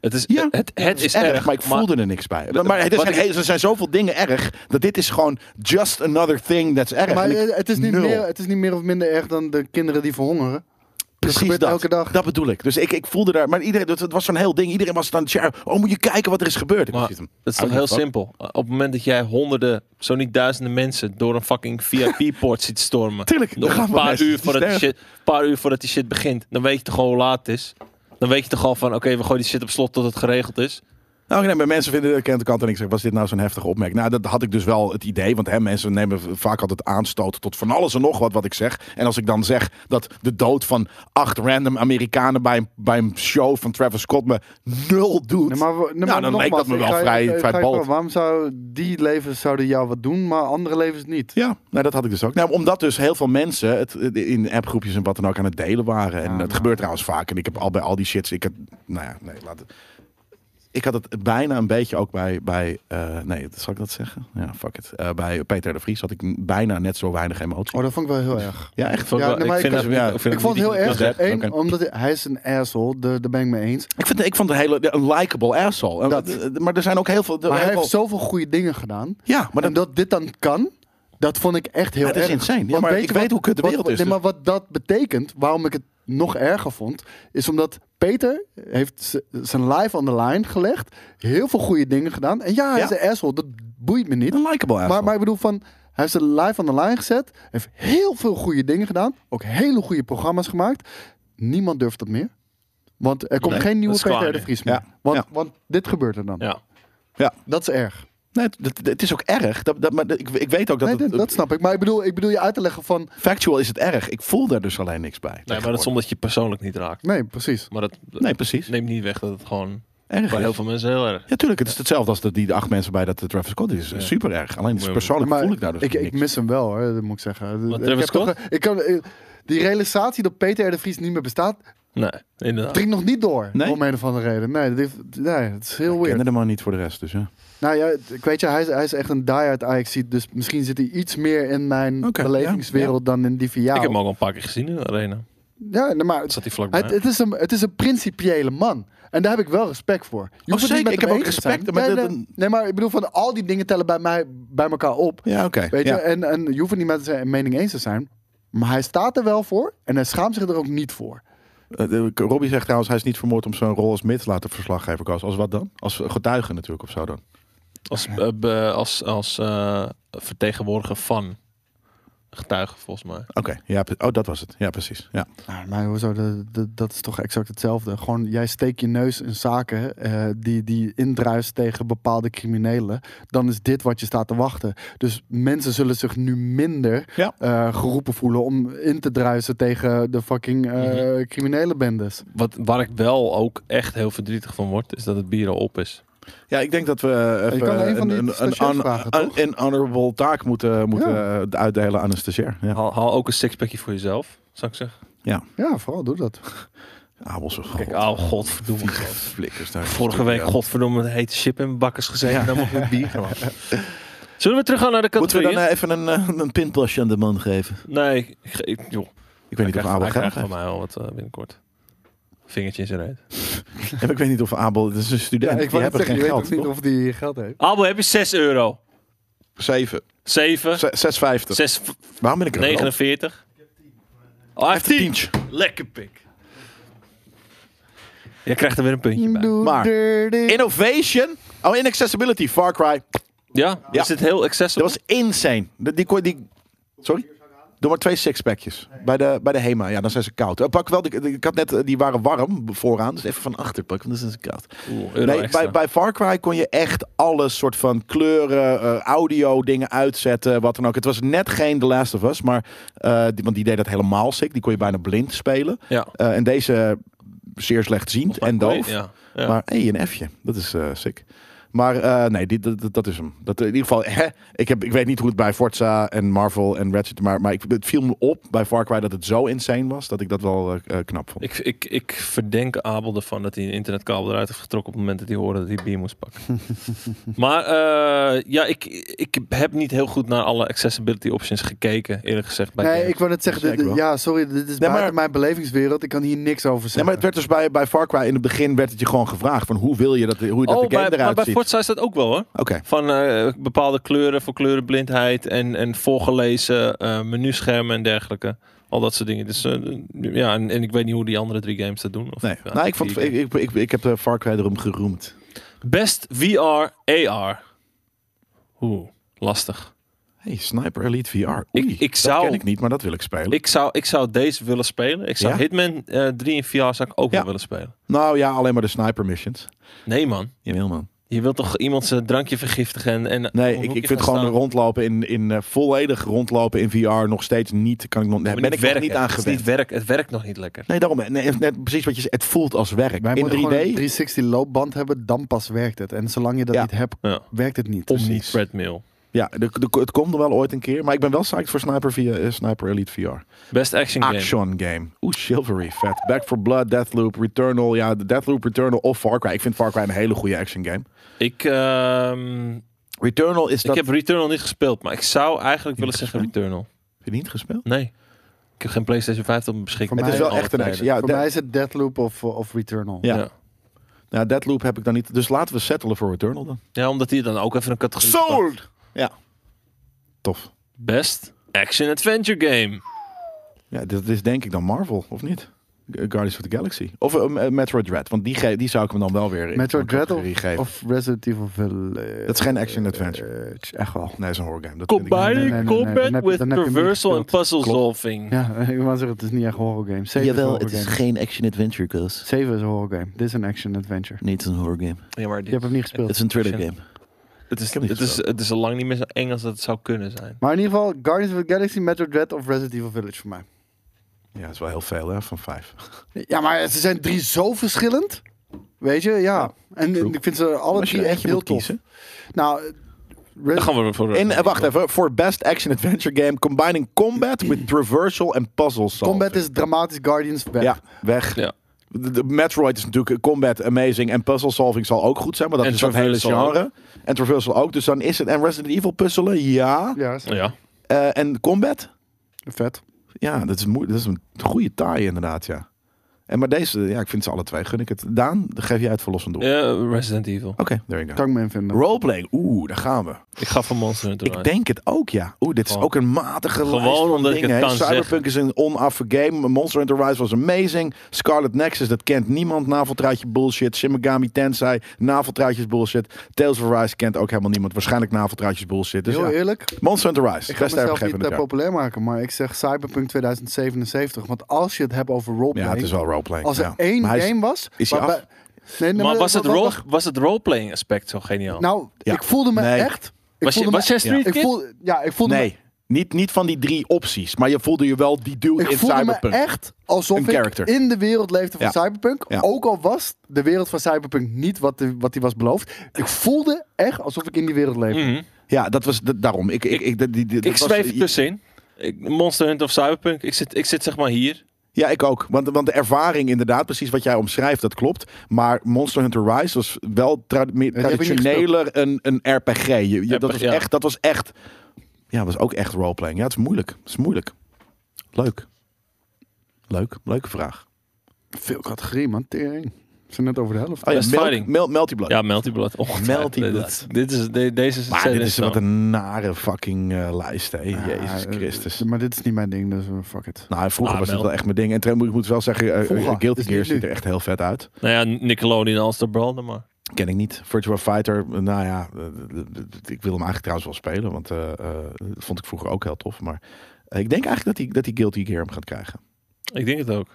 S1: Het is,
S3: Ja,
S1: het, het is
S3: erg,
S1: erg,
S3: maar ik voelde er niks bij. Maar, maar er,
S1: wat
S3: zijn, er zijn zoveel dingen erg, dat dit is gewoon just another thing that's erg.
S2: Maar
S3: En ik-
S2: eh, het is, niet
S3: nul.
S2: meer, het is niet meer of minder erg dan de kinderen die verhongeren. gebeurt elke dag.
S3: Dat bedoel ik. Dus ik, ik voelde daar, maar iedereen, dat, het was zo'n heel ding. Iedereen was dan, share. oh moet je kijken wat er is gebeurd. Ik
S1: Maar
S3: was zoiets van,
S1: het is toch
S3: I
S1: heel
S3: don't give a
S1: simpel. Op het moment dat jij honderden, zo niet duizenden mensen door een fucking VIP-poort ziet stormen.
S3: Tuurlijk, dan
S1: nog
S3: gaan
S1: een
S3: we
S1: paar
S3: mensen
S1: uur, voordat die
S3: sterven.
S1: shit, paar uur voordat die shit begint. Dan weet je toch gewoon hoe laat het is. Dan weet je toch al van, oké, we gooien die shit op slot tot het geregeld is.
S3: fuck. Nou, nee, maar mensen vinden de kant kant en ik zeg, was dit nou zo'n heftige opmerking? Nou, dat had ik dus wel het idee, want hè, mensen nemen vaak altijd aanstoot tot van alles en nog wat wat ik zeg. En als ik dan zeg dat de dood van acht random Amerikanen bij een, bij een show van Travis Scott me nul doet.
S2: Nee, maar, we- nee,
S3: Nou,
S2: maar
S3: dan
S2: nogmaals,
S3: lijkt dat me
S2: ik
S3: wel
S2: ga je-
S3: vrij-
S2: ik
S3: vrij
S2: ga je
S3: bald.
S2: vragen, Waarom zou die levens zouden jou wat doen, maar andere levens niet?
S3: Ja, nou, dat had ik dus ook. Nou, omdat dus heel veel mensen het eh, in appgroepjes en wat dan ook aan het delen waren. En
S2: Ja, nou.
S3: dat
S2: maar-
S3: gebeurt trouwens vaak. En ik heb al bij al die shits. Ik heb, nou ja, nee, laat het. Ik had het bijna een beetje ook bij. bij eh, nee, zal ik dat zeggen? Ja, fuck it. Eh, bij Peter de Vries had ik n- bijna net zo weinig emotie.
S2: Oh, dat vond ik wel heel erg.
S3: Ja, echt.
S1: Vond
S2: Ja,
S1: wel-
S2: nee, maar ik-
S1: eh, vind dat-
S3: ja,
S1: vind
S2: Ik vond het heel
S1: niet-
S2: erg.
S3: oké. Oh,
S2: Eén, omdat hij, hij is een asshole, daar daar ben ik mee eens.
S3: Ik, vind, ik vond een hele een likable asshole. Eh,
S2: Dat.
S3: eh, Maar er zijn ook heel veel.
S2: Maar
S3: heel
S2: hij heeft
S3: veel-
S2: zoveel goede dingen gedaan.
S3: ja, maar
S2: Maar
S3: dat,
S2: dat dit dan kan, dat vond ik echt heel
S3: Ja,
S2: erg.
S3: het is insane. Ja, maar
S2: weet
S3: ik
S2: je
S3: weet hoe kut de
S2: wat-
S3: wereld is,
S2: Nee,
S3: dus-
S2: maar wat dat betekent, waarom ik het nog erger vond, is omdat Peter heeft z- zijn live on the line gelegd. Heel veel goede dingen gedaan. En ja, hij
S3: Ja.
S2: is een asshole. Dat boeit me niet.
S3: een likable asshole.
S2: Maar, maar ik bedoel van... Hij heeft zijn live on the line gezet. Heeft heel veel goede dingen gedaan. Ook hele goede programma's gemaakt. Niemand durft dat meer. Want er komt
S1: Nee,
S2: geen nieuwe
S1: dat is klaar
S2: Peter R. de
S1: nu.
S2: Vries meer.
S3: Ja,
S2: Want,
S3: ja.
S2: want dit gebeurt er dan.
S1: Ja.
S2: Dat is erg.
S3: nee, het, het- het is ook erg. Dat, dat, maar ik, ik weet ook dat.
S2: Nee, dat,
S3: het,
S2: dat snap ik. Maar ik bedoel, ik bedoel je uit te leggen van...
S3: Factual is het erg. Ik voel daar dus alleen niks bij.
S1: Nee, maar dat is omdat je persoonlijk niet raakt.
S2: Nee, precies.
S1: Maar dat
S3: Nee, precies.
S1: neemt niet weg dat het gewoon
S3: Erg
S1: voor
S3: is.
S1: heel veel mensen heel erg.
S3: Ja, tuurlijk. Het is hetzelfde als de, die acht mensen bij dat eh, Travis Scott is.
S1: Ja.
S3: Super erg. Alleen
S1: Maar-
S3: persoonlijk
S2: Oh, Maar
S3: voel ik daar dus
S2: ik, ik
S3: niks.
S2: mis hem wel, hoor, dat moet ik zeggen.
S1: Wat,
S2: ik
S1: Travis
S2: heb toch
S1: Scott?
S2: een- ik kan, eh, die realisatie dat Peter R. de Vries niet meer bestaat,
S1: Nee, inderdaad.
S2: dringt nog niet door.
S3: Nee?
S2: Om een of andere reden. Nee, dat heeft- nee, het is heel
S3: Ik
S2: weird.
S3: kende de man niet voor de rest, dus ja.
S2: Nou ja, het- ik weet je, hij is, hij is echt een die-hard ajax dus misschien zit hij iets meer in mijn
S3: Oké,
S2: belevingswereld dan in die van jou.
S1: Ik heb hem ook al een paar keer gezien in de arena.
S2: Ja, nee, maar
S1: Zat hij vlakbij.
S2: het, het, is een, het is een principiële man. En daar heb ik wel respect voor. Je hoeft het
S3: Oh, zeker,
S2: niet met
S3: ik
S2: hem
S3: heb ook
S2: eens te
S3: respect,
S2: zijn.
S3: maar
S2: nee,
S3: dat-
S2: nee, nee, maar ik bedoel, van al die dingen tellen bij, mij, bij elkaar op.
S3: Ja, oké.
S2: Weet
S3: ja.
S2: je, en, en je hoeft het niet met zijn mening eens te zijn. Maar hij staat er wel voor en hij schaamt zich er ook niet voor.
S3: Eh, eh, Robbie zegt trouwens, hij is niet vermoord om zo'n rol als mid te laten verslaggever. Als, als wat dan? Als getuige natuurlijk of zo dan.
S1: Als, eh, be- als, als eh, vertegenwoordiger van getuigen, volgens mij.
S3: Oké, ja, pre- oh, dat was het. Ja, precies. Ja.
S2: Ah, Maar hoezo, dat, dat, dat is toch exact hetzelfde. Gewoon, jij steekt je neus in zaken eh, die, die indruist tegen bepaalde criminelen. Dan is dit wat je staat te wachten. Dus mensen zullen zich nu minder
S3: Ja.
S2: eh, geroepen voelen om in te druisen tegen de fucking eh, criminele bendes.
S1: Wat, waar ik wel ook echt heel verdrietig van word, is dat het bier al op is.
S3: ja, ik denk dat we eh,
S2: Je kan
S3: even
S2: een van die stagiairs
S3: un-
S2: vragen,
S3: un-
S2: toch?
S3: een honorable taak moeten, moeten eh, uitdelen aan een stagiair. Ja.
S1: Haal, haal ook een sixpackje voor jezelf, zou ik zeggen.
S2: Ja, vooral doe dat.
S3: Abels of
S1: Kijk, oh godverdomme.
S3: flikkers daar.
S1: Vorige week, godverdomme, het hete chip in mijn bakkers gezeten. En dan mocht ik bier gaan. Zullen we teruggaan naar de
S4: Moeten we dan
S1: categorie?
S4: eh, even een, eh, een pinpasje aan de man geven?
S1: Nee, ik, ik- ik- joh.
S3: Ik weet
S1: Hij
S3: niet of
S1: krijgt-
S3: Abel
S1: hij
S3: geld
S1: krijgt van
S3: heeft.
S1: mij al wat eh, binnenkort. Vingertje in zijn reet.
S3: Ja, Ik weet niet of Abel, het is een
S2: Ja,
S3: student,
S2: ik
S3: die
S2: wou net
S3: hebben
S2: zeggen,
S3: geen
S2: je weet
S3: geld.
S2: ook niet of die geld heeft.
S1: Abel, heb je 6 euro?
S3: 7,
S1: 7,
S3: 6,50.
S1: 6,
S3: Waarom ben ik er?
S1: 49. Oh, hij heeft 10.
S3: Tientje.
S1: Lekker pik. Jij krijgt er weer een puntje bij.
S3: Maar-
S2: dirty.
S3: Innovation. Oh, inaccessibility. Far Cry.
S1: Ja,
S3: Ja.
S1: is het heel accessible?
S3: Dat was insane. Die, die, kon- die, sorry? Doe maar twee sixpackjes. Bij de, bij de HEMA. Ja, dan zijn ze koud. Eh, pak wel, de, de- ik had net, eh, die waren warm vooraan. Dus even van achter pakken, want dan zijn ze koud.
S1: Oeh, euro
S3: Nee,
S1: extra.
S3: bij, bij Far Cry kon je echt alles soort van kleuren, eh, audio, dingen uitzetten, wat dan ook. Het was net geen The Last of Us, maar eh, die, want die deed dat helemaal sick. Die kon je bijna blind spelen.
S1: Ja.
S3: Eh, en deze zeer slechtziend en doof.
S1: Ja. ja.
S3: Maar hey, een F'je. Dat is eh, sick. Maar eh, nee, die, dat, dat- dat is hem. Dat, in ieder geval, hè, ik, heb, ik weet niet hoe het bij Forza en Marvel en Ratchet... Maar, maar ik, het viel me op bij Far Cry dat het zo insane was... dat ik dat wel eh, eh, knap vond.
S1: Ik, ik, ik verdenk Abel ervan dat hij een internetkabel eruit heeft getrokken op het moment dat hij hoorde dat hij bier moest pakken. maar eh, ja, ik, ik heb niet heel goed naar alle accessibility options gekeken, eerlijk gezegd. Bij
S2: Nee,
S1: games.
S2: ik wou net zeggen,
S3: Zeker
S2: dit-
S3: wel.
S2: ja, sorry, dit is
S3: maar-
S2: buiten mijn belevingswereld. Ik kan hier niks over
S3: Nee,
S2: zeggen.
S3: maar het werd dus bij, bij Far Cry in het begin werd het je gewoon gevraagd van hoe wil je dat, hoe je dat
S1: Oh,
S3: de game
S1: bij, maar
S3: eruit
S1: bij
S3: ziet.
S1: Forza is dat ook wel hoor.
S3: Oké,
S1: Van eh, bepaalde kleuren voor kleurenblindheid en, en voorgelezen eh, menuschermen en dergelijke. Al dat soort dingen. Dus eh, ja, en, en ik weet niet hoe die andere drie games dat doen. Of,
S3: nee.
S1: ja,
S3: nou, ik, vond,
S1: vier
S3: ik, ik, ik, ik heb eh, Far Cry erom geroemd.
S1: games. Best VR, AR. Oeh, lastig.
S3: Hey, Sniper Elite VR. Oei,
S1: Ik- ik zou-
S3: Dat ken ik niet, maar dat wil ik spelen.
S1: Ik zou, ik zou deze willen spelen. Ik zou
S3: Ja?
S1: Hitman eh 3 in VR zou ik ook
S3: Ja.
S1: wel willen spelen.
S3: Nou ja, alleen maar de Sniper missions.
S1: Nee man,
S3: Jawel man.
S1: je wilt toch iemand zijn drankje vergiftigen en... en om
S3: Nee,
S1: een
S3: ik,
S1: hoekje
S3: ik vind
S1: gaan
S3: gewoon
S1: staan.
S3: rondlopen in, in eh, volledig rondlopen in VR nog steeds niet. Kan ik nog, daar
S1: Maar
S3: ben ik
S1: niet
S3: nog
S1: werken.
S3: niet aan
S1: Het is
S3: gewend.
S1: niet werk, het werkt nog niet lekker.
S3: Nee, daarom. Nee, net precies wat je zegt. Het voelt als werk.
S2: Wij
S3: in
S2: moeten gewoon een
S3: 3D.
S2: 360 loopband hebben, dan pas werkt het. En zolang je dat
S3: Ja.
S2: niet hebt,
S1: Ja.
S2: werkt het niet. Dus
S1: Om niet
S3: Precies.
S1: treadmill.
S3: Ja, de, de- het komt er wel ooit een keer. Maar ik ben wel psyched voor Sniper, via, eh, Sniper Elite VR.
S1: Best action game.
S3: Action game. Oeh, Chivalry, vet. Back for Blood, Deathloop, Returnal. Ja, de Deathloop, Returnal of Far Cry. Ik vind Far Cry een hele goede action game.
S1: Ik, ehm,
S3: Returnal is dat...
S1: ik heb Returnal niet gespeeld, maar ik zou eigenlijk willen zeggen Returnal.
S3: Heb je niet gespeeld?
S1: Nee. Ik heb geen PlayStation 5 op mijn beschikking.
S2: Voor
S3: Het is
S2: mij
S3: wel
S2: ook
S3: echt een action.
S1: Ja.
S3: Ja,
S2: Voor
S3: de-
S2: mij is het Deadloop of, of Returnal.
S3: Ja. ja, Deathloop heb ik dan niet. Dus laten we settelen voor Returnal dan.
S1: ja, omdat hij dan ook even een categorie... pakt.
S3: Ja. Tof.
S1: Best action adventure game.
S3: Ja, dat is denk ik dan Marvel, of niet? G- Guardians of the Galaxy. Of eh, eh, Metroid Dread, want die, ge- die zou ik hem dan wel weer in
S2: Metroid
S3: zo'n
S2: Dread
S3: categorie geven.
S2: Of Resident Evil Village. Eh,
S3: dat is geen action adventure.
S2: Echt wel.
S3: nee, dat is een horror game. Dat vind ik niet.
S1: Combining
S2: nee, nee, nee. Dan
S1: combat
S2: heb je-
S1: with
S2: dan heb je hem niet
S1: traversal and
S2: gespeeld.
S1: puzzle
S3: Klopt.
S1: solving.
S2: Ja, ik wou zeggen, het is niet echt horror game. Zeven is
S4: Jawel,
S2: horror
S4: het is
S2: game.
S4: geen action-adventure, Koos.
S2: Zeven is een horror game. Dit is een action adventure.
S4: Niet een horror game.
S1: Ja, maar
S2: Je
S1: dit-
S2: hebt hem niet
S4: Het
S2: gespeeld.
S4: is een thriller game.
S1: het, is,
S3: heb niet
S1: het, is,
S3: gespeeld.
S1: het is al lang niet meer zo eng als dat het zou kunnen zijn.
S2: Maar in ieder geval, Guardians of the Galaxy, Metroid Dread of Resident Evil Village voor mij.
S1: eh,
S3: Ja, dat is wel heel veel hè, van vijf.
S2: Ja, maar ze zijn drie zo verschillend. Weet je, ja. En
S3: true.
S2: ik vind ze alle
S3: Als je
S2: drie
S3: er
S2: echt
S3: eentje
S2: heel
S3: moet
S2: tof.
S3: kiezen.
S2: Nou,
S1: Dan
S2: Resident
S1: gaan we voor...
S3: En eh, wacht even, voor Best Action Adventure Game, combining combat with traversal en puzzle solving.
S2: Combat is dramatisch, Guardians weg.
S3: Ja, weg.
S1: Ja.
S3: De, de Metroid is natuurlijk eh, combat amazing en puzzle solving zal ook goed zijn, maar dat
S1: En
S3: is dat hele
S1: traversal ook.
S3: genre. En traversal ook, dus dan is het. En Resident Evil puzzelen, ja.
S2: Ja, is
S1: Ja.
S3: Eh, en combat?
S2: vet.
S3: Ja, dat is, moe- dat is een goede taai inderdaad, ja. En maar deze, ja, ik vind ze alle twee. Gun ik het. Daan, dan geef jij het verlossend op.
S1: Ja, Resident Evil.
S3: Oké, there you go.
S2: Kan ik me in vinden.
S3: Roleplay. Oeh, daar gaan we.
S1: Ik ga voor Monster Hunter
S3: Ik
S1: uit.
S3: denk het ook, ja. Oeh, dit is
S1: Oh.
S3: ook een matige
S1: Gewoon
S3: lijst van
S1: omdat ik
S3: dingen,
S1: het
S3: hè.
S1: kan
S3: Cyberpunk is een on-off game. Monster Hunter Rise was amazing. Scarlet Nexus, dat kent niemand. Naveltruitje bullshit. Shin Megami Tensei, naveltruitjes bullshit. Tales of Rise kent ook helemaal niemand. Waarschijnlijk naveltruitjes bullshit. Dus
S2: Heel
S3: ja.
S2: eerlijk,
S3: Monster Hunter Rise.
S2: Ik ga
S3: Best
S2: mezelf
S3: RPG
S2: niet
S3: van
S2: te
S3: het jaar.
S2: populair maken, maar ik zeg Cyberpunk 2077. Want als je het hebt over roleplay,
S3: Ja, het is wel roleplaying.
S2: als er
S3: ja.
S2: één
S3: Maar hij is-
S2: game was...
S3: is hij
S2: waarbij-
S3: af?
S2: Nee, nee,
S1: Maar was het,
S2: wacht,
S1: role,
S2: wacht.
S1: was het roleplaying aspect zo geniaal?
S2: Nou,
S3: Ja.
S2: ik voelde me
S3: Nee.
S2: echt... Ik
S1: was, je,
S2: voelde
S1: was jij
S2: me,
S1: Street
S2: ik
S1: Kid?
S2: voelde, ja, ik voelde
S3: Nee, niet, niet van die drie opties. Maar je voelde je wel die dude
S2: me, ik
S3: in
S2: voelde me
S3: Cyberpunk.
S2: echt alsof
S3: Een
S2: ik
S3: character.
S2: in de wereld leefde van
S3: Ja.
S2: Cyberpunk.
S3: Ja.
S2: Ook al was de wereld van Cyberpunk niet wat, de, wat die was beloofd. Ik voelde echt alsof ik in die wereld leefde.
S1: Mhm.
S3: Ja, dat was dat- daarom. Ik, ik, ik, dat- die- die-
S1: Ik
S3: dat was-
S1: zweef er tussenin. Ik, Monster Hunter of Cyberpunk. Ik zit, ik zit zeg maar hier.
S3: Ja, ik ook. Want, want de ervaring, inderdaad, precies wat jij omschrijft, dat klopt. Maar Monster Hunter Rise was wel tra- meer
S2: die heb ik niet
S3: traditioneler een, een RPG. Je- je- dat, was
S1: Ja.
S3: echt, dat was echt. Ja, was ook echt roleplaying. Ja, het is moeilijk. Het is moeilijk. Leuk. Leuk. Leuke vraag. Oh
S2: Veel categorie, man. Tering. We zijn net over de helft.
S3: Oh ja,
S1: Best
S3: Mel-
S1: Fighting.
S3: Mel- Melty Blood.
S1: Ja, Melty Blood. Oh,
S3: Melty
S1: dit-
S3: Blood.
S1: Dit is, de- deze is
S3: maar dit is wat
S1: een...
S3: een nare fucking eh, lijst, hè.
S2: Ah,
S3: Jezus
S2: eh,
S3: Christus.
S2: Maar dit is niet mijn ding, dus eh, fuck it.
S3: Nou, vroeger
S1: Ah,
S3: was het
S1: Mel.
S3: wel echt mijn ding. En Trem, ik moet wel zeggen, eh, eh,
S2: Vroeger,
S3: Guilty
S2: dus
S3: Gear
S2: niet nu.
S3: ziet er echt heel vet uit.
S1: Nou ja, Nickelodeon Alster Brander, maar...
S3: Ken ik niet. Virtua Fighter, eh, nou ja, eh, ik wil hem eigenlijk trouwens wel spelen, want eh, eh, dat vond ik vroeger ook heel tof. Maar eh, ik denk eigenlijk dat hij dat die Guilty Gear hem gaat krijgen.
S1: Ik denk het ook.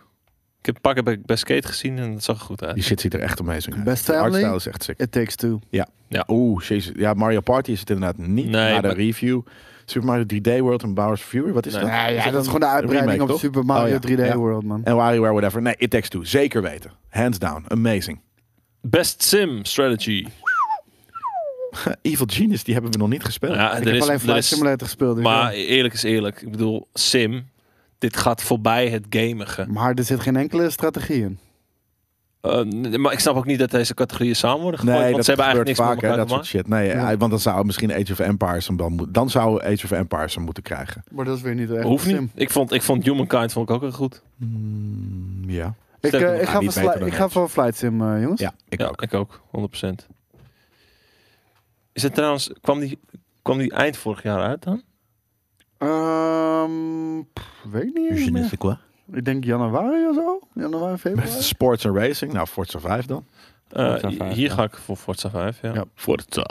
S1: Ik heb pakken bij, bij Skate gezien en dat zag er goed
S3: Die
S1: uit.
S3: shit ziet er echt amazing uit.
S2: Best
S3: De
S2: Family?
S3: artstyle is echt sick.
S2: It takes two.
S3: Oeh, jezus. Ja, Mario Party is het inderdaad niet.
S1: Nee,
S3: na de
S1: maar-
S3: review. Super Mario 3D World en Bowser's Fury, wat is
S1: Nee.
S3: dat?
S2: Ja, ja,
S3: Is
S2: dat is gewoon de uitbreiding
S3: remake,
S2: op
S3: toch?
S2: Super Mario
S3: Oh, ja.
S2: 3D
S3: Ja.
S2: World, man.
S3: En WarioWare, whatever. Nee, It Takes Two. Zeker weten. Hands down. Amazing.
S1: Best Sim Strategy.
S3: Eh, Evil Genius, die hebben we nog niet gespeeld.
S1: Nou Ja,
S2: Ik
S1: er
S2: heb
S1: is,
S2: alleen
S1: er
S2: Flight
S1: is,
S2: Simulator gespeeld. dus
S1: maar eerlijk is eerlijk. Ik bedoel, Sim, dit gaat voorbij het gamige.
S2: ja. maar er zit geen enkele strategie in.
S1: Eh, n- maar ik snap ook niet dat deze categorieën samen worden
S3: Nee,
S1: gegooid. want
S3: dat
S1: ze hebben eigenlijk
S3: gebeurt
S1: niks
S3: vaak,
S1: met
S3: hè,
S1: elkaar
S3: dat
S1: te
S3: soort
S1: maken.
S3: shit. Nee,
S2: Ja.
S3: eh, want dan zou misschien Age of Empires hem wel moeten. Dan zou Age of Empires hem moeten krijgen.
S2: Maar dat is weer niet echt.
S1: Hoeft
S2: slim.
S1: niet. Ik vond, ik vond Humankind vond ik ook heel goed.
S3: ja.
S2: Ik, eh,
S1: Sterker nog,
S2: ik,
S3: ja,
S2: ga,
S3: niet
S2: voor
S3: beter
S2: sli-
S3: dan
S2: ik ga
S3: niks.
S2: voor Flight Sim, eh, jongens.
S3: Ja, ik
S1: ja,
S3: ook.
S1: ik ook, 100%. Is het trouwens, kwam die, kwam die eind vorig jaar uit dan?
S2: Ehm, pff, weet niet. meer. Ik denk januari of zo. Januari, februari.
S3: Sports en Racing. Nou, Forza 5 dan.
S1: Eh,
S5: Forza 5,
S1: hier
S5: ja.
S1: ga ik voor Forza 5, ja.
S2: Ja.
S1: Forza.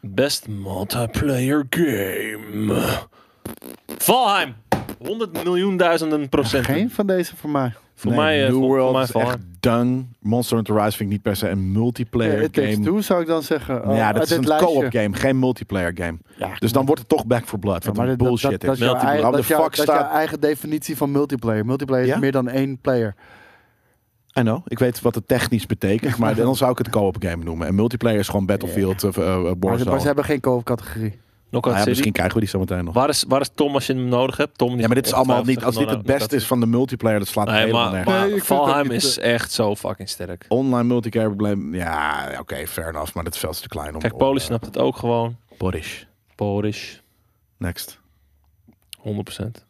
S1: Best multiplayer game. Valheim. 100 miljoen duizenden procent.
S2: Geen van deze voor mij.
S1: Voor
S3: Nee,
S1: mij, eh,
S3: New
S1: voor,
S3: World
S1: voor mij
S3: is
S1: Valheim.
S3: echt done. Monster Hunter Rise vind ik niet per se een multiplayer
S2: Ja, It Takes
S3: game.
S2: Two zou ik dan zeggen. eh,
S3: ja, dat
S2: uit
S3: is
S2: dit
S3: een co-op
S2: lijstje.
S3: game, geen multiplayer game.
S2: Ja.
S3: dus dan wordt het toch Back for Blood.
S2: Ja,
S3: Wat
S2: maar
S3: een
S2: dat- dat-
S3: bullshit
S2: dat, dat,
S3: is.
S2: is jouw
S1: Multiplayer.
S2: eigen- dat
S3: Waarom de
S2: is jouw-
S3: fuck
S2: dat is jouw
S3: staat-
S2: eigen definitie van multiplayer. Multiplayer
S3: Ja?
S2: is meer dan één player.
S3: I know, ik weet wat het technisch betekent, maar dan zou ik het co-op game noemen. En multiplayer is gewoon Battlefield of eh, eh,
S2: Maar ze,
S3: Warzone.
S2: maar ze hebben geen co-op categorie.
S1: Knockout
S3: Nou ja,
S1: City.
S3: misschien krijgen we die zo meteen nog.
S1: Waar is, waar is Tom als je hem nodig hebt? Tom, die
S3: Ja, maar dit is allemaal niet. Als dit het
S1: ongetwijfeld
S3: beste is van de multiplayer, dat slaat
S1: Nee,
S3: helemaal
S1: maar,
S3: nergens.
S1: maar
S2: Nee, ik vind
S1: Valheim
S2: dat niet,
S1: is echt zo fucking sterk.
S3: Online multiplayer probleem. Ja, oké, fair enough. Maar dat is veel te klein om.
S1: Kijk,
S3: om,
S1: Polish
S3: eh,
S1: snapt het ook gewoon.
S3: Polish.
S1: Polish,
S3: Next.
S1: 100%.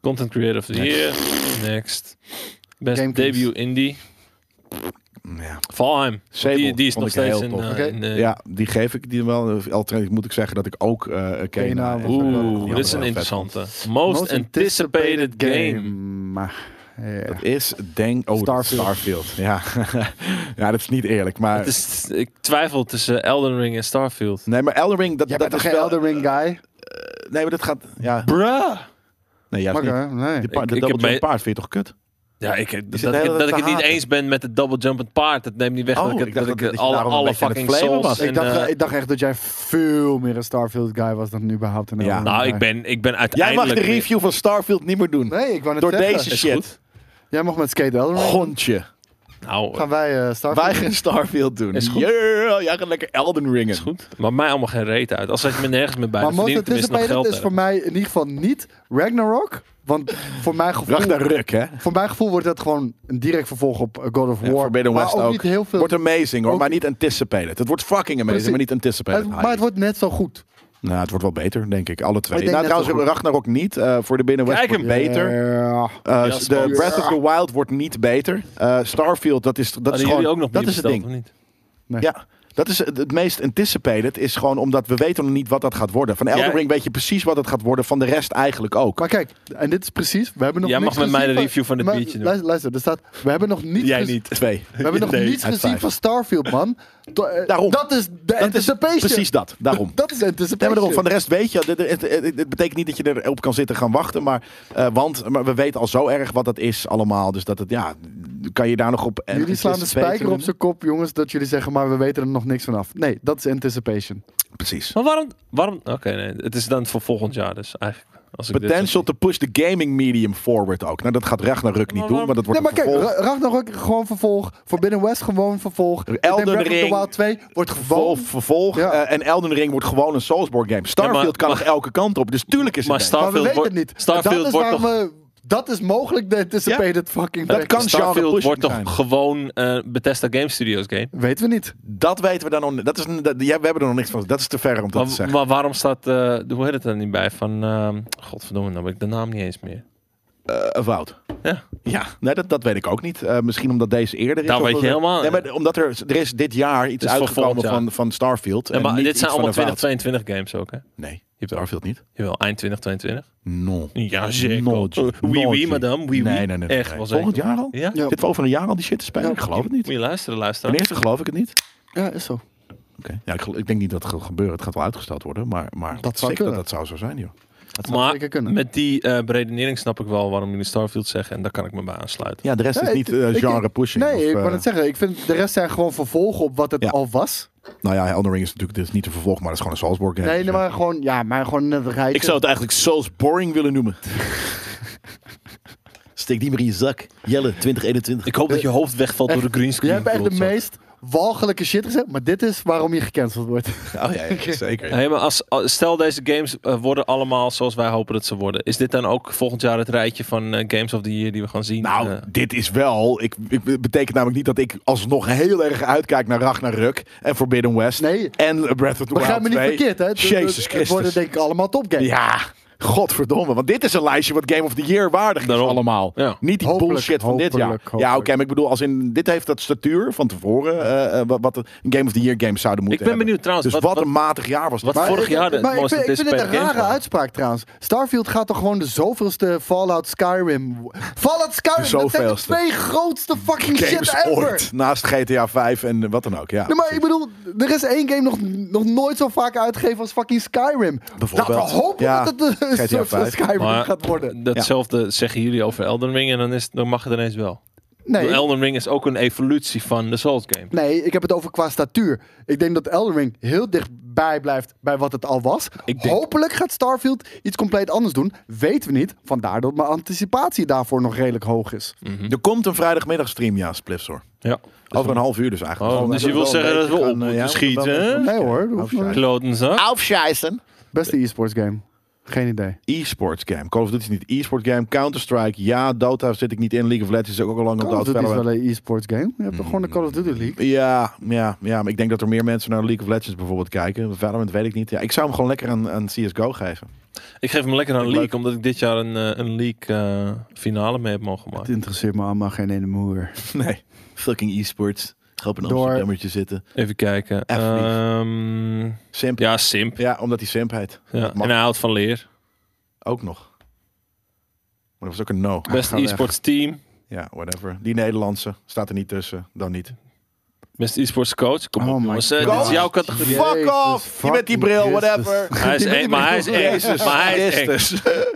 S1: Content Creator of the
S3: Next.
S1: Year. Next. Best
S2: Game Kings.
S1: debut indie.
S3: Ja.
S1: Valheim.
S3: Sable
S1: die, die is
S3: vond
S1: nog
S3: ik heel
S1: steeds in,
S3: tof.
S1: eh,
S2: Oké.
S1: in, eh,
S3: ja, die geef ik die wel. Al trend- moet ik zeggen dat ik ook eh Kena.
S2: Kena,
S3: en-
S2: oeh,
S3: die
S1: Oeh,
S3: andere
S1: dit is een
S3: wel vet
S1: interessante. Most,
S2: Most
S1: anticipated game.
S2: Maar, ja.
S3: vond. Is denk oh Starfield.
S2: Starfield.
S3: Starfield. Ja. ja, dat is niet eerlijk, maar
S1: Het is, ik twijfel tussen Elden Ring en Starfield.
S3: nee, maar Elden Ring dat
S2: Jij
S3: dat
S2: bent
S3: is
S2: toch geen
S3: wel-
S2: Elden Ring guy?
S3: Nee, maar dat gaat ja.
S1: Bruh!
S3: Nee, juist niet.
S2: Makker, nee.
S3: Die pa-
S1: Ik-
S3: de
S1: ik
S3: double
S1: heb
S3: jump
S1: bij-
S3: paard vind je toch kut?
S1: Ja, ik, dat,
S3: zit de
S1: ik,
S3: hele
S1: dat
S3: tijd
S1: ik het
S3: te
S1: niet
S3: haten.
S1: eens ben met het double jumpend paard. Dat neemt niet weg
S3: Oh,
S1: dat ik,
S3: ik
S1: het-
S3: dacht
S1: dat
S3: dat
S1: ik het
S3: je- dat je
S1: alle,
S3: daarom een
S1: alle
S3: beetje aan het
S1: fucking
S3: flamen
S1: souls...
S3: was.
S1: en,
S2: Ik dacht,
S1: eh,
S2: eh, ik dacht echt dat jij veel meer een Starfield guy was dan nu überhaupt een
S3: Ja.
S2: Elden
S1: nou,
S2: Ring
S1: ik
S2: guy.
S1: ben, ik ben
S3: Jij
S1: uiteindelijk...
S3: mag de review van Starfield niet meer doen.
S2: Nee, ik wou net
S3: Door
S2: zeggen.
S3: deze
S1: Is
S3: shit.
S1: goed.
S2: Jij mag met Skate Elden Ring.
S3: Gontje.
S1: weer- Nou, eh,
S2: Gaan wij eh, Starfield
S3: Wij
S2: doen.
S3: gaan Starfield doen.
S1: Is goed.
S3: Yeah, jij gaat lekker Elden Ringen.
S1: is goed. Maar mij allemaal geen reet uit. Als het me nergens meer bij,
S2: Maar
S1: dan verdien ik
S2: Most
S1: tenminste nog
S2: Anticipated
S1: geld.
S2: is voor mij in ieder geval niet Ragnarok. Want voor mijn gevoel...
S3: Ragnarök, hè?
S2: Voor mijn gevoel wordt dat gewoon een direct vervolg op eh, God of War.
S3: Ja, Forbidden
S2: maar
S3: West
S2: ook,
S3: ook.
S2: niet heel veel.
S3: Wordt amazing hoor,
S2: Ook-
S3: maar niet anticipated. Het wordt fucking amazing,
S2: Precies.
S3: maar niet anticipated.
S2: Het- maar het wordt net zo goed.
S3: Nou, het wordt wel beter, denk ik. Alle twee.
S2: Ik denk
S3: Nou,
S2: net
S3: trouwens,
S2: zo goed.
S3: Ragnarok niet. eh, voor de Binnenwest
S1: Kijk
S3: wordt
S1: hem.
S3: beter.
S2: Ja.
S3: Eh,
S1: Ja,
S3: de
S1: spannend.
S3: Breath of the Wild wordt niet beter. Eh, Starfield, dat is, dat is
S1: Hadden
S3: gewoon...
S1: jullie ook nog
S3: dat
S1: bier
S3: is het
S1: besteld,
S3: ding.
S1: of niet?
S3: Ja. Dat is het, het meest anticipated. Is gewoon omdat we weten nog niet wat dat gaat worden. Van Elden
S1: Jij-
S3: Ring weet je precies wat het gaat worden. Van de rest eigenlijk ook.
S2: Maar kijk, en dit is precies. We hebben nog
S1: Jij
S2: niks
S1: mag met mij
S2: gezien
S1: de review van dit
S2: maar
S1: biertje doen.
S2: Luister, luister, er staat. We hebben nog niet.
S1: Jij
S2: gez-
S1: niet.
S3: Twee.
S2: We hebben nog
S1: Nee,
S2: niets
S3: uit
S2: gezien
S3: vijf.
S2: van Starfield, man. To- eh,
S3: Daarom.
S2: Dat is de
S3: Dat is
S2: anticipation.
S3: precies dat. Daarom.
S2: Dat is anticipation.
S3: Nee, maar daarom, van de rest weet je, het, het- het- het- het betekent niet dat je erop kan zitten gaan wachten, maar, eh, want maar we weten al zo erg wat dat is allemaal, dus dat het, ja, kan je daar nog op...
S2: Jullie slaan de spijker op
S3: zo.
S2: zijn kop, jongens, dat jullie zeggen, maar we weten er nog niks vanaf. Nee, dat is anticipation.
S3: Precies.
S1: Maar waarom? waarom Oké, nee. Het is dan voor volgend jaar dus eigenlijk. Als ik dit zo
S3: Potential to push the gaming medium forward ook. Nou, dat gaat Ragnarok niet
S1: Maar
S3: doen, want dat
S2: nee,
S3: wordt
S2: maar
S3: een
S2: kijk,
S3: vervolg.
S2: Ra- Ragnarok gewoon vervolg. Forbidden West gewoon vervolg. Ik denk Breath of the
S3: Ring.
S2: Wild 2 wordt
S3: Vol-
S2: gewoon...
S3: vervolg.
S2: Ja.
S3: eh, en Elden Ring wordt gewoon een Soulsborne game. Starfield
S1: maar-
S3: kan
S1: maar-
S3: nog elke kant op, dus tuurlijk is het
S1: Maar
S3: een-
S1: Star-
S2: Maar we
S1: Starfield
S2: weten
S1: wordt-
S2: het niet.
S1: Starfield
S2: dat is
S1: wordt toch-
S2: waarom, eh, Dat is mogelijk de anticipated fucking
S3: Dat
S2: thing.
S3: kan genre
S1: Starfield
S3: pushing
S1: wordt toch
S3: zijn.
S1: gewoon eh Bethesda Game Studios game?
S2: Weten we niet.
S3: Dat weten we dan nog niet. Dat is, een- dat, ja, we hebben er nog niks van. Dat is te ver om dat te
S1: Maar,
S3: zeggen.
S1: maar waarom staat, eh, hoe heet het er niet bij? Van, ehm, godverdomme, nou ben ik de naam niet eens meer.
S3: Eh, Wout.
S1: Ja.
S3: Ja, nee, dat, dat weet ik ook niet. Eh, misschien omdat deze eerder is.
S1: Dat
S3: of
S1: weet je
S3: omdat-
S1: helemaal
S3: Nee,
S1: niet.
S3: maar omdat er, er is dit jaar iets
S1: is voor
S3: uitgekomen
S1: volgend jaar.
S3: van, van Starfield.
S1: Ja,
S3: en
S1: maar
S3: niet
S1: dit
S3: iets
S1: zijn
S3: van
S1: allemaal
S3: een Wout.
S1: 2022 games ook, hè?
S3: Nee, Starfield niet.
S1: Jawel, eind 2022.
S3: No.
S1: Ja, zeker.
S3: Nooit.
S1: Eh, oui, oui,
S3: Nooit.
S1: madame. Oui, oui.
S3: Nee, nee, nee. nee.
S1: Echt, was
S3: Volgend
S1: echt-
S3: jaar al?
S1: Ja?
S2: Ja.
S3: Zitten we over een jaar al die shit te spelen?
S2: Ja.
S3: Ik geloof het niet.
S1: Moet je luisteren, luisteren.
S3: Ten eerste geloof ik het niet.
S2: Ja, is zo.
S3: Oké. Ja, ik, gel- ik denk niet dat het gaat gebeuren. Het gaat wel uitgesteld worden. Maar, maar
S2: Dat zou
S3: sick dat
S2: kunnen.
S3: dat zou zo zijn, joh.
S2: zou
S1: maar
S2: zeker kunnen.
S1: met die eh, beredenering snap ik wel waarom jullie Starfield zeggen. En daar kan ik me bij aansluiten.
S3: Ja, de rest
S2: Nee,
S3: is niet
S2: ik-
S3: eh,
S2: ik-
S3: genre pushing.
S2: Nee,
S3: of,
S2: ik
S3: eh,
S2: kan het zeggen. Ik vind de rest zijn gewoon vervolgen op wat het
S3: Ja.
S2: al was.
S3: Nou ja, Elden Ring is natuurlijk dit is niet een vervolg, maar dat is gewoon een Salzburg game.
S2: Nee,
S3: Dus,
S2: nee,
S3: eh,
S2: maar gewoon, ja, maar gewoon net een rijtje.
S3: Ik zou het eigenlijk Soulsboring willen noemen.
S4: Steek die maar in je zak. Jelle, 2021.
S1: Ik hoop dat je hoofd wegvalt door de
S2: Je
S1: greenscreen.
S2: Eh, hebt echt de
S1: Klopt, zo.
S2: meest walgelijke shit gezegd, maar dit is waarom je gecanceld wordt.
S3: Oh ja, ja, zeker.
S1: Hey, maar als, als- stel deze games eh, worden allemaal zoals wij hopen dat ze worden. Is dit dan ook volgend jaar het rijtje van eh, Games of the Year die we gaan zien?
S3: Nou,
S1: Eh,
S3: dit is wel. Ik, ik het betekent namelijk niet dat ik alsnog heel erg uitkijk naar Ragnarok en Forbidden West
S2: Nee.
S3: en Breath of the
S2: Begrijp
S3: Wild
S2: me niet
S3: 2.
S2: verkeerd, hè? Het- het-
S3: Jezus
S2: Het
S3: Christus.
S2: worden denk ik allemaal topgames.
S3: Ja, godverdomme. Want dit is een lijstje wat Game of the Year waardig is
S1: Daarom.
S3: allemaal.
S1: Ja.
S3: Niet die
S2: Hopelijk,
S3: bullshit van dit jaar.
S2: hopelijk,
S3: Ja, oké,
S2: hopelijk.
S3: maar ik bedoel, als in, dit heeft dat statuur van tevoren eh, eh, wat, wat een Game of the Year games zouden
S1: ik
S3: moeten
S1: ben benieuwd
S3: hebben.
S1: trouwens.
S3: Dus wat,
S1: wat, wat,
S3: een matig jaar was dat.
S1: wat
S3: Maar-
S1: vorig
S2: ik-
S1: jaar de
S2: maar ik
S1: mooiste
S2: vind, ik vind het een
S1: anticipated
S2: rare
S1: game
S2: uitspraak trouwens. Starfield gaat toch gewoon de zoveelste Fallout Skyrim... Fallout Skyrim, dat zijn de
S3: zoveelste.
S2: twee grootste fucking shit
S3: games
S2: ever.
S3: ooit. Naast GTA 5 en wat dan ook. Ja,
S2: Nee, maar ik
S3: precies.
S2: bedoel, er is één game nog, nog nooit zo vaak uitgegeven als fucking Skyrim. Laten we
S3: Bijvoorbeeld.
S2: hopen
S3: Ja,
S2: dat het een
S3: GTA
S2: soort van
S3: 5.
S2: Skyrim
S1: Maar-
S2: gaat worden.
S1: Datzelfde zeggen jullie over Elden Ring en dan, is, het- dan mag het ineens wel.
S2: Nee,
S1: Elden Ring is ook een evolutie van de Souls game.
S2: Nee, ik heb het over qua statuur. Ik denk dat Elden Ring heel dichtbij blijft bij wat het al was.
S1: Ik denk-
S2: Hopelijk gaat Starfield iets compleet anders doen. Weten we niet. Vandaar dat mijn anticipatie daarvoor nog redelijk hoog is.
S1: Mm.
S3: Mhm. Er komt een vrijdagmiddag stream, ja, Spliffs hoor.
S1: Ja.
S3: Over een half uur dus eigenlijk.
S1: Oh,
S3: we
S1: dus je
S3: hebben
S1: wil
S3: wel
S1: zeggen
S3: een
S1: dat we
S3: beetje
S1: op
S3: gaan, eh,
S1: moeten
S3: ja, we hebben wel
S1: schieten,
S3: een
S1: hè?
S2: Nee hoor. dat hoeft
S3: Afscheid.
S2: niet.
S1: Kloten ze.
S4: Aufscheißen.
S2: Beste e-sports game. Geen idee.
S3: E-sports game. Call of Duty is niet e-sport game. Counter-Strike, ja. Dota zit ik niet in. League of Legends is ook al lang op de
S2: Call of Duty Oh, is
S3: afspellen.
S2: wel een e-sports game. Je hebt toch gewoon de Call of Duty
S1: Mm.
S2: League.
S3: Ja, ja, ja, maar ik denk dat er meer mensen naar League of Legends bijvoorbeeld kijken. Valorant weet ik niet. Ja, ik zou hem gewoon lekker aan, aan CSGO geven.
S1: Ik geef hem lekker aan
S3: Leuk.
S1: League, omdat ik dit jaar een, eh, een League eh, finale mee heb mogen
S2: Het
S1: maken.
S2: interesseert me allemaal geen ene moer.
S3: Nee.
S4: Fucking e-sports. Ga op een
S2: Door.
S4: Amsterdammertje zitten.
S1: Even kijken.
S3: Even lief.
S1: Ehm,
S3: Simp. Ja,
S1: ja, Simp.
S3: omdat hij simp heet.
S1: Ja.
S3: Dat mag
S1: En hij houdt van leer.
S3: ook nog. Maar dat was ook een no.
S1: Best
S2: ga weg.
S1: e-sports team.
S3: Ja, whatever. Die Nederlandse staat er niet tussen. Dan niet.
S1: Best e-sports coach. Kom
S2: Oh
S1: op,
S2: my
S1: jongens. Eh,
S2: God.
S1: dit is jouw categorie.
S2: Jezus,
S3: Fuck off! Je met die bril,
S2: fucking Christus.
S3: whatever.
S1: Hij is eng, maar hij is eng.
S3: Jezus,
S1: Maar hij is eng.
S3: Christus.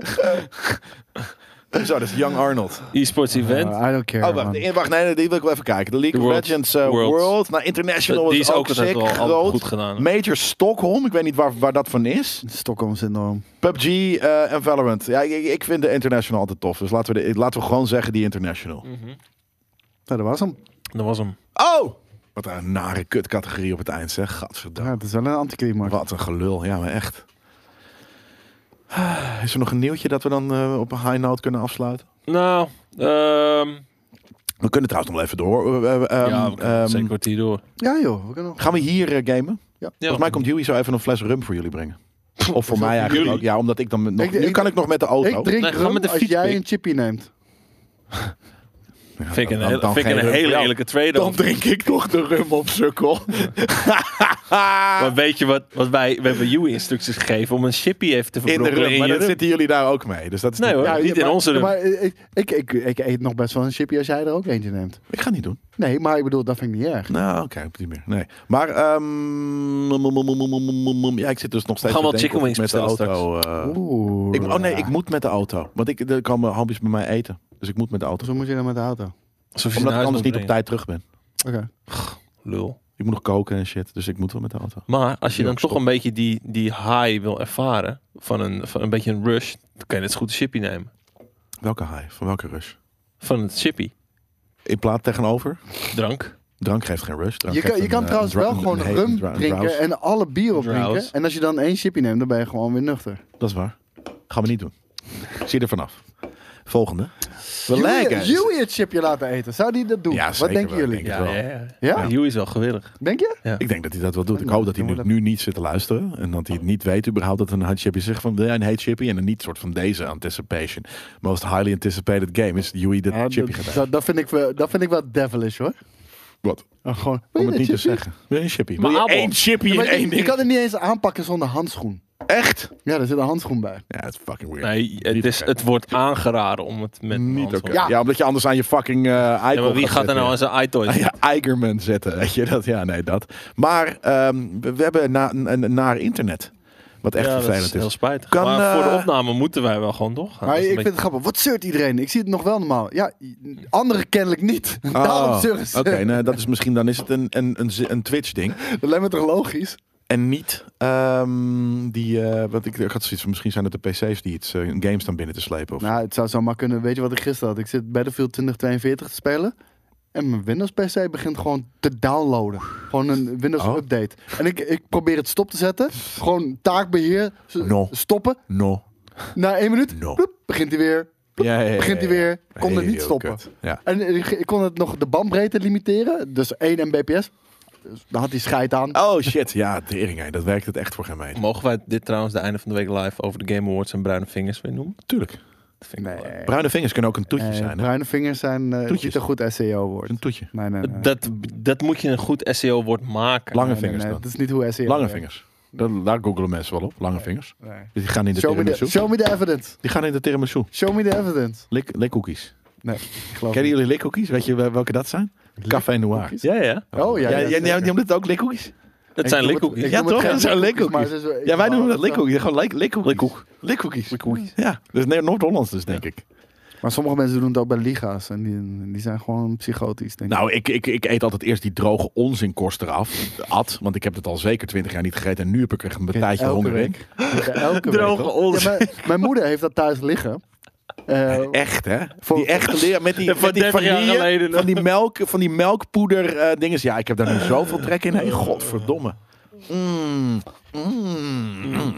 S3: Zo, dat is Young Arnold.
S1: E-sports
S3: Ah,
S1: event.
S2: Uh, I don't care.
S3: Oh, wacht,
S2: man.
S3: nee, wacht, nee, nee, die wil ik wel even kijken. De League
S1: The
S3: of
S1: Worlds.
S3: Legends eh,
S1: Worlds.
S3: World. Nou, International was
S1: die is ook altijd
S3: sick,
S1: wel altijd
S3: groot.
S1: goed gedaan.
S3: Major Stockholm, ik weet niet waar, waar dat van is.
S2: Stockholm syndroom.
S3: PUBG eh, en Valorant. Ja, ik, ik vind de International altijd tof. Dus laten we, de, laten we gewoon zeggen die International.
S1: Mm.
S2: Nou, dat was hem.
S1: Dat was hem.
S3: Oh! Wat een nare kutcategorie op het eind, zeg. Gadverdamme.
S2: Ja, het is wel een anticlimax.
S3: Wat een gelul, ja, maar echt. Ah, Is er nog een nieuwtje dat we dan eh, op een high note kunnen afsluiten?
S1: Nou, ehm
S3: We kunnen trouwens nog wel even door. Eh, eh,
S1: ja,
S3: eh,
S1: we
S3: ehm,
S1: kunnen zeker kwartier door.
S2: Ja joh, we kunnen nog...
S3: Gaan we hier eh, gamen?
S1: Ja,
S3: Volgens mij komt Huey zo even een fles rum voor jullie brengen. Of voor mij eigenlijk
S1: jullie.
S3: ook. Ja, omdat ik dan met- nog...
S2: Ik-
S3: nu
S2: ik-
S3: kan ik nog met de auto.
S2: Ik drink
S1: nou. Nee, ga
S2: rum
S1: met de
S2: als
S1: fiets,
S2: jij
S1: pik.
S2: een chippy neemt.
S1: Vind ik een,
S3: dan-
S1: hele-
S3: dan
S1: vind ik
S3: geen
S1: een
S3: rum.
S1: hele
S3: Ja.
S1: eerlijke trade
S3: Dan drink ik toch de rum op sukkel.
S1: Maar weet je wat, wat wij... We hebben Joey instructies gegeven om een chippy even te
S3: In de
S1: verbrokkelen in,
S3: rum. Maar
S1: je
S3: dat
S1: rum.
S3: zitten jullie daar ook mee. Dus dat is
S1: Nee
S3: niet-
S1: hoor,
S3: Ja,
S1: niet in
S2: maar-
S1: onze rum.
S2: Maar eh, ik, ik, ik, ik eet nog best wel een chippy als jij er ook eentje neemt.
S3: ik ga het niet doen.
S2: Nee, maar ik bedoel, dat vind ik niet erg.
S3: Nou, oké, op die manier. Nee. Maar, ehm, mm, mm, mm, mm, mm, mm, mm. ja, ik zit dus nog steeds
S1: We gaan
S3: te
S1: wel chicken
S3: denken of ik
S1: wings
S3: met de
S1: bestellen
S3: auto. eh,
S2: Oeh.
S3: ik, oh nee, ik moet met de auto. Want ik, er komen hapjes bij mij eten. Dus ik moet met de auto.
S2: Zo moet je dan met de auto.
S1: Alsof je
S3: Omdat
S1: naar huis
S3: ik anders
S1: moet
S3: niet op
S1: brengen.
S3: tijd terug ben.
S2: Oké.
S1: Lul.
S3: Ik moet nog koken en shit. Dus ik moet wel met de auto.
S1: Maar als je
S3: Ja,
S1: dan toch
S3: stop.
S1: een beetje die, die high wil ervaren, van een, van een beetje een rush, dan kan je net zo goed een chippy nemen.
S3: Welke high? Van welke rush?
S1: Van een chippy.
S3: In plaats tegenover?
S1: Drank.
S3: Drank geeft geen rush. Drank
S2: Je kan, je
S3: geeft een,
S2: kan
S3: eh,
S2: trouwens
S3: dra-
S2: wel
S3: een
S2: gewoon
S3: hete
S2: rum
S3: dra-
S2: drinken
S3: drowse.
S2: en alle bier opdrinken.
S1: Drowse.
S2: En als je dan één chipje neemt, dan ben je gewoon weer nuchter.
S3: Dat is waar. Gaan we niet doen. Ik zie er vanaf. Volgende. We
S2: Jullie
S3: lijken.
S2: jullie het chipje laten eten. Zou die dat doen?
S3: Ja,
S2: Wat
S3: zeker
S2: denken
S3: wel,
S2: jullie?
S3: denk ik wel.
S2: Ja?
S1: Ja, Joey is wel gewillig.
S2: Denk je?
S3: Ik denk dat hij dat wel doet. Ik
S2: Nou,
S3: hoop dat hij
S2: dan
S3: nu,
S2: moet
S3: nu niet zit te luisteren. En dat hij niet weet überhaupt dat een hot chippy zegt van wil jij een hate chippy? En een niet soort van deze anticipation. Most highly anticipated game is Yui dat
S2: Ja,
S3: chippy
S2: dat-
S3: gaat eten.
S2: dat, dat, vind ik wel, dat vind ik wel devilish hoor.
S3: Wat?
S2: Oh, gewoon, wil
S3: Om
S2: je
S3: het
S2: dit
S3: niet te
S2: chipje?
S3: zeggen. Wil je een chippy?
S1: Maar
S3: Wil je
S1: Abel-
S3: één chippy
S2: Ja,
S3: in
S2: maar
S3: één
S2: je, je
S3: ding?
S2: kan het niet eens aanpakken zonder handschoen.
S3: Echt?
S2: Ja, er zit een handschoen bij.
S3: Ja, het is fucking weird.
S1: Nee, het, is, het wordt aangeraden om het met een
S3: Niet
S1: hand
S3: oké.
S1: te doen.
S2: Ja.
S3: Ja. omdat je anders aan je fucking eh
S1: Ja, maar wie gaat er nou aan zijn
S3: aan
S1: iToys?
S3: je Eigerman zetten? Weet je dat? Ja, nee, dat. Maar ehm, we, we hebben na, een, naar internet. Wat echt
S1: Ja, dat
S3: vervelend
S1: is heel spijtig.
S3: Kan,
S1: maar voor de
S3: eh,
S1: opname moeten wij wel gewoon doorgaan.
S2: maar
S1: Dat is
S2: ik
S1: een
S2: vind het grappig. Wat zeurt iedereen? Ik zie het nog wel normaal. Ja, i- anderen kennelijk niet. Daarom
S3: Oh,
S2: zeuren ze.
S3: Oké, nou, dat is misschien dan is het een, een, een, zi- een Twitch-ding.
S2: Dat lijkt me toch logisch?
S3: En niet ehm, die. eh, wat ik, ik had zoiets van misschien zijn het de PC's die iets eh, games dan binnen te slepen. Of,
S2: Nou, het zou zomaar kunnen. Weet je wat ik gisteren had? Ik zit Battlefield 2042 te spelen. En mijn Windows PC begint gewoon te downloaden. Gewoon een Windows
S3: Oh.
S2: update. En ik, ik probeer het stop te zetten. Gewoon taakbeheer. s-
S3: No.
S2: Stoppen.
S3: no.
S2: Na één minuut.
S3: No.
S2: ploep, begint hij weer.
S3: Ja, ja, ja,
S2: Begint hij
S3: ja,
S2: weer.
S3: ja.
S2: Kon het
S3: Heel
S2: niet stoppen.
S3: kut. Ja.
S2: En ik, ik kon het nog de bandbreedte limiteren. Dus 1 mbps. Dus daar had hij scheid aan.
S3: Oh shit, ja, tering, hè. dat werkt het echt voor geen meter.
S1: Mogen wij dit trouwens de einde van de week live over de Game Awards en Bruine Vingers weer noemen?
S3: Tuurlijk.
S1: Dat vind ik wel leuk.
S3: Bruine vingers kunnen ook een toetje
S2: Eh,
S3: zijn. Hè?
S2: bruine vingers zijn eh,
S3: Toetjes.
S2: niet een goed SEO-woord.
S3: Een toetje.
S2: Nee, nee, nee.
S1: Dat, dat moet je een goed SEO-woord maken.
S3: Lange
S2: Nee, nee,
S3: vingers
S2: eh, nee,
S3: dan.
S2: Dat is niet hoe SEO
S3: Lange
S2: werkt.
S3: vingers. Dat, daar googelen mensen wel op. Lange vingers.
S2: Nee.
S3: Die gaan in de
S2: Show me, the,
S3: tiramisu.
S2: show me the evidence.
S3: Die gaan in de tiramisu.
S2: Show me the evidence.
S3: Lik, likkoekies.
S2: Nee, ik geloof
S3: Kennen
S2: niet.
S3: jullie likkoekies? Weet je wel- welke dat zijn? Café Noir.
S2: Likkoekies?
S1: Ja, ja.
S2: Oh ja,
S3: Ja,
S2: ja,
S3: jij, jij
S2: zeker.
S3: noemt het ook likkoekies?
S1: Dat
S2: Ik
S1: zijn
S2: noem
S1: likkoekjes.
S2: ik
S3: Ja,
S2: noem het
S3: toch?
S2: geen
S3: Dat zijn
S2: likkoekies, maar
S3: likkoekies.
S2: ze is-
S3: Ja, wij
S2: ik
S3: noemen dat
S2: behalve-
S3: likkoek. Gewoon lik, likkoek. Likkoek. Likkoekies. Ja, dus nee, Noord-Hollands dus, denk ik.
S2: Maar sommige mensen doen het ook bij liga's. En die, die zijn gewoon psychotisch, denk ik.
S3: Nou, ik, ik, ik eet altijd eerst die droge onzinkorst eraf. At, want ik heb het al zeker twintig jaar niet gegeten. En nu heb ik er een tijdje
S2: elke
S3: honger in.
S2: week. Ja, elke week.
S1: Droge
S2: Ja,
S1: onzin.
S2: maar, mijn moeder heeft dat thuis liggen. Eh,
S3: Echt, hè?
S2: Voor-
S3: die echte leer met die,
S1: Ja, van
S3: met die
S1: 30 jaar
S3: vanille,
S1: geleden.
S3: Van die, melk, van die melkpoeder eh dinges. Ja, ik heb daar nu zoveel trek in. Hey, godverdomme. Mm, mm.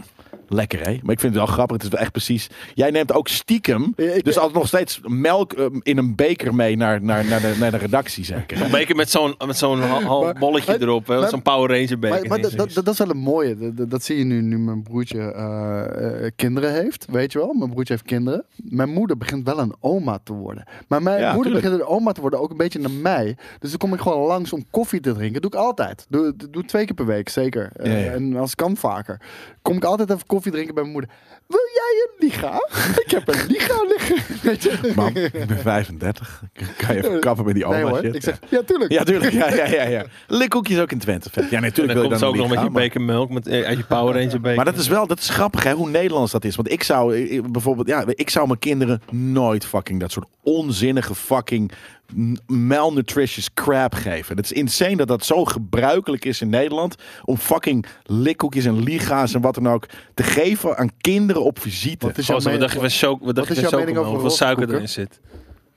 S3: Lekker, hè? Maar ik vind het wel grappig. Het is wel echt precies... Jij neemt ook stiekem...
S2: Ja, ik-
S3: dus altijd nog steeds melk eh, in een beker mee naar, naar, naar, de, naar de redactie, zeker.
S1: Een beker met zo'n met zo'n hal- hal-
S2: Maar-
S1: bolletje
S2: maar-
S1: erop, hè, met
S2: maar-
S1: zo'n Power Ranger beker.
S2: maar maar dat, dat, dat is wel een mooie. Dat, dat- dat zie je nu, nu mijn broertje eh, eh, kinderen heeft. Weet je wel, mijn broertje heeft kinderen. Mijn moeder begint wel een oma te worden. Maar mijn
S3: Ja,
S2: moeder
S3: tuurlijk.
S2: begint een oma te worden, ook een beetje naar mij. Dus dan kom ik gewoon langs om koffie te drinken. doe ik altijd. Doe, doe twee keer per week, zeker. Eh,
S3: Ja, ja.
S2: En als het kan vaker. Kom ik altijd even koffie drinken bij mijn moeder. Wil jij een liga? ik heb een liga liggen. Weet je?
S3: Mam, ik ben 35. Kan je even kappen met die oma
S2: nee hoor,
S3: shit?
S2: ik zeg, ja tuurlijk.
S3: Ja, tuurlijk. Ja, ja, ja, ja. Likkoekjes ook in Twente. vet. Ja,
S1: en
S3: natuurlijk
S1: dan
S3: wil je
S1: komt
S3: dan
S1: ze ook nog met
S3: lief
S1: je
S3: gaan, maar-
S1: beker melk met, eh, uit je Power Ranger beker.
S3: Maar dat is wel, dat is grappig hè, hoe Nederlands dat is. Want ik zou eh, bijvoorbeeld, ja, ik zou mijn kinderen nooit fucking dat soort onzinnige fucking n- malnutritious crap geven. Dat is insane dat dat zo gebruikelijk is in Nederland om fucking likkoekjes en liga's en wat dan ook te geven aan kinderen op visite. Oh,
S2: Wat is jouw
S1: Gozer, wat
S2: mening-
S1: dacht je van choc- wat dacht
S2: is
S1: je
S2: jouw
S1: van
S2: mening
S1: chocomel?
S2: over
S1: Hoeveel suiker
S2: roze
S1: erin zit.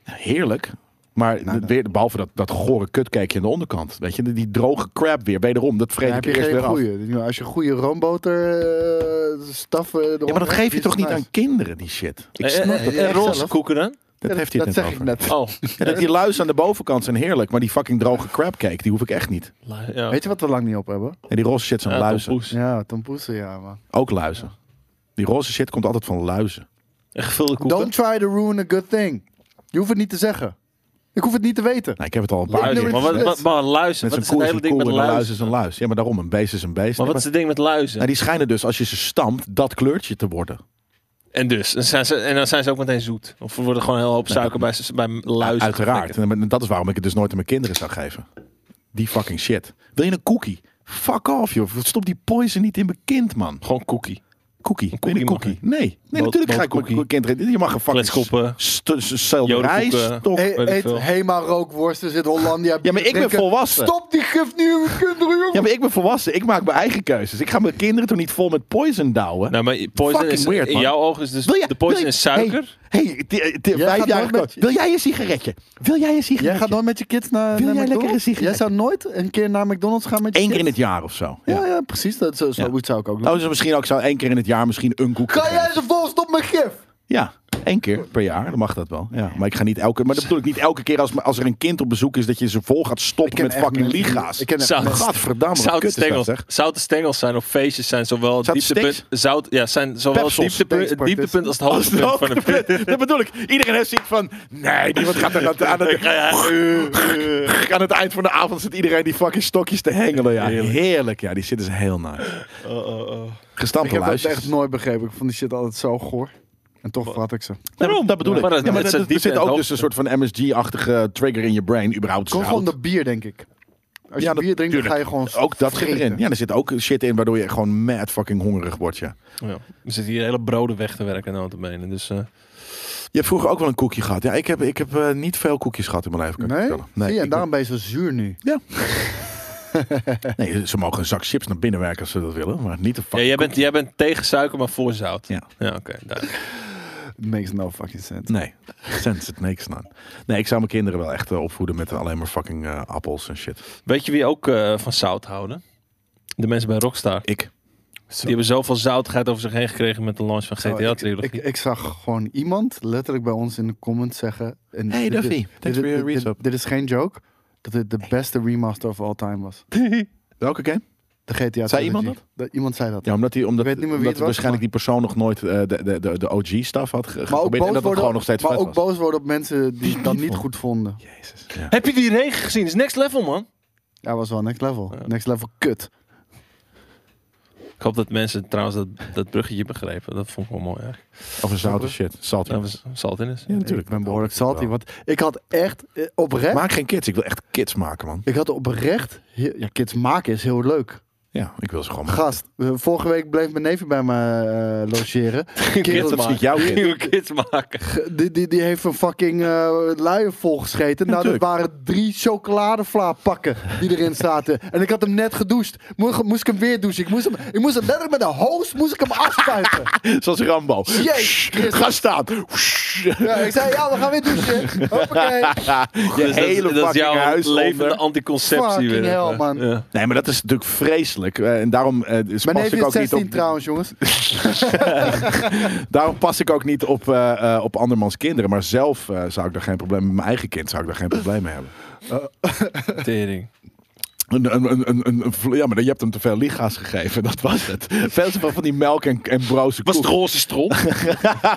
S3: Heerlijk. Maar
S2: Nou,
S3: de- weer, behalve dat, dat gore kutkeekje aan de onderkant. Weet je, die, die droge crap weer. Wederom, dat vreet
S2: Dan heb
S3: ik
S2: je
S3: eerst
S2: geen
S3: weer af.
S2: goede. Als je goede roomboter eh, staf. eh,
S3: Ja, maar
S2: eronder
S3: dat geef
S2: hebt,
S3: je toch
S2: is
S3: niet
S2: het
S3: aan kinderen, die shit? Ik
S1: Eh,
S3: snap
S1: eh,
S3: dat
S1: En
S3: echt
S1: roze
S3: zelf.
S1: koeken dan?
S3: Dat heeft hij het
S2: dat zeg
S3: net over.
S2: ik net.
S1: Oh,
S3: Ja, dat die luis aan de bovenkant zijn heerlijk, maar die fucking droge crabcake, die hoef ik echt niet.
S1: la- ja.
S2: Weet je wat we lang niet op hebben?
S3: En die roze shit zijn
S1: Ja,
S3: luizen.
S1: tompoes.
S2: Ja, tompoezen, ja, man.
S3: Ook luizen. Die roze shit komt altijd van luizen.
S1: En gevulde koeken.
S2: Don't try to ruin a good thing. Je hoeft het niet te zeggen. Ik hoef het niet te weten.
S3: Nou, ik heb het al een paar
S1: Luizen.
S3: keer.
S1: Maar, wat,
S2: Net.
S1: wat, maar luizen,
S3: Met
S1: wat
S3: zo'n
S1: is het
S3: koers
S1: hele
S3: van
S1: ding
S3: koel
S1: met
S3: en een luis
S1: luizen?
S3: is een luis. Ja, maar daarom, een beest is een beest.
S1: Maar
S3: Ja,
S1: wat is het ding met luizen?
S3: Nou, die schijnen dus, als je ze stampt, dat kleurtje te worden.
S1: En dus, dan zijn ze, en dan zijn ze ook meteen zoet. Of er worden gewoon een hele hoop suiker bij, bij luizen.
S3: Nou, Uiteraard.
S1: geprikt.
S3: En dat is waarom ik het dus nooit aan mijn kinderen zou geven. Die fucking shit. Wil je een cookie? Fuck off, joh. Stop die poison niet in mijn kind, man.
S1: Gewoon cookie.
S3: Cookie. Wil je Een
S1: cookie
S3: cookie. Nee. Nee, natuurlijk ga ik
S1: botercookie.
S3: mijn kind... Je mag een fucking
S1: Kletskoppen.
S3: st- st- selderij,
S1: Jodenkoeken.
S3: stok.
S2: E-
S1: weet ik
S2: eet
S1: veel.
S2: Hema rookworsten, zit Hollandia.
S3: Ja, maar ik ben
S2: drinken.
S3: volwassen.
S2: Stop die gif nu, we kinderen, jongen.
S3: Ja, maar ik ben volwassen. Ik maak mijn eigen keuzes. Ik ga mijn kinderen toch niet vol met poison douwen.
S1: Nou, maar poison
S3: Fucking
S1: is,
S3: weird,
S1: in
S3: man.
S1: jouw ogen is dus
S3: Wil jij-
S1: de poison
S3: wil je-
S1: is suiker.
S3: Hey, hey, die- eh, die-
S2: Jij gaat
S3: vijfjarige
S2: nooit met-
S3: koos. Wil jij een sigaretje? Wil jij een sigaretje?
S2: Jij gaat nooit met je kids naar,
S3: Wil
S2: naar
S3: jij lekker
S2: McDonald's?
S3: een sigaret?
S2: Jij zou nooit een keer naar McDonald's gaan met je
S3: Eén keer in
S2: kids?
S3: het jaar of zo. Ja.
S2: Ja, ja, precies. Dat, zo zo
S3: Ja.
S2: goed zou ik ook doen.
S3: Oh, dus misschien ook zo één keer in het jaar misschien een koekje.
S2: Ga jij ze volstop met gif?
S3: Ja, één keer per jaar. Dan mag dat wel. Ja, maar ik ga niet elke... Maar dat bedoel ik niet elke keer als, als er een kind op bezoek is... dat je ze vol gaat stoppen met
S2: echt
S3: fucking
S2: mensen-
S3: liga's.
S2: Ik ken echt
S1: Zout.
S2: mensen-
S3: Gadverdamme, wat
S1: Zoute
S3: kut is dat,
S1: stengels,
S3: zeg.
S1: zoute stengels zijn op feestjes zijn zowel het
S3: Zoute
S1: dieptepunt,
S3: sticks?
S1: zout, ja, zijn zowel het
S3: Pepsels,
S1: dieptepunt, het
S2: steenspartis.
S1: dieptepunt als het
S3: Als het
S1: hoogtepunt
S3: ook
S1: van de pit.
S3: gebeurt, Oh, Dat bedoel ik. Iedereen heeft zoiets van... Nee, niemand gaat er aan het... Aan het,
S1: eh,
S3: aan het eind van de avond zit iedereen die fucking stokjes te hengelen. Ja. Heerlijk.
S1: Heerlijk.
S3: ja. Die zit is heel nice. oh,
S2: Ik
S3: Gestampte
S2: heb dat
S3: luisjes.
S2: echt nooit begrepen. Ik vond die shit altijd zo goor. En toch had ik ze.
S3: Nee, maar dat bedoel
S1: Ja,
S3: ik.
S1: maar dat-
S3: Ja, maar
S1: het
S3: dat-
S1: zit
S3: er
S1: diep
S3: zit
S1: in het
S3: ook dus een soort van MSG-achtige trigger in je brain. Überhaupt
S2: Komt gewoon
S3: zout.
S2: dat bier, denk ik. Als
S3: Ja,
S2: je
S3: dat-
S2: bier drinkt, dan
S3: tuurlijk.
S2: ga je gewoon
S3: Ook dat zit
S2: vreten.
S3: erin. Ja, er zit ook shit in waardoor je gewoon mad fucking hongerig wordt. Ja.
S1: Ja. We zitten hier hele broden weg te werken notabene. Dus eh,
S3: Je hebt vroeger ook wel een koekje gehad. Ja, ik heb, ik heb eh, niet veel koekjes gehad in mijn leven. Kan ik
S2: Nee?
S3: vertellen.
S2: Zie je,
S3: ik-
S2: en daarom ben je zo zuur nu.
S3: nee, ze mogen een zak chips naar binnen werken als ze dat willen. Maar niet de
S1: ja,
S3: fucking
S1: jij, bent, jij bent tegen suiker, maar voor zout.
S3: Ja.
S1: ja oké. duidelijk.
S2: Makes no fucking sense.
S3: Nee, sense it niks aan. Nee, ik zou mijn kinderen wel echt eh, opvoeden met alleen maar fucking eh, appels en shit.
S1: Weet je wie ook eh, van zout houden? De mensen bij Rockstar.
S3: Ik.
S1: Die hebben zoveel zoutigheid over zich heen gekregen met de launch van
S2: Zo, ik,
S1: GTA-trilogie.
S2: ik, ik zag gewoon iemand letterlijk bij ons in de comments zeggen... En
S3: Hey,
S2: dit-
S3: Duffy.
S2: dit-
S3: Thanks for your
S2: dit- dit-
S3: resub.
S2: Dit is geen joke. Dat dit de beste remaster of all time was.
S3: Welke game?
S2: De GTA
S3: Zei iemand
S2: trilogie. dat? Iemand zei dat.
S3: Ja, omdat, die, omdat,
S2: Ik weet niet meer wie het was,
S3: omdat waarschijnlijk die persoon nog nooit eh, de, de, de, de OG-stuff had ge-
S2: Maar ook,
S3: geprobeerd.
S2: boos
S3: En dat het
S2: worden,
S3: gewoon nog steeds
S2: maar
S3: vet
S2: ook
S3: was.
S2: boos worden op mensen die het dan niet goed vonden.
S3: Jezus. Ja.
S1: Heb je die regen gezien? is next level, man.
S2: Ja, was wel next level. Next level kut.
S1: Ik hoop dat mensen trouwens dat, dat bruggetje begrepen. Dat vond ik wel mooi eigenlijk.
S3: Of een zoute shit. Zout.
S1: Nou, we- zal het in is.
S3: Ja, natuurlijk.
S2: Ik ben behoorlijk
S3: Dat hoop
S2: salty.
S3: ik
S2: Want ik had echt eh, oprecht...
S3: wel. Maak geen kids. Ik wil echt kids maken, man.
S2: Ik had oprecht... heel- Ja, kids maken is heel leuk.
S3: Ja, ik wil ze gewoon maken.
S2: Gast, eh, vorige week bleef mijn neefje bij me eh, logeren.
S1: Kids
S2: Kerel,
S3: Dat is
S1: maken.
S3: niet jouw kind.
S1: Nieuwe kids maken.
S2: die, die, die heeft een fucking eh luier volgescheten. Nou, dat
S3: tuurlijk.
S2: waren drie chocoladevlaapakken die erin zaten. en ik had hem net gedoucht. Moest, moest ik hem weer douchen. Ik moest hem, ik moest hem letterlijk met de hoos moest ik hem afspuiten.
S3: Zoals Rambo.
S2: Jezus Christus.
S3: Ga staan.
S2: Ja, ik zei, ja, we gaan weer douchen. Hoppakee.
S3: Je
S1: Dus dat-
S3: hele
S1: dat, is
S3: fucking
S1: jouw
S3: huis
S1: levende
S3: onder.
S1: anticonceptie
S2: Fucking
S1: weer.
S2: hell,
S1: Ja.
S2: man.
S1: Ja.
S3: Nee, maar dat is natuurlijk vreselijk. Eh, en daarom, eh, dus
S2: Mijn
S3: pas
S2: neefje is
S3: ik ook niet
S2: 16
S3: op,
S2: trouwens, jongens.
S3: daarom pas ik ook niet op, eh, eh, op andermans kinderen. Maar zelf eh, zou ik daar geen probleem met mijn eigen kind zou ik daar geen probleem mee hebben.
S1: Tering.
S3: Een, een, een, een, een, een vlo- ja, maar je hebt hem te veel lichaams gegeven. Dat was het. Veel te veel van die melk en, en broze
S1: Was het
S3: koek.
S1: roze stront?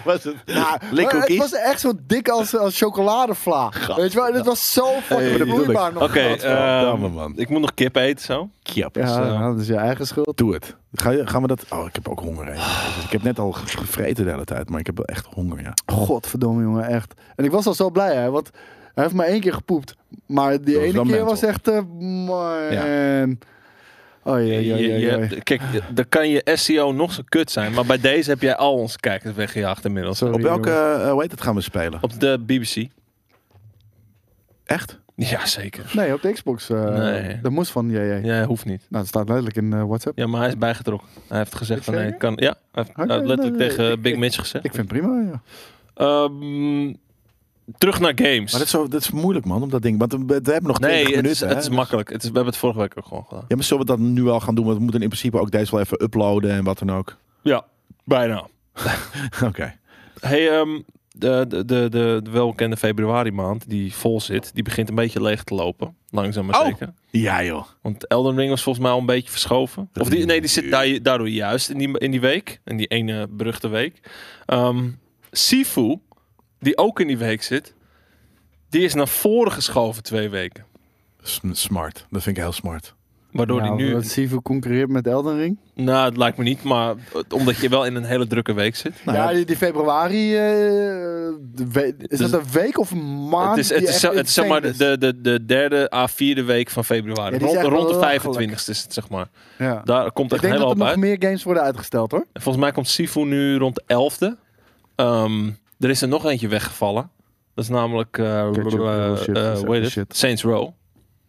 S3: was het?
S2: Maar het
S3: Likkoekies?
S2: was echt zo dik als, als chocoladevla. Weet je wel? En het was zo fucking
S3: Hey,
S2: vloeibaar nog.
S1: Oké,
S3: Gadverdamme,
S1: ehm,
S3: man.
S1: ik moet nog kip eten zo.
S3: Kjap.
S2: Ja,
S1: Zo.
S2: nou, dat is je eigen schuld.
S3: Doe het. Ga je, gaan we dat... Oh, ik heb ook honger. hè. Jezus, ik heb net al ge- gevreten de hele tijd, maar ik heb wel echt honger, ja.
S2: Godverdomme, jongen, echt. En ik was al zo blij, hè, want hij heeft maar één keer gepoept. Maar die
S3: Dat was
S2: ene
S3: wel
S2: keer
S3: mental.
S2: was echt, eh, man. Oh jee, jee,
S1: Je-
S2: jee,
S1: je-
S2: jee.
S1: Kijk, dan kan je SEO nog zo kut zijn, maar bij deze heb jij al onze kijkers weggejaagd inmiddels.
S2: Sorry,
S3: Op welke...
S2: jongen.
S3: eh, hoe heet het gaan we spelen?
S1: Op de BBC.
S3: Echt?
S1: Ja, zeker.
S2: Nee, op de Xbox. eh,
S1: Nee.
S2: Dat moest van jee, jee.
S1: Ja, hoeft niet.
S2: Nou, dat staat duidelijk in eh, WhatsApp.
S1: Ja, maar hij is bijgetrokken. Hij heeft gezegd van nee,
S2: Zeker?
S1: ik kan. Ja, hij heeft
S2: Oké,
S1: hij heeft letterlijk
S2: nee,
S1: tegen
S2: ik-
S1: Big
S2: ik-
S1: Mitch gezegd.
S2: Ik vind het prima, ja.
S1: Ehm, terug naar games.
S3: Maar dat is, zo, dat is moeilijk, man, om dat ding... Want we, we hebben nog 20
S1: nee, het
S3: minuten,
S1: is, het
S3: hè. dus-
S1: is makkelijk. Het is, we hebben het vorige week ook gewoon gedaan.
S3: Ja, maar zullen we dat nu al gaan doen? Want we moeten in principe ook deze wel even uploaden en wat dan ook.
S1: Ja, bijna.
S3: Oké.
S1: Hey, ehm, de, de, de, de, de welbekende februari maand, die vol zit, die begint een beetje leeg te lopen. Langzaam maar
S3: Oh.
S1: zeker.
S3: Ja, joh.
S1: Want Elden Ring was volgens mij al een beetje verschoven. Of die, nee, die zit daar, daardoor juist in die, in die week. In die ene beruchte week. Ehm Sifu, die ook in die week zit, die is naar voren geschoven twee weken.
S3: Sm- smart. Dat vind ik heel smart.
S1: Waardoor
S2: nou,
S1: die nu...
S2: Dat Sifu concurreert met Elden Ring.
S1: Nou, het lijkt me niet, maar eh, omdat je wel in een hele drukke week zit.
S2: Nou
S3: Nou,
S2: ja, die, die februari. eh, de we- is
S1: Dus-
S2: dat een week of een maand?
S1: het is, het
S2: die
S1: is,
S2: echt
S1: zo- het is zeg maar
S2: insane is?
S1: de, de, de derde à vierde week van februari.
S2: Ja, die is
S1: rond,
S2: echt
S1: rond de
S2: belachelijk.
S1: 25 e is het, zeg maar.
S2: Ja.
S1: Daar komt
S2: Ik
S1: echt een
S2: denk
S1: hele
S2: dat er
S1: hoop
S2: nog
S1: uit.
S2: meer games worden uitgesteld hoor.
S1: En Volgens mij komt Sifu nu rond de 11e. Ehm, er is er nog eentje weggevallen. Dat is namelijk eh,
S2: Ketchup,
S1: eh,
S2: bullshit,
S1: eh,
S2: dat is
S1: hoe
S2: echt
S1: heet het?
S2: shit.
S1: Saints Row.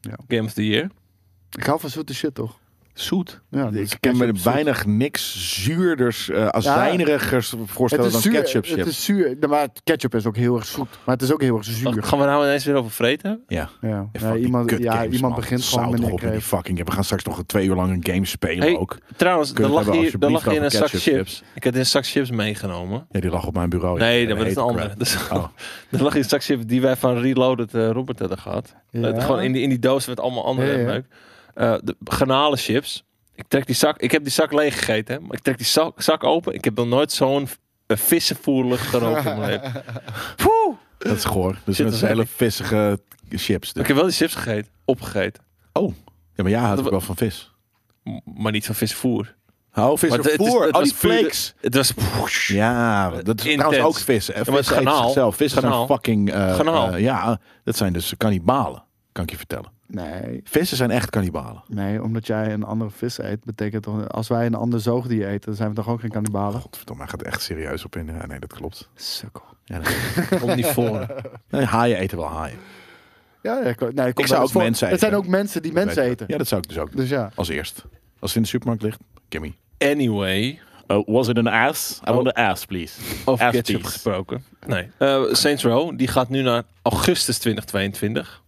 S2: Ja.
S1: Game of the Year.
S2: Ik hou van zoete shit toch?
S3: Zoet.
S2: Ja, dat is
S3: ik kan me
S2: ketchup zoet.
S3: weinig niks zuurders, eh azijnerigers voorstellen
S2: Het
S3: dan
S2: is zuur.
S3: ketchup
S2: Het
S3: chips.
S2: is zuur. Nee, Maar ketchup is ook heel erg zoet. Maar het is ook heel erg zuur.
S1: Gaan we nou ineens weer over vreten? hebben?
S3: Ja.
S2: Ja,
S3: En
S2: ja,
S3: fuck die
S2: iemand,
S3: kutgames,
S2: ja, iemand
S3: man.
S2: begint
S3: Zout
S2: gewoon met
S3: toch
S2: een
S3: op die
S2: kreef.
S3: fucking. We gaan straks nog een twee uur lang een game spelen
S1: Hey.
S3: ook.
S1: Trouwens,
S3: Kunnen
S1: er lag
S3: we het hebben
S1: hier, er lag
S3: alsjeblieft
S1: hier een
S3: over
S1: zak chips.
S3: ketchup
S1: Ik had een zak chips
S2: Oh,
S1: meegenomen.
S3: Ja, die lag op mijn bureau. ja.
S1: Nee,
S3: En
S1: dat was een
S3: eten
S1: andere.
S3: crap.
S1: Dus,
S3: Oh.
S1: er lag hier een zak chips die wij van Reloaded eh, Robert hadden gehad.
S2: Ja.
S1: Het- Eh, gewoon in die, in die doos met allemaal andere
S2: Ja, ja.
S1: meuk. Eh, de granalen chips. Ik trek die zak. Ik heb die zak leeg gegeten. hè, Maar ik trek die zak, zak open. Ik heb nog nooit zo'n eh, vissenvoerlucht gerookt in mijn leven.
S3: Dat is goor. Dus
S1: Shit, dat
S3: dat zijn
S1: is
S3: hele vissige chips. dus.
S1: Ik heb wel die chips gegeten. Opgegeten.
S3: Ja, maar jij houdt
S1: Dat
S3: ook wel van vis.
S1: M- Maar niet van vissenvoer.
S3: Oh,
S1: Maar het- het is-
S3: visservoer.
S1: het
S3: Oh,
S1: was
S3: die
S1: puur de-
S3: flakes.
S1: Het was...
S3: Ja, dat is
S1: Intens.
S3: trouwens ook vis. Hè.
S1: maar het
S3: Vis
S1: is
S3: eten
S1: garnaal.
S3: zichzelf. Vis zijn een
S1: Garnaal.
S3: fucking... eh,
S1: Garnaal.
S3: eh, ja, dat zijn dus kannibalen. Kan ik je vertellen.
S2: Nee,
S3: Vissen zijn echt kannibalen.
S2: nee, omdat jij een andere vis eet, betekent toch... Als wij een ander zoogdier eten, dan zijn we toch ook geen kannibalen?
S3: Oh, Godverdomme, hij gaat er echt serieus op in. Ja, nee, dat klopt.
S2: Sukkel.
S3: Ja, dat klopt.
S1: Komt niet voor.
S3: Nee, haaien eten wel haaien.
S2: Ja, ja, ik, nee, ik,
S3: zou ook mensen
S2: Het
S3: eten.
S2: zijn ook mensen die mensen
S3: Weet je.
S2: eten.
S3: Ja, dat zou ik dus ook doen.
S2: Dus ja.
S3: Als eerst. Als het in de supermarkt ligt. Kimmy.
S1: Anyway.
S5: Oh, was it an ass? I want an ass, please.
S1: Over
S5: Echt
S1: Oh. ketchup
S5: iets.
S1: gesproken. Nee. Eh, Saints Row. Die gaat nu naar augustus 2022.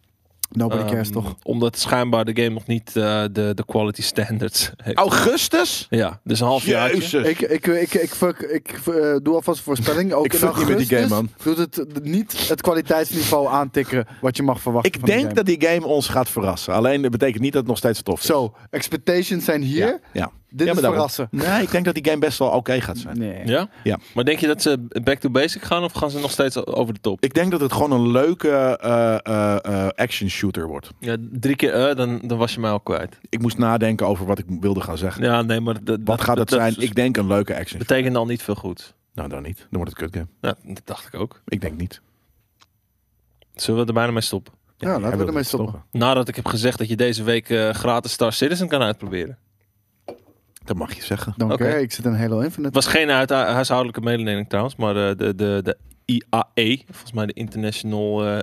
S2: Nobody cares
S1: Ehm,
S2: toch?
S1: Omdat schijnbaar de game nog niet eh, de, de quality standards heeft.
S3: Augustus?
S1: Ja, dus een half jaar.
S3: Jezus.
S2: Ik, ik, ik, ik, fuck, ik eh, doe alvast een voorspelling. Ook
S3: Ik
S2: in
S3: fuck niet met die
S2: augustus
S3: game, man.
S2: Doet het niet het kwaliteitsniveau aantikken wat je mag verwachten
S3: Ik
S2: van die
S3: denk
S2: game.
S3: dat die game ons gaat verrassen. Alleen dat betekent niet dat het nog steeds tof is.
S2: Zo, expectations zijn hier.
S3: Ja. ja.
S2: Dit
S3: Ja,
S2: is
S3: maar daarom.
S2: verrassen.
S3: Nee, ik denk dat die game best wel oké gaat zijn.
S2: Nee.
S1: Ja?
S3: Ja.
S1: Maar denk je dat ze back to basic gaan of gaan ze nog steeds over de top?
S3: Ik denk dat het gewoon een leuke eh, eh, eh, action shooter wordt.
S1: Ja, drie keer eh, dan, dan was je mij al kwijt.
S3: Ik moest nadenken over wat ik wilde gaan zeggen.
S1: Ja, nee, maar dat,
S3: Wat gaat het
S1: dat-
S3: zijn?
S1: dat
S3: Ik denk een leuke action.
S1: betekent al niet veel goed.
S3: dus- Nou, dan niet. Dan wordt het kut game.
S1: Ja, dat dacht ik ook.
S3: Ik denk niet.
S1: Zullen we er bijna mee stoppen?
S2: Ja, laten
S3: hij
S2: we
S3: wil
S2: ermee
S3: dit
S2: stoppen.
S3: stoppen.
S1: Nadat ik heb gezegd dat je deze week eh, gratis Star Citizen kan uitproberen.
S3: Dat mag je zeggen.
S2: Dank
S1: Oké.
S2: je. Ik zit in Halo
S1: Het
S2: Infinite.
S1: was geen uit- huishoudelijke mededeling trouwens, maar eh, de, de, de IAE, volgens mij de International eh,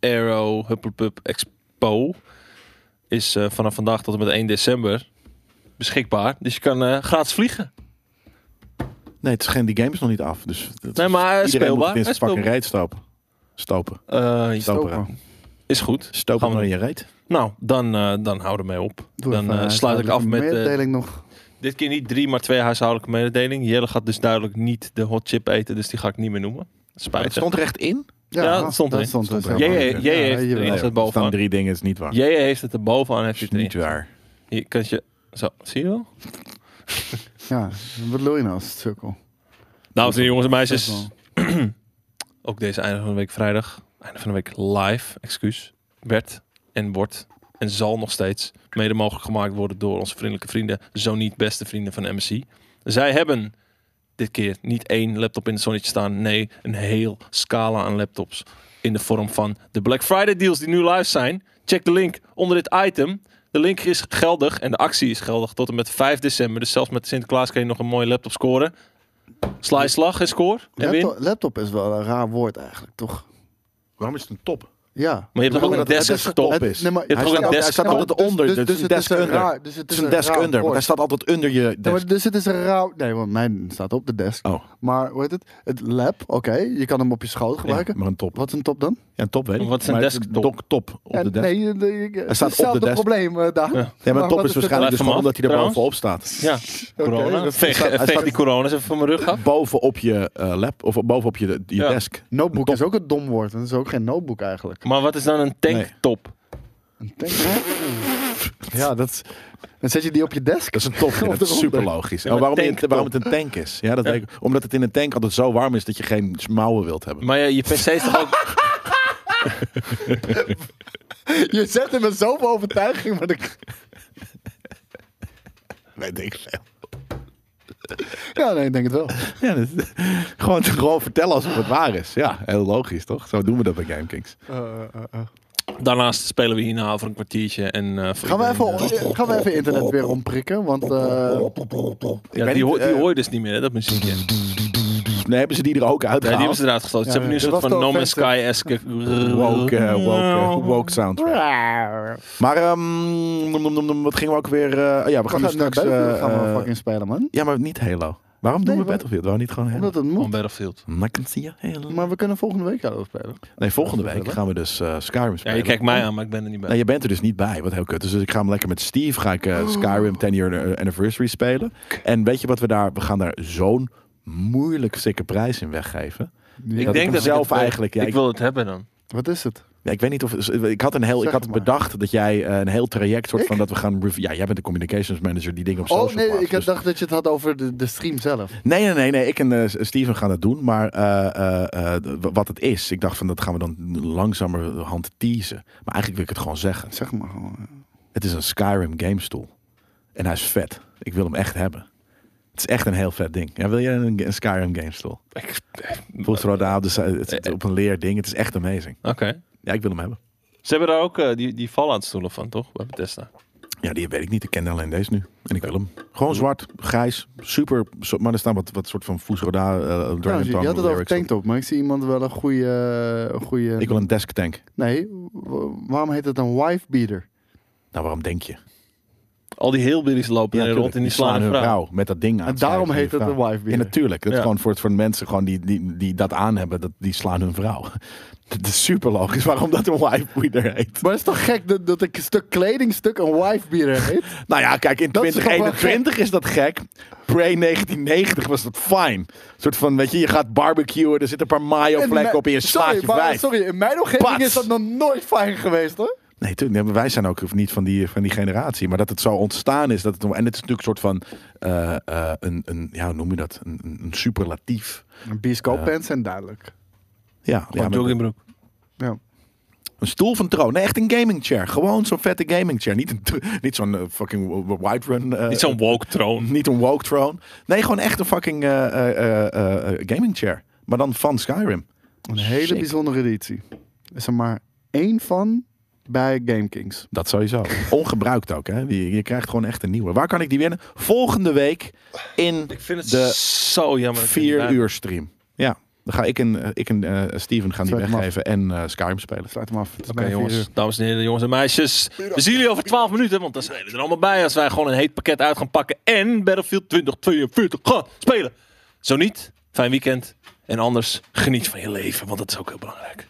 S1: Aero Hupplepup Expo, is eh, vanaf vandaag tot en met 1 december beschikbaar. Dus je kan eh, gratis vliegen.
S3: Nee, het is geen, die game is nog niet af. Dus dat-
S1: Nee, maar hij is
S3: iedereen moet
S1: speelbaar.
S3: het in
S1: Hij
S3: zijn
S1: is
S3: fucking
S1: speelbaar.
S3: reet stopen. Stopen.
S1: Eh,
S3: Stopen.
S2: Stopen.
S1: is goed.
S3: Stopen
S1: Gaan we
S3: maar in je reet.
S1: Nou, dan, eh dan hou ermee op.
S2: Doe
S1: dan
S2: even
S1: eh,
S2: een
S1: sluit ik af met eh,
S2: mededeling nog.
S1: dit keer niet drie, maar twee huishoudelijke mededelingen. Jelle gaat dus duidelijk niet de hot chip eten, dus die ga ik niet meer noemen.
S3: Het
S1: Spijtig.
S3: stond recht in.
S1: ja, dat stond
S2: dat
S1: erin.
S2: stond
S3: Stond
S2: er.
S3: erin.
S1: Jij
S3: Ja,
S1: jij- jij
S2: ja,
S1: heeft er
S2: jawel. Nee,
S1: iets
S3: er staan
S1: bovenaan.
S3: drie dingen, is niet waar.
S1: Jij heeft het er bovenaan, heeft
S3: is
S1: het niet.
S3: niet waar.
S1: Je kan je zo, zie je wel?
S2: Ja, wat wil je nou als het sukkel?
S1: Dames en heren, jongens en
S2: Dat
S1: meisjes.
S2: wel.
S1: Ook deze einde van de week vrijdag. Einde van de week live, excuus. Werd en wordt en zal nog steeds mede mogelijk gemaakt worden door onze vriendelijke vrienden. Zo niet beste vrienden van MSC. Zij hebben dit keer niet één laptop in het zonnetje staan. Nee, een heel scala aan laptops. In de vorm van de Black Friday deals die nu live zijn. Check de link onder dit item. De link is geldig en de actie is geldig tot en met 5 december. Dus zelfs met Sinterklaas kun je nog een mooie laptop scoren. Sla je slag en score. En win.
S2: Laptop, laptop is wel een raar woord eigenlijk, toch?
S3: Waarom is het een top?
S2: Ja.
S1: Maar je hebt toch ook een
S3: dat het
S1: desk
S3: desktop
S1: top
S3: Het-
S2: is.
S3: nee, maar
S1: Je hebt toch
S3: hij
S1: ook
S3: staat-
S1: een
S3: Hij staat
S1: desktop?
S3: altijd onder.
S2: Dus-
S3: Dus,
S2: dus
S3: een
S2: het is
S3: desk
S2: een
S3: under.
S2: raar- dus het
S3: het
S2: is
S3: is een
S2: een
S3: desk
S2: raar
S3: under, want
S2: woord.
S3: hij staat altijd onder je
S2: Ja,
S3: desk.
S2: maar dus het is een rauw... Nee, want mijn staat op de desk.
S3: Oh,
S2: Maar, hoe heet het? Het lab, oké. Je kan hem op je schoot gebruiken.
S3: ja, maar een top.
S2: Wat is een top dan?
S3: Ja, een top weet ik.
S1: Wat is een
S3: maar het
S1: desktop?
S3: dock top op
S2: Ja,
S3: de desk.
S2: Nee, de, de, het
S3: staat op de
S2: hetzelfde
S3: desk.
S2: probleem
S1: Ja,
S2: eh, daar.
S3: Ja, maar
S2: Maar
S3: top
S2: wat
S3: is
S2: is het-
S3: waarschijnlijk
S1: Blijft hem
S3: dus gewoon
S1: af,
S3: omdat hij er
S1: trouwens.
S3: bovenop staat.
S1: Ja, corona.
S2: dat-
S1: veeg
S3: hij
S1: veeg
S3: staat-
S1: die corona eens even van mijn rug af.
S3: Bovenop je eh, lab of bovenop je, je
S1: Ja.
S3: desk.
S2: Notebook is ook een dom woord. want Het is ook geen notebook eigenlijk.
S1: Maar wat is dan een tanktop?
S2: Een tank- ja, dat is- Dan zet je die op je desk.
S3: Dat is een top. ja, dat is
S2: eronder.
S3: super logisch.
S1: Ja,
S3: En
S1: maar
S3: waarom,
S1: tanktop.
S3: het, waarom het een tank is. Ja, dat
S1: Ja.
S3: Weet ik, omdat het in een tank altijd zo warm is dat je geen mouwen wilt hebben.
S1: Maar ja, je PC is toch ook...
S2: Je zet hem met zoveel overtuiging. Maar dan-
S3: Nee, denk ik veel.
S2: Ja, nee, ik denk het wel.
S3: Ja, dat- gewoon, gewoon vertellen alsof het waar is. Ja, heel logisch toch? Zo doen we dat bij GameKings.
S2: Eh, eh, eh.
S1: Daarnaast spelen we hierna over een kwartiertje. En, eh, voor
S2: Gaan, we even,
S1: iedereen, eh,
S2: eh, gaan we even internet weer omprikken? Want eh,
S1: ja,
S3: weet
S1: die,
S3: niet,
S1: hoor, die
S3: eh,
S1: hoor je dus niet meer, hè, dat muziekje. Nee,
S3: Nee, hebben ze die er ook
S1: die hebben
S3: uitgehaald?
S1: ze eruit gesloten. ze
S2: Ja,
S1: hebben nu een
S2: dat
S1: soort van
S2: was de
S1: No Man's Sky-esque...
S3: Woke, eh, woke,
S2: Nou.
S3: eh, woke soundtrack. Maar ehm, nom, nom, nom, nom, wat gingen we ook weer... eh, oh ja, we
S2: we
S3: gaan
S2: gaan
S3: nu
S2: naar
S3: straks...
S2: Battlefield
S3: eh,
S2: gaan we
S3: eh,
S2: fucking spelen, man.
S3: ja, maar niet Halo. Waarom doen
S2: Nee,
S3: we
S2: wa-
S3: Battlefield? Waarom niet gewoon Halo?
S2: Omdat het
S1: Van
S2: moet.
S1: Battlefield.
S3: I can see a Halo.
S2: Maar we kunnen volgende week gaan spelen.
S3: Nee, volgende
S2: Dat is
S3: week
S2: wel,
S3: gaan we dus eh, Skyrim
S1: Ja,
S3: spelen.
S1: je kijkt mij aan, maar ik ben er niet bij.
S3: Nou, je bent er dus niet bij, wat heel kut is. Dus ik ga hem lekker met Steve, ga ik eh,
S2: Oh.
S3: Skyrim 10 year anniversary spelen. En weet je wat we daar, we gaan daar zo'n moeilijk sikke prijs in weggeven.
S1: ik
S3: dat
S1: denk
S3: ik
S1: dat
S3: zelf
S1: ik het,
S3: eigenlijk, ja,
S1: ik,
S3: ik-
S1: wil het hebben dan.
S2: Wat is het?
S3: Ja, ik weet niet of, ik had een heel, ik
S2: Zeg
S3: had het
S2: maar.
S3: bedacht dat jij eh, een heel traject soort
S2: Ik?
S3: van dat we gaan review. Ja, jij bent de communications manager die dingen op social
S2: Oh nee,
S3: plaatst,
S2: ik
S3: dus-
S2: dacht dat je het had over de, de stream zelf.
S3: Nee, nee, nee, nee. Ik en eh, Steven gaan dat doen. Maar eh, eh, eh, w- wat het is, ik dacht van dat gaan we dan langzamerhand teasen. Maar eigenlijk wil ik het gewoon zeggen.
S2: Zeg maar gewoon.
S3: Het is een Skyrim gamestoel. En hij is vet. Ik wil hem echt hebben. Het is echt een heel vet ding. Ja, wil jij een, een Skyrim gamestoel?
S1: Ik-
S3: Volgens Roda op, de si- het zit op een leerding. Het is echt amazing.
S1: Oké.
S3: Ja, ik wil hem hebben.
S1: Ze hebben daar ook eh, die, die Fallout-stoelen van, toch? Bij Bethesda.
S3: Ja, die weet ik niet. Ik ken alleen deze nu. En ik wil hem. Gewoon zwart, grijs, super. zo- Maar er staan wat, wat soort van Voes Roda eh, Dragon
S2: Trouwens, Nou, je
S3: Tongue
S2: had het over
S3: lyrics op.
S2: tanktop, maar ik zie iemand wel een goede... een goede...
S3: Ik wil een desk tank.
S2: Nee, wa- waarom heet het een wife beater?
S3: Nou, waarom denk je?
S1: Al die heelbillies lopen er
S3: tuurlijk.
S1: rond in die slaan
S3: hun
S1: vrouw.
S3: vrouw met dat ding aan.
S2: En daarom
S3: Slaan
S2: heet
S3: hun
S2: het een
S3: vrouw.
S2: wife
S3: Ja,
S2: beater.
S3: natuurlijk. Dat is
S1: Ja.
S3: gewoon voor, voor de mensen gewoon die, die, die dat aan hebben, dat, die slaan hun vrouw. Het is super logisch waarom dat een wife beater heet.
S2: Maar het is toch gek dat, dat ik een stuk kledingstuk een wife beater heet?
S3: Nou ja, kijk, in
S2: Dat is toch wel
S3: 2021 is dat gek. Pre 1990 was dat fijn. soort van, weet je, je gaat barbecuen, er zit een paar mayo
S2: En
S3: vlekken
S2: mij-
S3: op en je slaat
S2: sorry,
S3: je
S2: maar-
S3: wijf.
S2: Sorry, in mijn omgeving
S3: Pats.
S2: is dat nog nooit fijn geweest hoor.
S3: Nee, tuurlijk, nee, maar wij zijn ook niet van die, van die generatie. Maar dat het zo ontstaan is. Dat het, en het is natuurlijk een soort van, eh, eh, een, een, ja, hoe noem je dat? Een, een- een superlatief.
S2: Bisco pants zijn duidelijk.
S3: Ja, ja,
S1: Gewoon
S3: maar-
S1: joggingbroek.
S2: Ja.
S3: Een stoel van troon. Nee, echt een gaming chair. Gewoon zo'n vette gaming chair. Niet, een tr- niet zo'n eh, fucking white run. eh,
S1: Niet zo'n woke troon.
S3: niet een woke throne. Nee, gewoon echt een fucking eh, eh, eh, eh, gaming chair. Maar dan van Skyrim.
S2: Een hele
S3: Sick.
S2: bijzondere editie. Is er maar één van bij GameKings.
S3: Dat sowieso. Ongebruikt ook, hè? Die, je krijgt gewoon echt een nieuwe. Waar kan ik die winnen? Volgende week in
S1: Ik vind het
S3: De
S1: zo jammer. dat ik er niet
S3: vier
S1: bij ben.
S3: uur stream. Ja, dan ga ik en, eh, ik en eh, Steven gaan die
S2: Sluit hem af.
S3: weggeven en eh, Skyrim spelen.
S2: Sluit hem af. Het is
S1: Oké
S2: bijna vier
S1: jongens,
S2: uur.
S1: dames en heren, jongens en meisjes. We zien jullie over 12 minuten, want dan zijn we er allemaal bij als wij gewoon een heet pakket uit gaan pakken en Battlefield 2042 gaan spelen. Zo niet, fijn weekend en anders geniet van je leven, want dat is ook heel belangrijk.